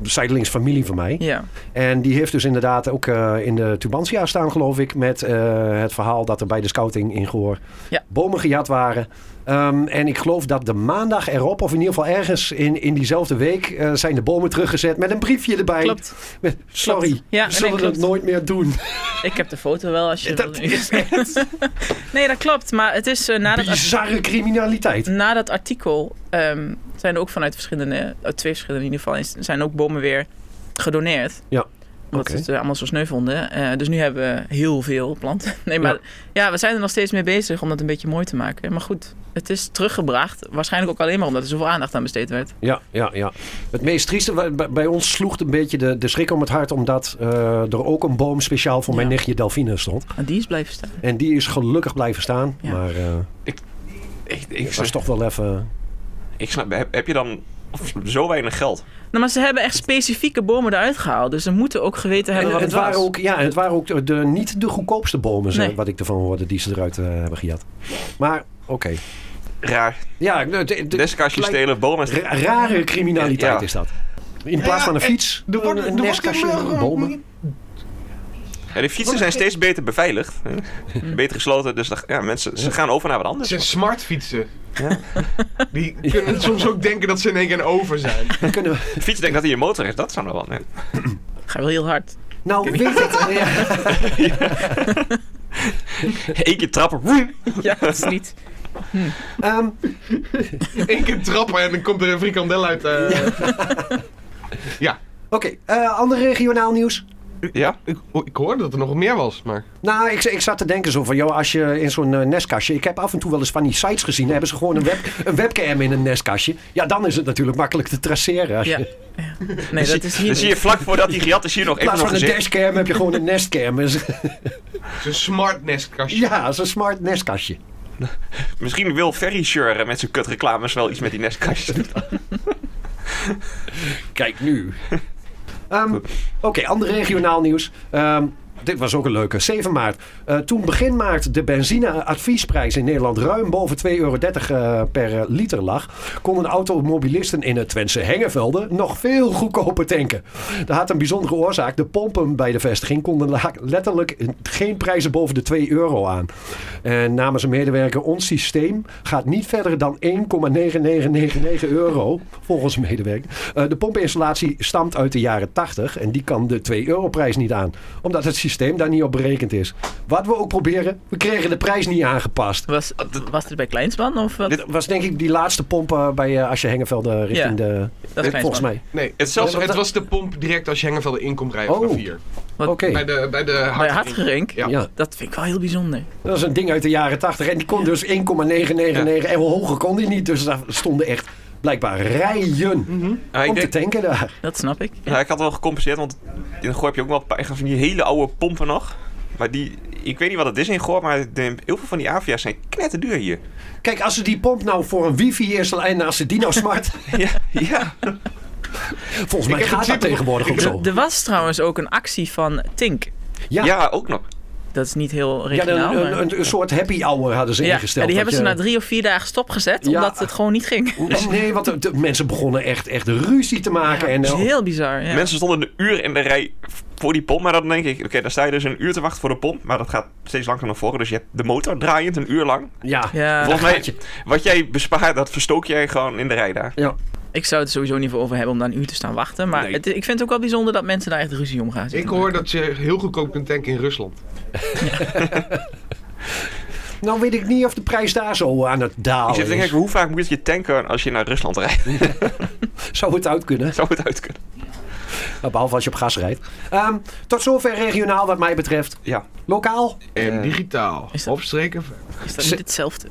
Speaker 4: zijdelings familie van mij.
Speaker 5: ja.
Speaker 4: En die heeft dus inderdaad ook eh, in de Tubantia staan, geloof ik. Met eh, het verhaal dat er bij de scouting in Goor
Speaker 5: Ja.
Speaker 4: bomen gejat waren. Ehm, en ik geloof dat de maandag erop, of in ieder geval ergens in, in diezelfde week, eh, zijn de bomen teruggezet met een briefje erbij.
Speaker 5: Klopt.
Speaker 4: Met, sorry,
Speaker 5: Klopt. Ja,
Speaker 4: we
Speaker 5: nee,
Speaker 4: zullen
Speaker 5: klopt.
Speaker 4: het nooit meer doen.
Speaker 5: Ik heb de foto wel als je.
Speaker 4: Dat
Speaker 5: wil.
Speaker 4: is echt
Speaker 5: Nee, dat klopt. Maar het is eh, na, dat art-
Speaker 4: bizarre criminaliteit.
Speaker 5: na dat artikel ehm, zijn er ook vanuit verschillende, uit twee verschillende in ieder geval, is- zijn ook bomen weer gedoneerd.
Speaker 4: Ja,
Speaker 5: Omdat
Speaker 4: oké.
Speaker 5: ze het eh, allemaal zo sneu vonden. Eh, dus nu hebben we heel veel planten. Nee, maar
Speaker 4: Ja.
Speaker 5: ja. we zijn er nog steeds mee bezig om dat een beetje mooi te maken. Maar goed, het is teruggebracht. Waarschijnlijk ook alleen maar omdat er zoveel aandacht aan besteed werd.
Speaker 4: Ja, ja, ja. Het meest trieste, wa- bij, bij ons sloeg het een beetje de, de schrik om het hart, omdat eh, er ook een boom speciaal voor mijn
Speaker 5: Ja.
Speaker 4: nichtje Delphine stond.
Speaker 5: En die is blijven staan.
Speaker 4: En die is gelukkig blijven staan,
Speaker 5: Ja.
Speaker 4: maar eh
Speaker 3: Ik,
Speaker 4: het
Speaker 3: ik,
Speaker 4: was toch wel even...
Speaker 3: ik snap, heb, heb je dan zo weinig geld?
Speaker 5: Nou, maar ze hebben echt specifieke bomen eruit gehaald. Dus ze moeten ook geweten hebben
Speaker 4: En
Speaker 5: wat
Speaker 4: het,
Speaker 5: het,
Speaker 4: waren
Speaker 5: was.
Speaker 4: ook, ja, en het waren ook de, de- niet de goedkoopste bomen, ze-
Speaker 5: Nee.
Speaker 4: wat ik ervan hoorde, die ze eruit eh, hebben gejat. Maar, oké.
Speaker 3: Raar.
Speaker 4: Ja, nou, de, de-
Speaker 3: Deskastje
Speaker 4: lijkt-
Speaker 3: stelen, bomen.
Speaker 4: ra- rare criminaliteit
Speaker 3: Ja.
Speaker 4: is dat. In plaats van een
Speaker 1: Ja,
Speaker 4: fiets,
Speaker 1: Er wordt-
Speaker 4: een,
Speaker 1: er
Speaker 4: een
Speaker 1: wordt eh,
Speaker 4: nestkastje,
Speaker 1: helemaal gewoon
Speaker 4: bomen.
Speaker 1: niet-
Speaker 3: En die fietsen zijn steeds beter beveiligd. Beter gesloten. Dus dat- ja, mensen, ze gaan over naar wat
Speaker 1: Het
Speaker 3: anders.
Speaker 1: zijn smartfietsen. Die kunnen soms ook denken dat ze in één keer een over zijn.
Speaker 4: Dan kunnen we...
Speaker 3: De fiets denkt dat hij een motor is. Dat zou nog wel. Nee.
Speaker 5: Ga wel heel hard.
Speaker 4: Nou, weet het... ja.
Speaker 3: Eén keer trappen. woem.
Speaker 5: Ja, dat is niet.
Speaker 4: Ehm,
Speaker 1: Eén keer trappen en dan komt er een frikandel uit. eh.
Speaker 4: Oké, eh, ander regionaal nieuws.
Speaker 3: Ja?
Speaker 1: Ik, ho- ik hoorde dat er nog meer was, maar...
Speaker 4: Nou, ik, ik zat te denken zo van, joh, als je in zo'n eh, nestkastje... Ik heb af en toe wel eens van die sites gezien. Hebben ze gewoon een, web, een webcam in een nestkastje. Ja, dan is het natuurlijk makkelijk te traceren. Als
Speaker 5: Ja.
Speaker 4: je,
Speaker 5: ja. Nee, dat is
Speaker 3: Dan
Speaker 5: hier
Speaker 3: Dus zie
Speaker 5: niet.
Speaker 3: je vlak voordat hij gejat is hier nog
Speaker 4: in
Speaker 3: even
Speaker 4: plaats
Speaker 3: nog
Speaker 4: van een
Speaker 3: gezicht.
Speaker 4: dashcam heb je gewoon een nestcam. Dus-
Speaker 1: Zo'n smart nestkastje.
Speaker 4: ja, zo'n smart nestkastje.
Speaker 3: Misschien wil Ferry Sure met zijn kutreclames wel iets met die nestkastjes doen.
Speaker 4: Kijk nu. Ehm, Oké, ander regionaal nieuws. Ehm, dit was ook een leuke. 7 maart. Eh, toen begin maart de benzineadviesprijs in Nederland ruim boven 2,30 euro eh, per eh, liter lag, konden automobilisten in het Twentse Hengevelden nog veel goedkoper tanken. Dat had een bijzondere oorzaak. De pompen bij de vestiging konden la- letterlijk geen prijzen boven de 2 euro aan. En namens een medewerker, ons systeem gaat niet verder dan 1,9999 euro, volgens een medewerker. Eh, de pompinstallatie stamt uit de jaren 80 en die kan de 2 euro prijs niet aan, omdat het systeem daar niet op berekend is. Wat we ook proberen, we kregen de prijs niet aangepast.
Speaker 5: Was, was dit bij Kleinsman of wat?
Speaker 4: Dit was denk ik die laatste pomp eh, bij eh, Asje Hengevelde richting
Speaker 5: Ja,
Speaker 4: de...
Speaker 5: dat is
Speaker 4: volgens
Speaker 5: Kleinsman.
Speaker 4: mij.
Speaker 1: Nee,
Speaker 3: Het
Speaker 1: het,
Speaker 3: is zelfs-
Speaker 1: het was de pomp direct als je Hengevelde in komt rijden
Speaker 4: Oh.
Speaker 1: vanaf hier.
Speaker 4: Oké,
Speaker 1: Bij de, bij de
Speaker 5: Bij
Speaker 1: hart-
Speaker 5: Hartgerink?
Speaker 1: Ja.
Speaker 4: ja.
Speaker 5: Dat vind ik wel heel bijzonder.
Speaker 4: Dat is een ding uit de jaren 80 en die kon dus 1,999 en hoger kon die niet. Dus daar stonden echt blijkbaar rijen
Speaker 3: Maar
Speaker 4: om
Speaker 3: ik,
Speaker 4: te
Speaker 3: denk,
Speaker 4: tanken daar.
Speaker 5: Dat snap ik.
Speaker 3: nou, ik had wel gecompenseerd, want in Goor heb je ook wel een paar van die hele oude pompen nog. Maar die, ik weet niet wat het is in Goor, maar de- heel veel van die Avia's zijn knetterduur hier.
Speaker 4: Kijk, als ze die pomp nou voor een wifi is en als ze die nou smart...
Speaker 3: Ja, ja.
Speaker 4: Volgens
Speaker 1: Ik
Speaker 4: mij
Speaker 1: heb
Speaker 4: gaat
Speaker 1: het
Speaker 4: dat
Speaker 1: simpel-
Speaker 4: tegenwoordig ook zo.
Speaker 5: Er was trouwens ook een actie van Tink.
Speaker 4: Ja.
Speaker 3: ja ook nog.
Speaker 5: Dat is niet heel
Speaker 4: Ja, een,
Speaker 5: regionaal.
Speaker 4: een,
Speaker 5: nou, maar-
Speaker 4: een, een soort happy hour hadden ze
Speaker 5: Ja,
Speaker 4: ingesteld.
Speaker 5: die
Speaker 4: dat
Speaker 5: hebben ze
Speaker 4: je-
Speaker 5: na drie of vier dagen stopgezet,
Speaker 4: Ja.
Speaker 5: omdat het gewoon niet ging.
Speaker 4: Nee, want de, de mensen begonnen echt, echt ruzie te maken. en,
Speaker 5: dat is
Speaker 4: eh,
Speaker 5: heel bizar. Ja.
Speaker 3: Mensen stonden een uur in de rij voor die pomp. Maar dan denk ik, oké, dan sta je dus een uur te wachten voor de pomp. Maar dat gaat steeds langer naar voren. Dus je hebt de motor draaiend een uur lang.
Speaker 4: ja.
Speaker 5: Ja,
Speaker 3: Volgens
Speaker 4: Ah, gaat
Speaker 3: mij,
Speaker 4: je.
Speaker 3: wat jij bespaart, dat verstook jij gewoon in de rij daar.
Speaker 4: ja.
Speaker 5: ik zou het er sowieso niet voor over hebben om daar een uur te staan wachten. Maar
Speaker 3: Nee.
Speaker 5: het- ik vind het ook wel bijzonder dat mensen daar echt ruzie om gaan
Speaker 1: Ik
Speaker 5: zitten.
Speaker 1: hoor dat je heel goedkoop kunt tanken in Rusland.
Speaker 4: Nou weet ik niet of de prijs daar zo eh, aan het
Speaker 3: Ik
Speaker 4: dalen
Speaker 3: zit te
Speaker 4: is.
Speaker 3: denken, hoe vaak moet je tanken als je naar Rusland rijdt?
Speaker 4: Zou het uit kunnen?
Speaker 3: Zou het uit kunnen?
Speaker 4: Nou, behalve als je op gas rijdt. Ehm, tot zover regionaal wat mij betreft.
Speaker 3: Ja.
Speaker 4: Lokaal?
Speaker 1: En digitaal.
Speaker 5: is dat-
Speaker 1: Opstreken.
Speaker 5: Is dat niet hetzelfde?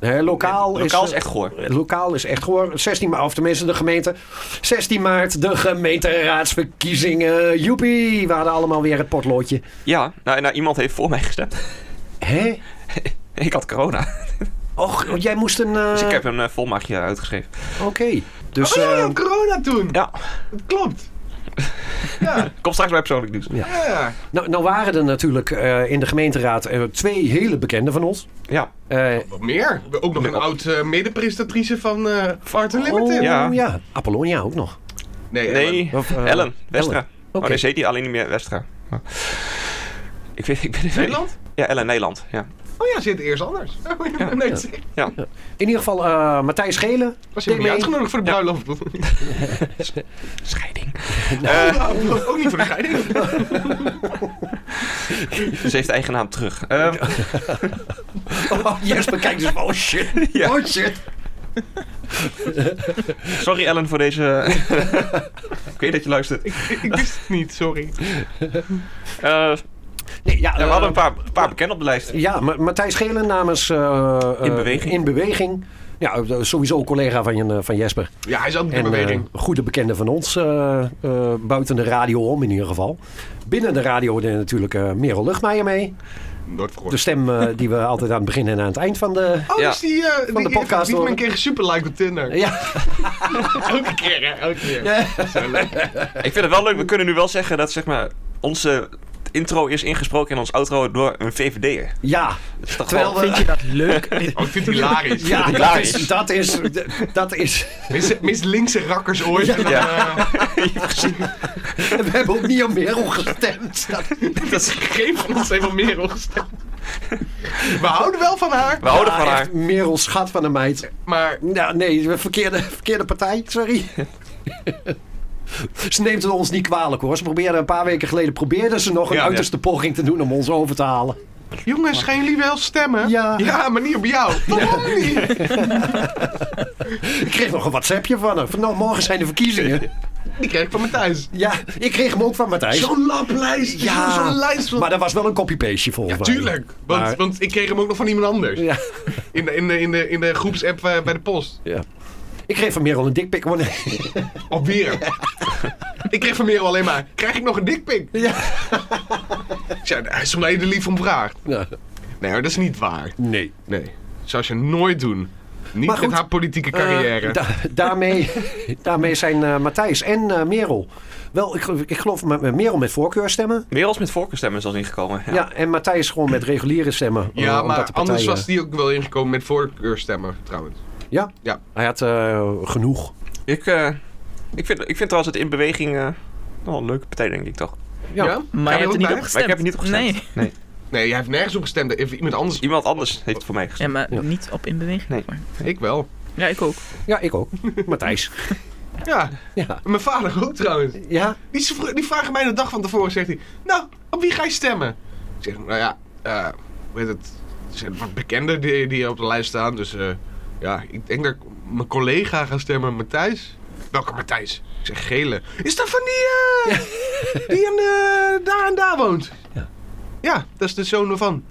Speaker 4: Hè, lokaal,
Speaker 3: Lokaal
Speaker 4: is, eh,
Speaker 3: is eh, echt goor.
Speaker 4: Lokaal is echt hoor. 16 maart, of tenminste de gemeente. 16 maart, de gemeenteraadsverkiezingen. Joepie, we hadden allemaal weer het potloodje.
Speaker 3: Ja, nou, nou, iemand heeft voor mij gestemd.
Speaker 4: Hé?
Speaker 3: Ik had corona.
Speaker 4: Och, jij moest een... eh,
Speaker 3: Dus ik heb een eh, volmachtje uitgeschreven.
Speaker 4: Oké. Dus...
Speaker 1: Oh ja,
Speaker 4: eh,
Speaker 1: corona toen.
Speaker 3: Ja,
Speaker 1: Dat klopt.
Speaker 3: Kom straks bij persoonlijk nieuws. Ja.
Speaker 1: Ja.
Speaker 4: Nou, nou waren er natuurlijk eh, in de gemeenteraad eh, twee hele bekenden van ons.
Speaker 3: Ja.
Speaker 4: Eh,
Speaker 1: Wat meer? Ook nog een oud eh medepresentatrice van eh Art
Speaker 4: oh,
Speaker 1: Limited.
Speaker 3: Ja.
Speaker 4: ja, Apollonia ook nog.
Speaker 3: Nee,
Speaker 4: Of, eh,
Speaker 3: Ellen. Westra.
Speaker 4: Ellen.
Speaker 3: Oh,
Speaker 4: Oké.
Speaker 3: nee, ze heet niet alleen niet meer Westra. Maar- Ik weet, ik ben het
Speaker 1: Nederland?
Speaker 3: Ja, Ellen Nederland. Ja.
Speaker 1: Oh ja, ze heet eerst anders. Oh, ja. Nee, dat
Speaker 4: In ieder geval eh, Matthijs Gele. deed
Speaker 1: Was je niet
Speaker 4: mee.
Speaker 1: uitgenodigd voor de bruiloft?
Speaker 3: Scheiding.
Speaker 1: Oh, ook niet voor de scheiding.
Speaker 3: Ze heeft de eigen naam terug. Ehm,
Speaker 4: Oh, Jesper kijkt dus van, oh shit.
Speaker 3: Ja.
Speaker 4: Oh shit.
Speaker 3: sorry Ellen voor deze... ik weet dat je luistert.
Speaker 1: Ik wist het niet, sorry.
Speaker 3: Eh,
Speaker 4: Nee, ja,
Speaker 3: ja, we
Speaker 4: eh,
Speaker 3: hadden een paar, een paar bekenden op de lijst.
Speaker 4: Ja, Ma- Matthijs Gele namens... eh, eh,
Speaker 3: In Beweging.
Speaker 4: In Beweging. Ja, eh, sowieso een collega van, je- van Jesper.
Speaker 1: Ja, hij is altijd in
Speaker 4: En eh,
Speaker 1: beweging.
Speaker 4: een goede bekende van ons, eh, eh, buiten de radio om in ieder geval. Binnen de radio deed natuurlijk eh, Merel Luchtmaier mee.
Speaker 1: Nooit vergoord.
Speaker 4: De stem eh, die we altijd aan het begin en aan het eind van de...
Speaker 1: oh,
Speaker 3: Ja.
Speaker 1: dus die, eh die,
Speaker 4: de podcast
Speaker 1: die, die
Speaker 4: horen.
Speaker 1: men kreeg een superlike op Tinder.
Speaker 4: Ja,
Speaker 1: Elke keer, hè? Elke keer. Zo leuk.
Speaker 3: Ik vind het wel leuk. We kunnen nu wel zeggen dat zeg maar, onze intro is ingesproken en ons outro door een VVD'er.
Speaker 4: ja.
Speaker 3: Dat is toch
Speaker 4: Terwijl
Speaker 3: wel-
Speaker 4: we...
Speaker 5: Vind je dat leuk?
Speaker 1: Oh, ik vind het hilarisch.
Speaker 4: Ja, dat
Speaker 3: Hilarisch.
Speaker 4: is, dat is, dat is...
Speaker 1: Mis, mis linkse rakkers ooit. En dan,
Speaker 3: Ja.
Speaker 1: eh,
Speaker 4: We hebben ook niet op Merel gestemd. Dat-
Speaker 3: dat is-
Speaker 1: geen van ons heeft al meer ongestemd. We houden wel van haar,
Speaker 3: we houden van
Speaker 4: Ah,
Speaker 3: haar.
Speaker 4: echt, Merel, schat van een meid.
Speaker 1: maar
Speaker 4: Nou, nee, verkeerde, verkeerde partij, sorry. ze neemt het ons niet kwalijk hoor. Ze probeerde een paar weken geleden probeerde ze nog een
Speaker 3: Ja,
Speaker 4: uiterste poging te doen om ons over te halen.
Speaker 1: jongens, gaan jullie wel stemmen?
Speaker 4: Ja.
Speaker 1: Ja, maar niet op jou. Waarom niet?
Speaker 4: Ik kreeg nog een WhatsAppje van haar. Van, nou, morgen zijn de verkiezingen.
Speaker 1: Die kreeg ik van Matthijs.
Speaker 4: Ja, ik kreeg hem ook van Matthijs.
Speaker 1: Zo'n laplijst.
Speaker 4: Ja.
Speaker 1: Ja. Zo'n lijst van...
Speaker 4: Maar dat was wel een copy-paste volgens mij.
Speaker 1: Tuurlijk, want,
Speaker 4: Maar-
Speaker 1: want ik kreeg hem ook nog van iemand anders.
Speaker 4: Ja,
Speaker 1: In, de, in, de, in, de, in de groepsapp eh, bij de post.
Speaker 4: ja. Ik kreeg van Merel een dikpik. Oh, nee.
Speaker 1: Alweer. ik kreeg van Merel alleen maar, krijg ik nog een dikpik?
Speaker 4: Ja.
Speaker 1: Ik zei, hij is omdat je er lief om vraagt.
Speaker 4: Ja.
Speaker 1: Nee hoor, dat is niet waar.
Speaker 4: Nou, Nee.
Speaker 1: Nee. Zou ze nooit doen. Niet
Speaker 4: Maar goed,
Speaker 1: met haar politieke carrière.
Speaker 4: Eh, da- daarmee, daarmee zijn eh, Matthijs en eh, Merel. Wel, ik, ik geloof met- met Merel met voorkeurstemmen.
Speaker 3: Merels met voorkeurstemmen is al inggekomen.
Speaker 4: Ja, en Matthijs gewoon met reguliere stemmen. eh,
Speaker 1: ja,
Speaker 4: omdat
Speaker 1: maar
Speaker 4: de partij,
Speaker 1: anders
Speaker 4: eh,
Speaker 1: was die ook wel ingekomen met voorkeurstemmen trouwens.
Speaker 4: Ja?
Speaker 1: Ja.
Speaker 4: Hij had eh, genoeg.
Speaker 3: Ik, eh, ik, vind, ik vind trouwens het in beweging eh, wel een leuke partij, denk ik toch.
Speaker 4: Ja.
Speaker 5: Maar je hebt er niet op
Speaker 1: opgestemd.
Speaker 5: gestemd.
Speaker 3: Maar ik heb er niet op gestemd.
Speaker 5: Nee.
Speaker 3: nee.
Speaker 1: Nee, hij heeft nergens op gestemd. Even iemand anders.
Speaker 3: Iemand anders heeft voor mij
Speaker 5: Ja,
Speaker 3: gestemd.
Speaker 5: maar
Speaker 4: Ja.
Speaker 5: niet op in beweging.
Speaker 3: Nee.
Speaker 5: Maar-
Speaker 1: Ik wel.
Speaker 5: Ja, ik ook.
Speaker 4: Ja, ik ook. Matthijs.
Speaker 1: Ja.
Speaker 4: Ja.
Speaker 1: Mijn vader ook trouwens.
Speaker 4: Ja?
Speaker 1: Die, is vro- die vragen mij de dag van tevoren. Zegt hij, nou, op wie ga je stemmen? Ik zeg, nou ja, eh, hoe heet het? Er zijn wat bekenden die, die op de lijst staan. Dus eh, ja, ik denk dat ik mijn collega ga stemmen, Matthijs. Welke Matthijs? Ik zeg, gele. Is dat van die, eh, die aan, eh, daar en daar woont?
Speaker 4: Ja.
Speaker 1: Ja, dat is de zoon ervan.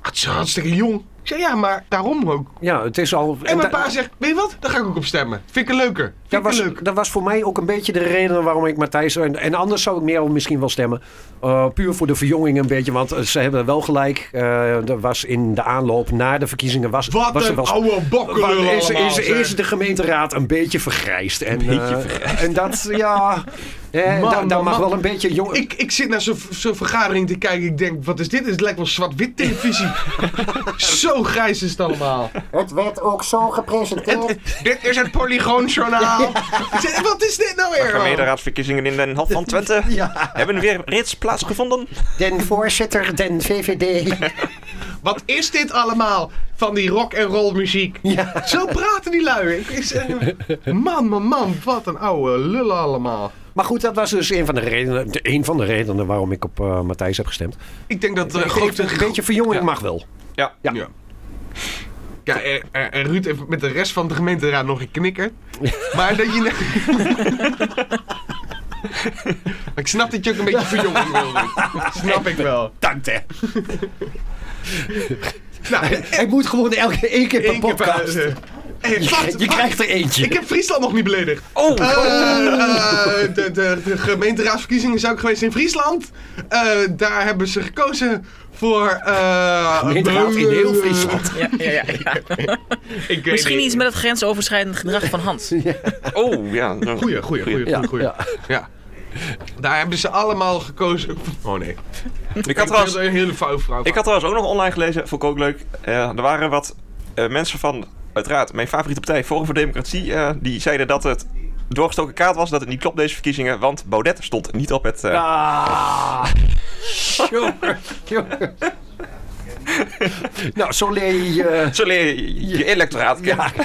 Speaker 1: Ah, Het is hartstikke jong. Ik zeg, ja, maar daarom ook.
Speaker 4: Ja, het is al...
Speaker 1: En mijn
Speaker 4: da-
Speaker 1: pa zegt, weet je wat? Daar ga ik ook op stemmen. Vind ik een leuker. Vind
Speaker 4: dat
Speaker 1: ik een
Speaker 4: was,
Speaker 1: leuk.
Speaker 4: dat was voor mij ook een beetje de reden waarom ik Matthijs... En, en anders zou ik Merel misschien wel stemmen. Eh, puur voor de verjonging een beetje. Want eh, ze hebben wel gelijk. Eh, er was in de aanloop naar de verkiezingen... Was,
Speaker 1: Wat
Speaker 4: was er
Speaker 1: een
Speaker 4: wel
Speaker 1: oude
Speaker 4: Want
Speaker 1: bokkelul
Speaker 4: is,
Speaker 1: allemaal,
Speaker 4: is,
Speaker 1: zeg.
Speaker 4: is de gemeenteraad een beetje vergrijsd. En,
Speaker 3: beetje
Speaker 4: eh, en dat, ja... Eh, da-
Speaker 1: Man,
Speaker 4: daar
Speaker 1: man,
Speaker 4: mag
Speaker 1: man.
Speaker 4: wel een beetje... Jong,
Speaker 1: Ik, ik zit naar zo'n zo'n vergadering te kijken. Ik denk, wat is dit? Het lijkt wel zwart-wit televisie. zo grijs is het allemaal.
Speaker 4: Het werd ook zo
Speaker 1: Het-
Speaker 4: gepresenteerd.
Speaker 1: het- dit is het Polygoonjournaal. Ik zeg, Wat is dit nou weer? man?
Speaker 3: Gemeenteraadsverkiezingen in Den Hof van Twente
Speaker 4: Ja.
Speaker 3: hebben weer reeds plaatsgevonden.
Speaker 4: Den voorzitter, den VVD.
Speaker 1: Wat is dit allemaal van die rock en roll muziek?
Speaker 4: Ja.
Speaker 1: Zo praten die lui. Ik, ik zeg, man, man, man, wat een oude lullen allemaal.
Speaker 4: Maar goed, dat was dus een van de redenen, de, een van de redenen waarom ik op eh, Matthijs heb gestemd.
Speaker 1: Ik denk dat eh,
Speaker 4: Ik-
Speaker 1: grote-
Speaker 4: ik- een beetje verjonging mag wel.
Speaker 1: Ja. ja. en, en- en eh, Ruud heeft met de rest van de gemeenteraad nog een knikker. Maar dat je... Maar ik snap dat je ook een beetje verjonging wil. Ruud. Snap ik wel.
Speaker 4: Dank hè.
Speaker 1: Nou,
Speaker 4: Hij moet gewoon elke één keer per eh,
Speaker 1: één keer
Speaker 4: podcast.
Speaker 1: pauze. Hey,
Speaker 4: Je,
Speaker 1: wacht,
Speaker 4: krijgt- je
Speaker 1: wacht.
Speaker 4: krijgt er eentje.
Speaker 1: Ik heb Friesland nog niet beledigd.
Speaker 3: Oh,
Speaker 1: Eh, eh, de, de, de gemeenteraadsverkiezingen zijn ook geweest in Friesland. Eh, daar hebben ze gekozen voor... eh
Speaker 4: Gemeenteraad in heel Friesland.
Speaker 5: Ja, ja, ja, ja.
Speaker 1: Ik weet
Speaker 5: Misschien
Speaker 1: niet.
Speaker 5: iets met het grensoverschrijdend gedrag van Hans.
Speaker 3: oh ja.
Speaker 1: Goeie, goeie, goeie,
Speaker 4: Ja,
Speaker 1: goeie, goeie.
Speaker 4: ja.
Speaker 1: Ja. Daar hebben ze allemaal gekozen. Oh nee.
Speaker 3: Ik had trouwens,
Speaker 1: een hele fout
Speaker 3: ik had trouwens ook nog online gelezen, vond ik ook leuk. Eh, er waren wat eh, mensen van, uiteraard, mijn favoriete partij, Forum voor Democratie, eh, die zeiden dat het doorgestoken kaart was, dat het niet klopt deze verkiezingen, want Baudet stond niet op het... eh,
Speaker 4: Ah, jongen, jongen. Nou, zo leer je je...
Speaker 3: Zo leer je je electoraat kennen.
Speaker 4: Ja,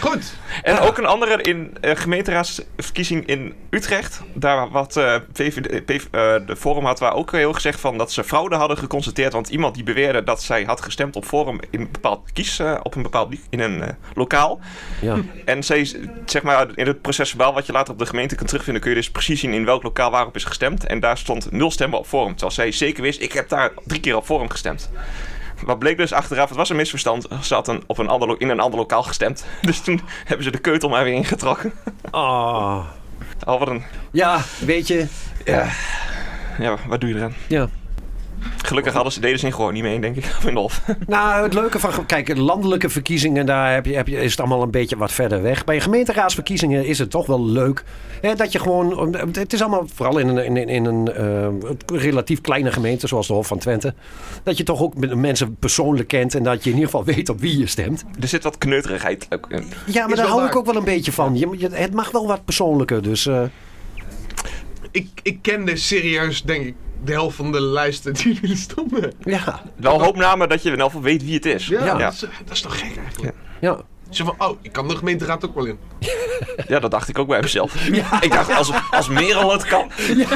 Speaker 1: Goed.
Speaker 3: En ook een andere in eh, gemeenteraadsverkiezing in Utrecht. Daar wat eh, VVD, PV, eh, de Forum had waar ook heel gezegd van dat ze fraude hadden geconstateerd. Want iemand die beweerde dat zij had gestemd op Forum in een bepaald kies, eh, op een bepaald li- in een eh, lokaal.
Speaker 4: ja.
Speaker 3: En zij, zeg maar, in het procesverbaal wat je later op de gemeente kan terugvinden, kun je dus precies zien in welk lokaal waarop is gestemd. En daar stond nul stemmen op Forum. Terwijl zij zeker wist, ik heb daar drie keer op Forum gestemd. Wat bleek dus achteraf, het was een misverstand. Ze had een, op een ander, lo- in een ander lokaal gestemd. Dus toen hebben ze de keutel maar weer ingetrokken.
Speaker 4: Ah.
Speaker 3: Al wat een...
Speaker 4: ja, weet je.
Speaker 3: Ja. ja, wat doe je eraan?
Speaker 4: Ja.
Speaker 3: Gelukkig hadden ze, deden ze gewoon niet mee, denk ik. Of in de hof.
Speaker 4: Nou, het leuke van... Kijk, landelijke verkiezingen, daar heb je, heb je, is het allemaal een beetje wat verder weg. Bij gemeenteraadsverkiezingen is het toch wel leuk. Hè, dat je gewoon... Het is allemaal, vooral in een, in, een- in een eh, relatief kleine gemeente, zoals de Hof van Twente... dat je toch ook met- mensen persoonlijk kent... en dat je in ieder geval weet op wie je stemt.
Speaker 3: Er zit wat kneuterigheid ook in.
Speaker 4: Ja, maar daar
Speaker 1: Is wel
Speaker 4: hou
Speaker 1: waar.
Speaker 4: ik ook wel een beetje van. Je, je- het mag wel wat persoonlijker, dus... eh,
Speaker 1: Ik, ik kende serieus, denk ik, de helft van de lijsten die er stonden.
Speaker 4: ja,
Speaker 3: Wel hoop namen dat je in elk geval weet wie het is.
Speaker 1: Ja,
Speaker 3: ja.
Speaker 1: Dat, is, dat is toch gek eigenlijk?
Speaker 4: ja.
Speaker 1: Zo van, oh, ik kan de gemeenteraad ook wel in.
Speaker 3: Ja, dat dacht ik ook bij mezelf. Ik dacht, als, als Merel het kan.
Speaker 1: Ja,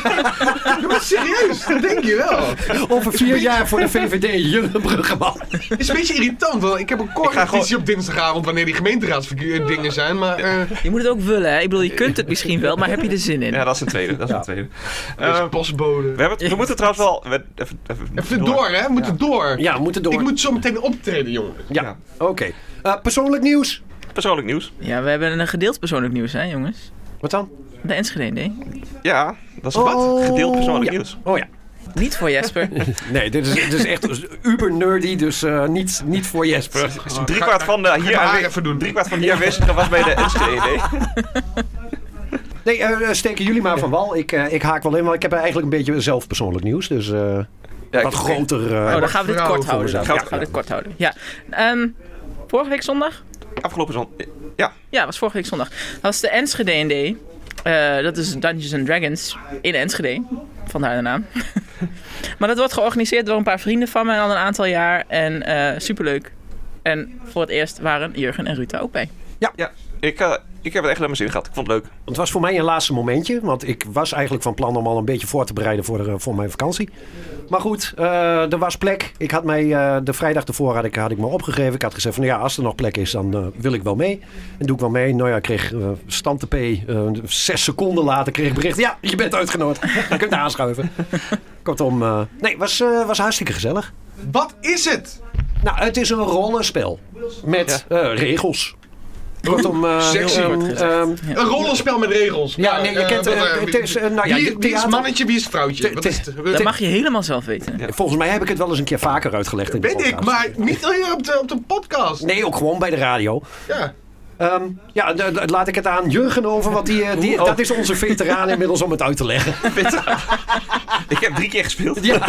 Speaker 1: maar serieus, dat denk je wel.
Speaker 4: Over vier jaar voor de VVD, Jurgen Bruggeman.
Speaker 1: Het is een beetje irritant, want ik heb een
Speaker 3: Ik ga
Speaker 1: korreltitie
Speaker 3: gewoon-
Speaker 1: op dinsdagavond wanneer die gemeenteraadsdingen zijn, maar... eh
Speaker 5: Je moet het ook willen, hè? Ik bedoel, je kunt het misschien wel, maar heb je er zin in?
Speaker 3: Ja, dat is een tweede. Dat is een tweede.
Speaker 1: deze
Speaker 3: Eh,
Speaker 1: postbode.
Speaker 3: we, hebben, het- we moeten trouwens wel... We, even, even,
Speaker 1: Even door, hè? We moeten door.
Speaker 4: Ja, we moeten door.
Speaker 1: Ik moet zo meteen optreden, jongen.
Speaker 4: Ja, oké. Eh, persoonlijk nieuws.
Speaker 3: Persoonlijk nieuws.
Speaker 5: Ja, we hebben een gedeeld persoonlijk nieuws, hè, jongens?
Speaker 4: Wat dan?
Speaker 5: De Enschede, hè?
Speaker 3: Ja, dat is
Speaker 4: Oh,
Speaker 3: wat. Gedeeld persoonlijk
Speaker 4: ja.
Speaker 3: nieuws.
Speaker 4: Oh ja.
Speaker 5: Niet voor Jesper.
Speaker 4: Nee, dit is, dit is echt uber nerdy, dus eh, niet, niet voor Jesper.
Speaker 3: Driekwart van de hier
Speaker 1: mijn haar
Speaker 3: aanwe-
Speaker 1: even doen.
Speaker 3: driekwart van de hier aanwezigen was bij de E NCED.
Speaker 4: Nee, eh, eh, steken jullie maar van wal. Ik, eh, ik haak wel in, want ik heb eigenlijk een beetje zelf persoonlijk nieuws. Dus eh,
Speaker 3: Ja,
Speaker 4: wat
Speaker 3: ik-
Speaker 4: groter. eh,
Speaker 5: Oh, dan gaan we dit
Speaker 1: vrouwen
Speaker 5: kort houden. Dan
Speaker 3: voor
Speaker 5: gaan we dit kort houden. Ja. Ehm, vorige week zondag?
Speaker 3: Afgelopen zon. eh, Ja,
Speaker 5: Ja, was vorige week zondag. Dat was de Enschede D. Eh, dat is Dungeons and Dragons in Enschede. Vandaar de naam. maar dat wordt georganiseerd door een paar vrienden van mij al een aantal jaar. En eh, superleuk. En voor het eerst waren Jurgen en Ruta ook bij.
Speaker 3: ja. Ik, eh, ik heb het echt naar mijn zin gehad. Ik vond het leuk.
Speaker 4: het was voor mij een laatste momentje, want ik was eigenlijk van plan om al een beetje voor te bereiden voor, eh, voor mijn vakantie. Maar goed, eh, er was plek. Ik had mij eh, de vrijdag ervoor had ik, had ik me opgegeven. Ik had gezegd van nou ja, als er nog plek is, dan eh, wil ik wel mee. En doe ik wel mee. Nou ja, ik kreeg eh stand te P. eh, zes seconden later kreeg ik bericht. Ja, je bent uitgenodigd. je kunt aanschuiven. Kortom, eh nee, was, eh, was hartstikke gezellig.
Speaker 1: Wat is het?
Speaker 4: Nou, het is een rollenspel met eh, regels. Kortom, eh,
Speaker 1: Sexy
Speaker 4: ehm,
Speaker 1: wordt
Speaker 4: ehm,
Speaker 1: Een rollenspel met regels.
Speaker 4: ja, nee, je
Speaker 1: eh,
Speaker 4: kent...
Speaker 1: wat,
Speaker 4: eh,
Speaker 1: eh,
Speaker 4: het is, eh, nou ja,
Speaker 1: wie,
Speaker 4: je-
Speaker 1: wie is
Speaker 4: theater-
Speaker 1: mannetje, wie is vrouwtje?
Speaker 4: Te-
Speaker 1: Wat
Speaker 4: te-
Speaker 1: is eh, het?
Speaker 5: Dat mag je helemaal zelf weten.
Speaker 4: Volgens mij heb ik het wel eens een keer vaker uitgelegd in de
Speaker 1: Weet ik,
Speaker 4: podcast.
Speaker 1: maar niet hier op de, op de podcast.
Speaker 4: Nee, ook gewoon bij de radio.
Speaker 1: Ja.
Speaker 4: Ehm, ja, d- d- laat ik het aan Jurgen over, want die, eh, die,
Speaker 1: Oh.
Speaker 4: dat is onze veteraan inmiddels om het uit te leggen.
Speaker 3: Ik heb drie keer gespeeld.
Speaker 4: Ja.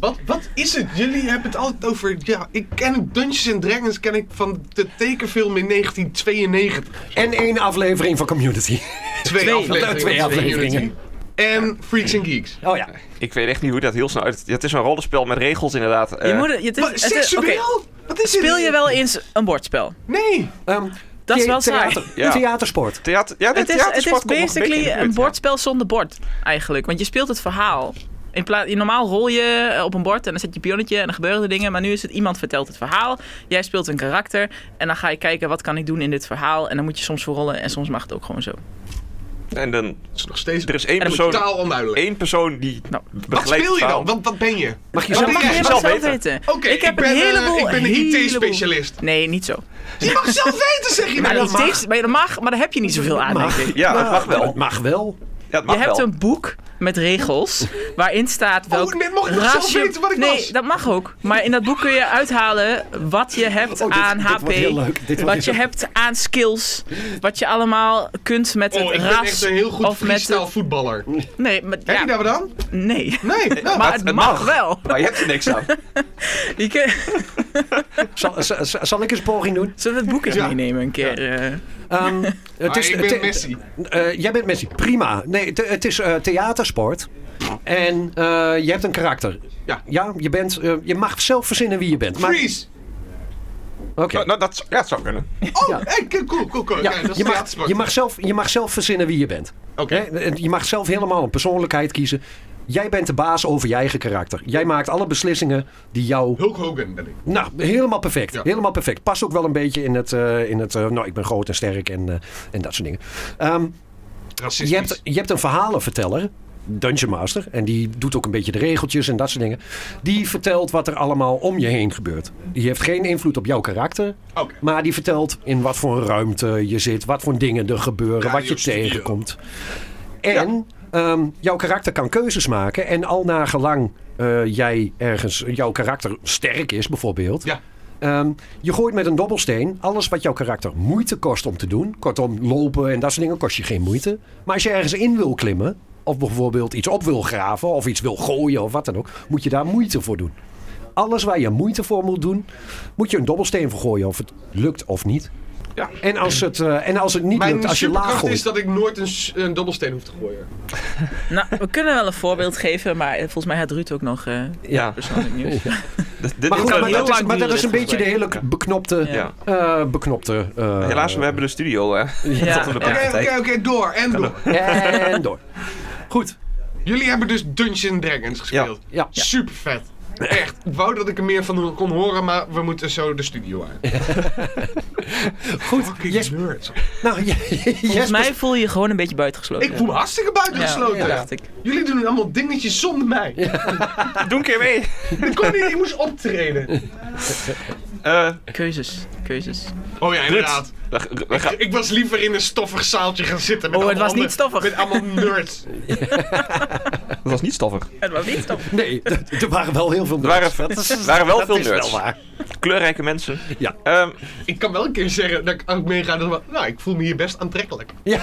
Speaker 1: Wat, wat is het? Jullie hebben het altijd over. Ja, ik ken het Dungeons and Dragons ken ik van de tekenfilm in 1992.
Speaker 4: En één aflevering van Community.
Speaker 1: Twee, afleveringen.
Speaker 4: twee
Speaker 1: van
Speaker 4: afleveringen.
Speaker 1: Unity. En Freaks and Geeks.
Speaker 4: Oh ja.
Speaker 3: Ik weet echt niet hoe dat heel snel uit... Het is een rollenspel met regels inderdaad.
Speaker 5: Je
Speaker 3: Eh,
Speaker 5: moet het, het is,
Speaker 1: Wat,
Speaker 5: het is- oké.
Speaker 1: seksueel? Wat is dit?
Speaker 5: Speel je wel eens een bordspel?
Speaker 1: Nee.
Speaker 4: Ehm,
Speaker 5: Dat is
Speaker 4: the-
Speaker 5: wel saai.
Speaker 4: theater-
Speaker 3: Ja.
Speaker 4: Theatersport.
Speaker 3: Theater, ja,
Speaker 5: Het is, het is basically een,
Speaker 3: bord.
Speaker 5: bordspel zonder bord, eigenlijk. Want je speelt het verhaal. In plaats, je- normaal rol je eh, op een bord en dan zet je pionnetje en dan gebeuren er dingen. Maar nu is het iemand vertelt het verhaal. Jij speelt een karakter. En dan ga je kijken wat kan ik doen in dit verhaal. En dan moet je soms voor rollen en soms mag het ook gewoon zo.
Speaker 3: En dan,
Speaker 1: Dat is nog steeds
Speaker 3: er is één
Speaker 5: En dan moet
Speaker 3: persoon,
Speaker 1: totaal onduidelijk.
Speaker 3: één persoon die
Speaker 5: Nou,
Speaker 1: Wat
Speaker 3: begeleidt
Speaker 1: speel je
Speaker 3: het
Speaker 1: dan?
Speaker 3: verhaal.
Speaker 1: Wat, wat ben je?
Speaker 4: Mag je
Speaker 1: Wat
Speaker 5: dat
Speaker 4: zelf...
Speaker 1: ben
Speaker 5: mag je
Speaker 1: jij?
Speaker 5: helemaal
Speaker 3: zelf
Speaker 5: zelf
Speaker 3: weten.
Speaker 5: weten.
Speaker 1: Oké, ik
Speaker 5: heb
Speaker 1: ben,
Speaker 5: een
Speaker 1: eh,
Speaker 5: heleboel...
Speaker 1: ik ben een
Speaker 5: heleboel-
Speaker 1: IT-specialist.
Speaker 5: Nee, niet zo.
Speaker 1: Je mag zelf weten, zeg je
Speaker 5: Maar,
Speaker 1: nou.
Speaker 5: dat maar dat mag, maar daar heb je niet zoveel aan, denk ik.
Speaker 3: Ja, dat mag wel.
Speaker 4: Het mag wel.
Speaker 3: het mag
Speaker 5: je hebt
Speaker 3: wel.
Speaker 5: een boek met regels waarin staat welk
Speaker 1: Oh, net mocht ik nog zelf
Speaker 5: rasje-
Speaker 1: weten wat ik
Speaker 5: nee,
Speaker 1: was.
Speaker 5: dat mag ook. Maar in dat boek kun je uithalen wat je hebt
Speaker 4: Oh, dit-
Speaker 5: aan
Speaker 4: dit
Speaker 5: HP.
Speaker 4: wordt heel leuk. Dit wordt
Speaker 5: wat je
Speaker 4: heel-
Speaker 5: hebt aan skills. Wat je allemaal kunt met
Speaker 1: Oh,
Speaker 5: het
Speaker 1: ik
Speaker 5: ras.
Speaker 1: ben echt een heel goed
Speaker 5: of met
Speaker 1: freestyle
Speaker 5: het,
Speaker 1: voetballer.
Speaker 5: Nee, maar,
Speaker 1: Heb
Speaker 5: ja,
Speaker 1: je daar wat aan?
Speaker 5: nee.
Speaker 4: Eh,
Speaker 1: Nee, nou,
Speaker 5: Maar
Speaker 3: het-
Speaker 5: het,
Speaker 3: het
Speaker 5: mag,
Speaker 3: mag.
Speaker 5: wel.
Speaker 3: Maar je hebt er niks aan.
Speaker 5: Je kun-
Speaker 4: Zal, zal, zal- zal ik eens een poging doen?
Speaker 5: Zullen we het boek eens
Speaker 1: Ja.
Speaker 5: meenemen een keer? eh?
Speaker 4: Ehm, het
Speaker 1: maar
Speaker 4: is,
Speaker 1: ik
Speaker 4: het-
Speaker 1: ben
Speaker 4: het-
Speaker 1: Messi.
Speaker 4: Eh, jij bent Messi. Prima. Nee, het- het is eh, theatersport. En eh, je hebt een karakter.
Speaker 1: Ja.
Speaker 4: Ja, je, bent, eh, je mag zelf verzinnen wie je bent. Maar,
Speaker 1: Freeze!
Speaker 4: Oké.
Speaker 3: Nou, nou, dat, zou- ja, dat zou kunnen.
Speaker 1: Oh,
Speaker 4: Ja.
Speaker 1: hey, cool, cool, cool. cool.
Speaker 4: Ja,
Speaker 1: Kijk, Oh, dat is
Speaker 4: je, mag,
Speaker 1: theatersport.
Speaker 4: je, mag zelf, je mag zelf verzinnen wie je bent.
Speaker 1: Oké.
Speaker 4: Hè? Je mag zelf helemaal een persoonlijkheid kiezen. Jij bent de baas over je eigen karakter. Jij maakt alle beslissingen die jou...
Speaker 1: Hulk Hogan ben ik.
Speaker 4: Nou, helemaal perfect.
Speaker 1: Ja.
Speaker 4: Helemaal perfect. Past ook wel een beetje in het... eh, in het eh, nou, ik ben groot en sterk en, eh, en dat soort dingen. Ehm,
Speaker 1: Racistisch.
Speaker 4: je hebt, je hebt een verhalenverteller, Dungeon Master, en die doet ook een beetje de regeltjes en dat soort dingen. Die vertelt wat er allemaal om je heen gebeurt. Die heeft geen invloed op jouw karakter,
Speaker 1: Oké.
Speaker 4: maar die vertelt in wat voor een ruimte je zit, wat voor dingen er gebeuren,
Speaker 1: Radio
Speaker 4: wat je
Speaker 1: studio.
Speaker 4: tegenkomt. En ehm, jouw karakter kan keuzes maken en al nagelang eh jij ergens, jouw karakter sterk is bijvoorbeeld,
Speaker 1: Ja.
Speaker 4: Ehm, je gooit met een dobbelsteen alles wat jouw karakter moeite kost om te doen. Kortom, lopen en dat soort dingen kost je geen moeite. Maar als je ergens in wil klimmen, of bijvoorbeeld iets op wil graven, of iets wil gooien of wat dan ook, moet je daar moeite voor doen. Alles waar je moeite voor moet doen, moet je een dobbelsteen voor gooien of het lukt of niet.
Speaker 1: Ja.
Speaker 4: En, als het, eh, en als het niet lukt,
Speaker 1: Mijn
Speaker 4: als je laag
Speaker 1: superkracht
Speaker 4: gooit.
Speaker 1: is dat ik nooit een, s- een dobbelsteen hoef te gooien.
Speaker 5: nou, we kunnen wel een voorbeeld geven, maar eh, volgens mij had Ruud ook nog eh
Speaker 4: Ja.
Speaker 5: persoonlijk nieuws.
Speaker 3: Dus Dit- dit
Speaker 4: Maar
Speaker 3: is
Speaker 4: goed,
Speaker 5: kan
Speaker 4: maar
Speaker 5: heel
Speaker 4: dat, is,
Speaker 5: lang
Speaker 4: maar dat
Speaker 5: duren,
Speaker 4: is een
Speaker 5: dit
Speaker 4: beetje de hele beknopte...
Speaker 5: Ja.
Speaker 4: eh, beknopte eh,
Speaker 3: Helaas, we hebben de studio eh,
Speaker 5: Ja.
Speaker 3: tot een
Speaker 1: Oké,
Speaker 3: beperkte
Speaker 1: oké,
Speaker 3: tijd.
Speaker 1: oké, door en door.
Speaker 4: En door. Goed.
Speaker 1: Jullie hebben dus Dungeons and Dragons gespeeld.
Speaker 4: Ja. Ja.
Speaker 1: Super vet. Echt. Ik wou dat ik er meer van kon horen, maar we moeten zo de studio uit.
Speaker 4: Goed. Jes- nou,
Speaker 5: Volgens
Speaker 4: Jesper
Speaker 5: mij voel je je gewoon een beetje buitengesloten.
Speaker 1: Ik voel me hartstikke buitengesloten.
Speaker 5: Ja, dacht ik.
Speaker 1: Jullie doen allemaal dingetjes zonder mij.
Speaker 3: Doe een keer mee.
Speaker 1: Ik kon niet, ik moest optreden.
Speaker 3: Eh,
Speaker 5: Keuzes, keuzes.
Speaker 1: Oh ja, inderdaad.
Speaker 3: we, we- we gaan-
Speaker 1: Ik was liever in een stoffig zaaltje gaan zitten. Met
Speaker 5: Oh, het
Speaker 1: allemaal
Speaker 5: was niet
Speaker 1: andere-
Speaker 5: stoffig.
Speaker 1: Met allemaal nerds.
Speaker 3: dat was niet stoffig.
Speaker 5: Het was niet stof.
Speaker 4: Nee, d- er waren wel heel veel
Speaker 3: Er
Speaker 4: nerds.
Speaker 3: waren, er waren wel veel nerds.
Speaker 4: waar.
Speaker 3: Kleurrijke mensen.
Speaker 4: Ja.
Speaker 3: Ehm,
Speaker 1: ik kan wel een keer zeggen dat ik ook meega. Dat, we- nou, ik voel me hier best aantrekkelijk.
Speaker 4: Ja.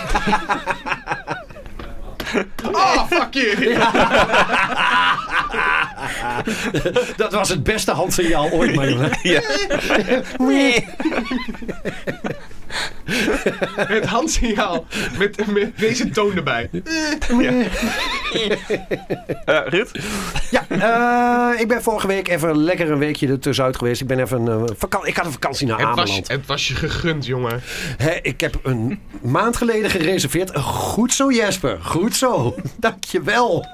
Speaker 1: Oh, fuck you.
Speaker 4: Dat was het beste handsignaal ooit, Marjolein.
Speaker 3: ja.
Speaker 1: Het handsignaal. Met, met deze toon erbij.
Speaker 3: Eh, Ruud,
Speaker 4: Ja, eh, ik ben vorige week even lekker een weekje ertussenuit geweest. Ik ben even een eh, vaka- Ik had een vakantie naar
Speaker 1: Het was,
Speaker 4: Ameland.
Speaker 1: het was je gegund, jongen.
Speaker 4: Hè, ik heb een maand geleden gereserveerd. Goed zo, Jesper. Goed zo. Dankjewel.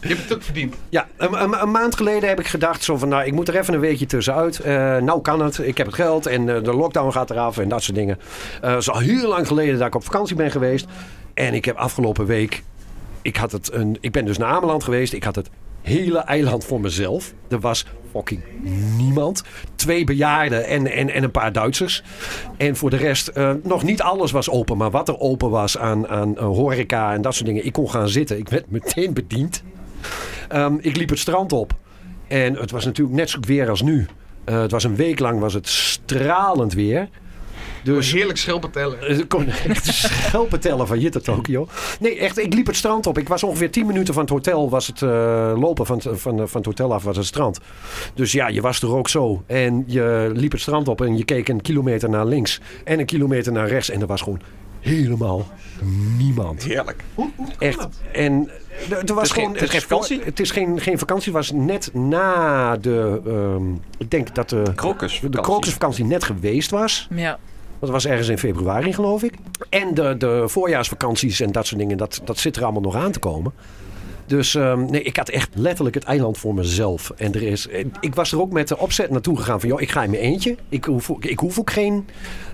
Speaker 1: Je hebt het ook verdiend.
Speaker 4: Ja, een, een, een maand geleden heb ik gedacht zo van, nou, ik moet er even een weekje tussenuit. Eh, nou kan het, ik heb het geld en eh, de lockdown gaat eraf en dat soort dingen. Eh, Het is al heel lang geleden dat ik op vakantie ben geweest. En ik heb afgelopen week, ik, had het een, ik ben dus naar Ameland geweest. Ik had het hele eiland voor mezelf. Er was fucking niemand. Twee bejaarden en, en, en een paar Duitsers. En voor de rest, eh, nog niet alles was open. Maar wat er open was aan, aan eh, horeca en dat soort dingen. Ik kon gaan zitten. Ik werd meteen bediend. Ehm, ik liep het strand op. En het was natuurlijk net zo goed weer als nu. Eh, het was een week lang was het stralend weer. Dus
Speaker 1: Heerlijk schelpen tellen.
Speaker 4: eh, ik kon echt schelpen tellen van hier tot Tokio. Nee, echt, ik liep het strand op. Ik was ongeveer 10 minuten van het hotel, was het eh, lopen van, het- van, van het hotel af, was het strand. Dus ja, je was er ook zo. En je liep het strand op en je keek een kilometer naar links en een kilometer naar rechts. En er was gewoon helemaal niemand.
Speaker 3: heerlijk.
Speaker 1: Hoe, hoe kan
Speaker 4: Echt.
Speaker 1: dat?
Speaker 4: En er- er was
Speaker 3: is geen-
Speaker 4: gewoon.
Speaker 3: het is geen
Speaker 4: voor-
Speaker 3: vakantie?
Speaker 4: Het is geen, geen vakantie. Het was net na de. ehm, ik denk dat de.
Speaker 3: Krokus.
Speaker 4: De krokusvakantie net geweest was.
Speaker 5: Ja.
Speaker 4: Dat was ergens in februari, geloof ik. En de, de voorjaarsvakanties en dat soort dingen, dat, dat zit er allemaal nog aan te komen. Dus ehm, nee, ik had echt letterlijk het eiland voor mezelf. En er is, en ik was er ook met de opzet naartoe gegaan van... joh, ik ga in mijn eentje. Ik hoef, ook- ik hoef ook geen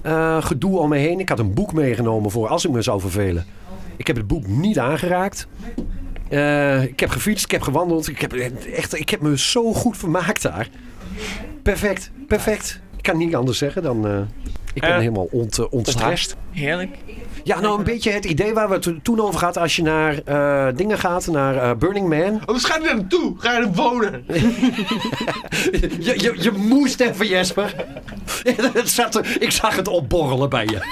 Speaker 4: eh, gedoe om me heen. Ik had een boek meegenomen voor als ik me zou vervelen. Ik heb het boek niet aangeraakt. Eh, ik heb gefietst, ik heb gewandeld. Ik heb, echt, ik heb me zo goed vermaakt daar. Perfect, perfect. Ik kan niet anders zeggen dan... eh, Ik ben
Speaker 3: Eh,
Speaker 4: helemaal ont, eh, ontstrest.
Speaker 5: Heerlijk.
Speaker 4: Ja, nou een beetje het idee waar we het toen over hadden als je naar eh, dingen gaat, naar eh, Burning Man.
Speaker 1: Oh, dus ga je er naartoe. Ga je er wonen.
Speaker 4: Je, je, je moest even, Jesper. Het zat er- ik zag het opborrelen bij je.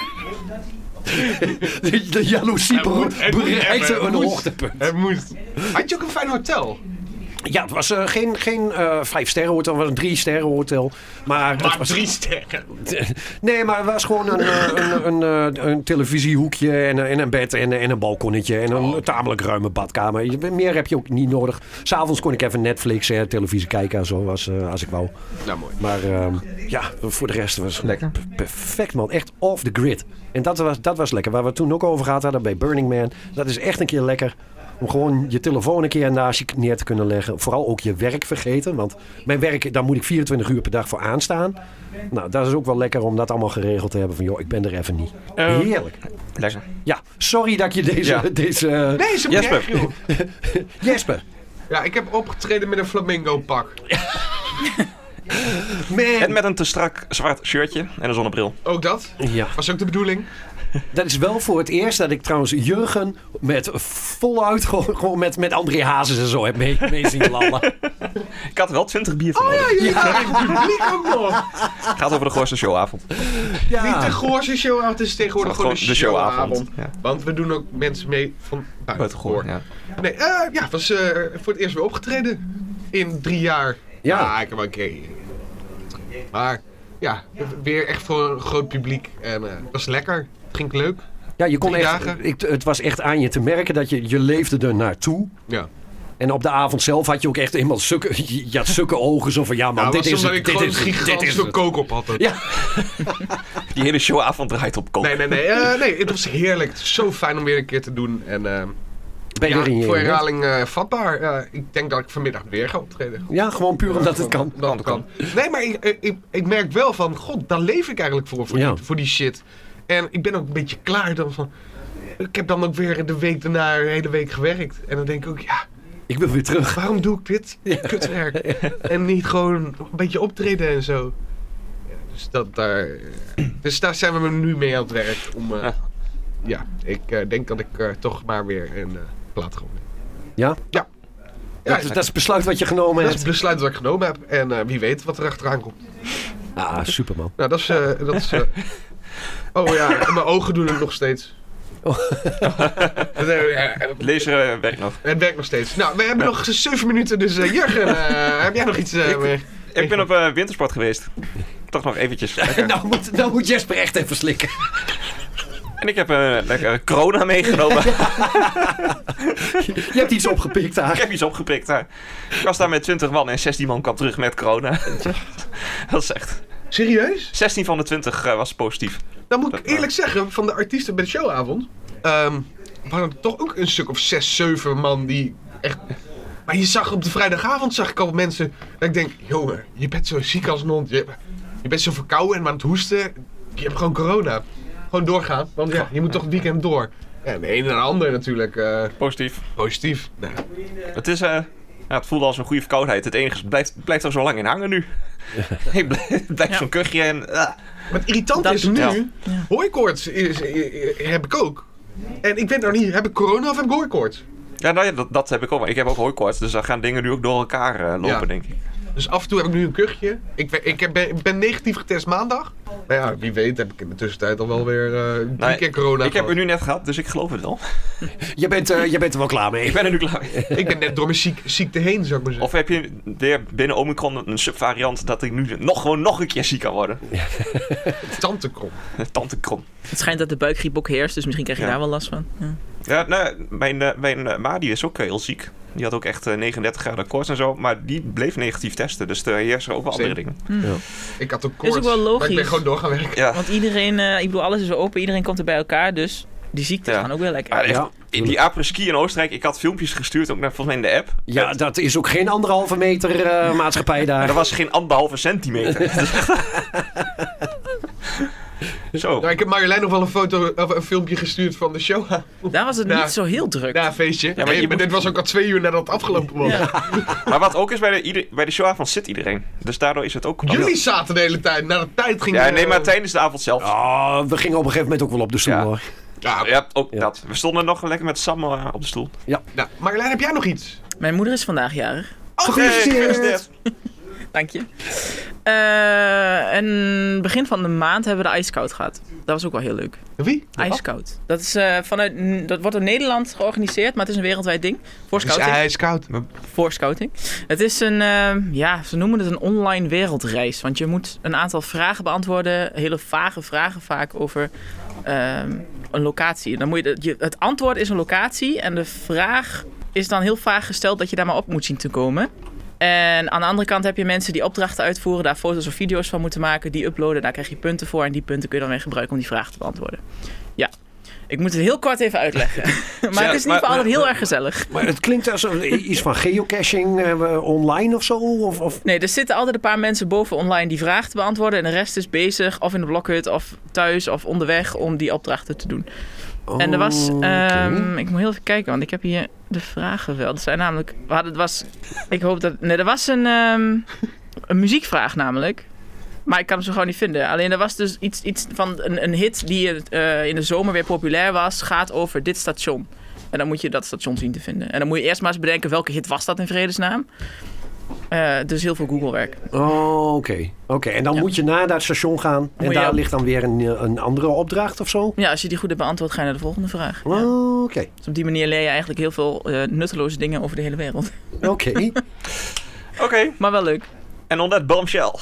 Speaker 4: De, de jaloezie
Speaker 1: Het moet-
Speaker 4: bere-
Speaker 1: het moet
Speaker 4: bereikte
Speaker 1: hebben,
Speaker 4: een
Speaker 1: het moest.
Speaker 4: hoogtepunt.
Speaker 1: Het moest. Had je ook een fijn hotel?
Speaker 4: Ja, het was eh, geen, geen eh vijf sterren hotel, het was een drie sterren hotel. Maar, het
Speaker 1: Maar
Speaker 4: was,
Speaker 1: drie sterren.
Speaker 4: nee, maar het was gewoon een, eh, een, een, eh, een televisiehoekje en, eh, en een bed en, eh, en een balkonnetje en
Speaker 1: Oh.
Speaker 4: een tamelijk ruime badkamer. Je- Meer heb je ook niet nodig. S'avonds kon ik even Netflix en televisie kijken en zo als, eh, als ik wou.
Speaker 1: Nou, mooi.
Speaker 4: Maar ehm, ja, voor de rest was het lekker. Perfect man, echt off the grid. En dat was, dat was lekker. Waar we het toen ook over gehad hadden bij Burning Man. Dat is echt een keer lekker. Om gewoon je telefoon een keer naast je neer te kunnen leggen. Vooral ook je werk vergeten. Want mijn werk, daar moet ik 24 uur per dag voor aanstaan. Nou, dat is ook wel lekker om dat allemaal geregeld te hebben. Van joh, ik ben er even niet.
Speaker 5: Eh,
Speaker 4: Heerlijk.
Speaker 3: Lekker.
Speaker 4: Ja, sorry dat ik je deze...
Speaker 3: Ehm, Ja.
Speaker 4: deze eh,
Speaker 1: Nee, is een
Speaker 3: Jesper.
Speaker 1: berg, joh.
Speaker 4: Jesper,
Speaker 1: Ja, ik heb opgetreden met een flamingo pak.
Speaker 4: man.
Speaker 3: En met een te strak zwart shirtje en een zonnebril.
Speaker 1: Ook dat.
Speaker 4: Ja.
Speaker 1: Was ook de bedoeling.
Speaker 4: Dat is wel voor het eerst dat ik trouwens Jurgen met voluit gewoon, gewoon met, met André Hazes en zo heb mee, mee zien lallen.
Speaker 3: Ik had er wel 20 bier van. nodig.
Speaker 1: Ja, in het publiek ook nog.
Speaker 3: Gaat over de Goorste Showavond.
Speaker 1: Niet de
Speaker 4: Ja.
Speaker 1: goorste showavond, het is tegenwoordig
Speaker 3: Gewoon
Speaker 1: gewoon
Speaker 3: de
Speaker 1: een
Speaker 3: showavond.
Speaker 1: showavond.
Speaker 3: Ja.
Speaker 1: Want we doen ook mensen mee van
Speaker 3: Uit
Speaker 1: buiten
Speaker 3: Goor.
Speaker 1: Goor.
Speaker 3: Ja.
Speaker 1: Nee, eh, ja, was eh, voor het eerst weer opgetreden. In drie jaar.
Speaker 4: Ja.
Speaker 1: Ah, ik heb wel een keer. Maar ja, weer echt voor een groot publiek. En eh, het was lekker. Het ging leuk.
Speaker 4: ja, je kon
Speaker 1: Drie
Speaker 4: echt,
Speaker 1: dagen.
Speaker 4: ik, het was echt aan je te merken dat je, je leefde er naartoe.
Speaker 1: Ja.
Speaker 4: En op de avond zelf had je ook echt helemaal sukke, je had sukke ogen. Zo van, ja man,
Speaker 1: Nou,
Speaker 4: dit
Speaker 1: was
Speaker 4: is
Speaker 1: omdat
Speaker 4: het,
Speaker 1: ik
Speaker 4: dit
Speaker 1: gewoon
Speaker 4: is het, dit
Speaker 1: gigantisch
Speaker 4: is
Speaker 1: veel
Speaker 4: het.
Speaker 1: kook op had.
Speaker 4: Ja.
Speaker 3: Die hele showavond draait op kook.
Speaker 1: Nee, nee, nee, eh, nee. Het was heerlijk. Het was zo fijn om weer een keer te doen. En eh,
Speaker 4: Ben je
Speaker 1: ja,
Speaker 4: er in je
Speaker 1: voor
Speaker 4: element?
Speaker 1: herhaling eh, vatbaar. Eh, ik denk dat ik vanmiddag weer ga optreden.
Speaker 4: Ja, gewoon puur omdat het kan.
Speaker 1: Dat kan. Nee, maar ik, eh, ik, ik merk wel van, god, daar leef ik eigenlijk voor, voor,
Speaker 4: Ja.
Speaker 1: die, voor die shit. En ik ben ook een beetje klaar dan van... Ik heb dan ook weer de week daarna een hele week gewerkt. En dan denk ik ook, ja,
Speaker 4: Ik wil weer terug.
Speaker 1: waarom doe ik dit? Kutwerk. En niet gewoon een beetje optreden en zo. Ja, Dus, dat, daar, dus daar zijn we nu mee aan het werk. Om,
Speaker 4: Ah.
Speaker 1: eh,
Speaker 3: Ja.
Speaker 1: ja. ik eh, denk dat ik eh, toch maar weer een eh plaat ga opnemen.
Speaker 4: Ja?
Speaker 1: Ja. Ja,
Speaker 4: dat, is- dat is het besluit wat je genomen
Speaker 1: dat is het
Speaker 4: hebt.
Speaker 1: besluit dat ik genomen heb. En eh, wie weet wat er achteraan komt.
Speaker 4: Ah, superman.
Speaker 1: Nou, dat is. eh, dat is eh, Oh ja, en mijn ogen doen het nog steeds. Dat, eh, ja,
Speaker 3: Lezer eh, werkt nog.
Speaker 1: het werkt nog steeds. Nou, we hebben nog zeven minuten, dus eh, Jurgen, eh, heb jij nog iets? eh, meer?
Speaker 3: Ik ben op eh, wintersport geweest. Toch nog eventjes. Lekker.
Speaker 4: Nou moet, nou moet Jesper echt even slikken.
Speaker 3: En ik heb een lekker corona meegenomen.
Speaker 4: Je hebt iets opgepikt
Speaker 3: Ik
Speaker 4: daar.
Speaker 3: heb iets opgepikt daar. Ik was daar met 20 man en 16 man kwam terug met corona. Dat is echt.
Speaker 1: Serieus?
Speaker 3: 16 van de 20 eh, was positief.
Speaker 1: Dan moet ik
Speaker 3: Dat-
Speaker 1: eerlijk zeggen, van de artiesten bij de showavond. ehm, waren er toch ook een stuk of zes, zeven man die echt. Maar je zag op de vrijdagavond zag ik al mensen. Dat ik denk, jongen, je bent zo ziek als een hond. Je, je bent zo verkouden en aan het hoesten. Je hebt gewoon corona. Gewoon doorgaan, want ja, je moet toch het weekend door. Ja, de een en de ander natuurlijk eh,
Speaker 3: Positief.
Speaker 1: positief. Nou,
Speaker 3: Het is. eh, ja, het voelde als een goede verkoudheid. Het enige is, het blijft, het blijft er zo lang in hangen nu. Ik blijf, het blijft
Speaker 5: Ja.
Speaker 3: zo'n kuchje en. ah.
Speaker 1: Wat irritant
Speaker 5: Dat
Speaker 1: is
Speaker 5: doet
Speaker 1: nu,
Speaker 3: het.
Speaker 1: hooikoorts is, eh, eh, heb ik ook. En ik weet nou niet, heb ik corona of heb ik hooikoorts?
Speaker 3: Ja, nou ja, dat, dat heb ik ook. Maar ik heb ook hooikoorts, dus dan gaan dingen nu ook door elkaar eh, lopen,
Speaker 1: Ja.
Speaker 3: denk ik.
Speaker 1: Dus af en toe heb ik nu een kuchje. Ik, ben- ik heb- ben, ben negatief getest maandag. Maar ja, wie weet heb ik in de tussentijd al wel weer eh drie
Speaker 3: Nou,
Speaker 1: keer corona
Speaker 3: Ik heb
Speaker 1: gehad.
Speaker 3: er nu net gehad, dus ik geloof het wel.
Speaker 4: Je bent, eh, je bent er wel klaar mee.
Speaker 3: Ik ben er nu klaar mee.
Speaker 1: Ik ben net door mijn ziek, ziekte heen, zou ik maar zeggen.
Speaker 3: Of heb je weer binnen Omicron een subvariant dat ik nu nog gewoon nog een keer ziek kan worden?
Speaker 1: Of tantenkrom.
Speaker 3: Tante Krom.
Speaker 5: Het schijnt dat de buikgriep ook heerst, dus misschien krijg je
Speaker 3: Ja.
Speaker 5: daar wel last van. Ja.
Speaker 3: Ja, nou, mijn, eh, mijn eh, ma die is ook eh, heel ziek. Die had ook echt eh, 39 graden koorts en zo. Maar die bleef negatief testen. Dus er heersen ook wel andere
Speaker 1: Same.
Speaker 3: dingen.
Speaker 1: Ik had ook koorts.
Speaker 5: ook wel
Speaker 1: Maar ik ben
Speaker 5: logisch.
Speaker 1: gewoon door gaan werken.
Speaker 3: Ja.
Speaker 5: Want iedereen, eh, ik bedoel, alles is weer open, iedereen komt er bij elkaar, dus die ziektes
Speaker 3: Ja.
Speaker 5: gaan ook weer lekker.
Speaker 3: Maar echt,
Speaker 4: Ja.
Speaker 3: in die apres-ski in Oostenrijk. Ik had filmpjes gestuurd, ook naar volgens mij in de app.
Speaker 4: Ja, dat is ook geen anderhalve meter eh, maatschappij
Speaker 3: Maar
Speaker 4: daar.
Speaker 3: Dus- er was geen anderhalve centimeter. Zo.
Speaker 1: Nou, ik heb Marjolein nog wel een, foto, of een filmpje gestuurd van de show.
Speaker 5: Daar was het
Speaker 1: Nou,
Speaker 5: niet zo heel druk.
Speaker 1: Na een feestje.
Speaker 3: maar
Speaker 1: maar
Speaker 3: je moet-
Speaker 1: dit was ook al twee uur nadat het afgelopen was.
Speaker 3: Maar wat ook is, bij de, ieder, bij de showavond zit iedereen. Dus daardoor is het ook...
Speaker 1: Jullie zaten de hele tijd. Na de tijd ging
Speaker 3: Ja,
Speaker 1: het,
Speaker 3: nee,
Speaker 1: eh,
Speaker 3: maar tijdens de avond zelf.
Speaker 4: Oh, we gingen op een gegeven moment ook wel op de stoel
Speaker 3: Ja.
Speaker 4: hoor.
Speaker 1: Ja,
Speaker 3: Ja, ook
Speaker 4: Ja.
Speaker 3: dat. We stonden nog lekker met Sam eh, op de stoel.
Speaker 1: nou, Marjolein, heb jij nog iets?
Speaker 5: Mijn moeder is vandaag jarig.
Speaker 3: Hey, gefeliciteerd.
Speaker 5: Dank je. Eh, en begin van de maand hebben we de ijskoud gehad. Dat was ook wel heel leuk.
Speaker 1: Wie?
Speaker 5: Ijskoud. Dat, is, eh, vanuit, dat wordt door Nederland georganiseerd, maar het is een wereldwijd ding. Voor
Speaker 1: Dus
Speaker 5: scouting.
Speaker 1: hij is koud.
Speaker 5: voor scouting. Het is een, eh, ja, ze noemen het een online wereldreis. Want je moet een aantal vragen beantwoorden. Hele vage vragen vaak over ehm, een locatie. Dan moet je, de- je, het antwoord is een locatie. En de vraag is dan heel vaag gesteld dat je daar maar op moet zien te komen. En aan de andere kant heb je mensen die opdrachten uitvoeren, daar foto's of video's van moeten maken, die uploaden, daar krijg je punten voor en die punten kun je dan weer gebruiken om die vraag te beantwoorden. Ja, ik moet het heel kort even uitleggen. maar
Speaker 3: Ja,
Speaker 5: het is niet
Speaker 3: maar-
Speaker 5: voor altijd heel
Speaker 3: maar-
Speaker 5: erg gezellig.
Speaker 4: Maar het klinkt als een- iets van geocaching eh, online of zo. Of, of...
Speaker 5: Nee, er zitten altijd een paar mensen boven online die vragen te beantwoorden. En de rest is bezig, of in de blokhut, of thuis, of onderweg, om die opdrachten te doen. en er was,
Speaker 4: Oké.
Speaker 5: ehm, ik moet heel even kijken, want ik heb hier de vragen wel. Er zijn namelijk, we hadden, het was, ik hoop dat, nee, er was een, ehm, een muziekvraag namelijk. Maar ik kan hem zo gewoon niet vinden. Alleen er was dus iets, iets van een, een hit die eh, in de zomer weer populair was, gaat over dit station. En dan moet je dat station zien te vinden. En dan moet je eerst maar eens bedenken welke hit was dat in vredesnaam. Eh, dus heel veel Google-werk.
Speaker 4: Oh, oké. Oké, En dan moet je naar dat station gaan. En
Speaker 5: Moet je
Speaker 4: daar
Speaker 5: op-
Speaker 4: ligt dan weer een, eh, een andere opdracht of zo.
Speaker 5: Ja, als je die goed hebt beantwoord, ga je naar de volgende vraag. Ja.
Speaker 4: Oh, Oké.
Speaker 5: Dus op die manier leer je eigenlijk heel veel eh, nutteloze dingen over de hele wereld.
Speaker 4: Oké.
Speaker 3: Oké,
Speaker 5: Maar wel leuk.
Speaker 3: en on that bombshell.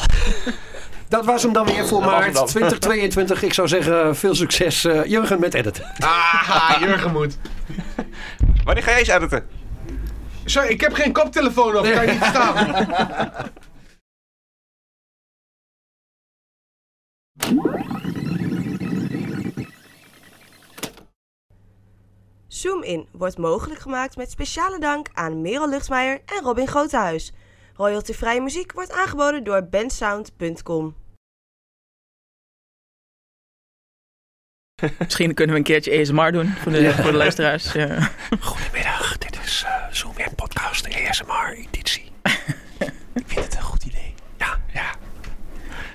Speaker 4: Dat was hem dan weer voor
Speaker 3: Dat was hem
Speaker 4: maart
Speaker 3: dan.
Speaker 4: 2022. Ik zou zeggen, veel succes, eh, Jurgen, met editen.
Speaker 1: Ah, Jurgen moet.
Speaker 3: Wanneer ga jij eens editen?
Speaker 1: Sorry, ik heb geen koptelefoon op. Kan je niet verstaan.
Speaker 2: Zoom In wordt mogelijk gemaakt met speciale dank aan Merel Luchtmeijer en Robin Grotehuis. Royaltyvrije muziek wordt aangeboden door bensound.com.
Speaker 5: Misschien kunnen we een keertje ASMR doen voor de, voor de luisteraars. Ja.
Speaker 4: Goedemiddag. eh,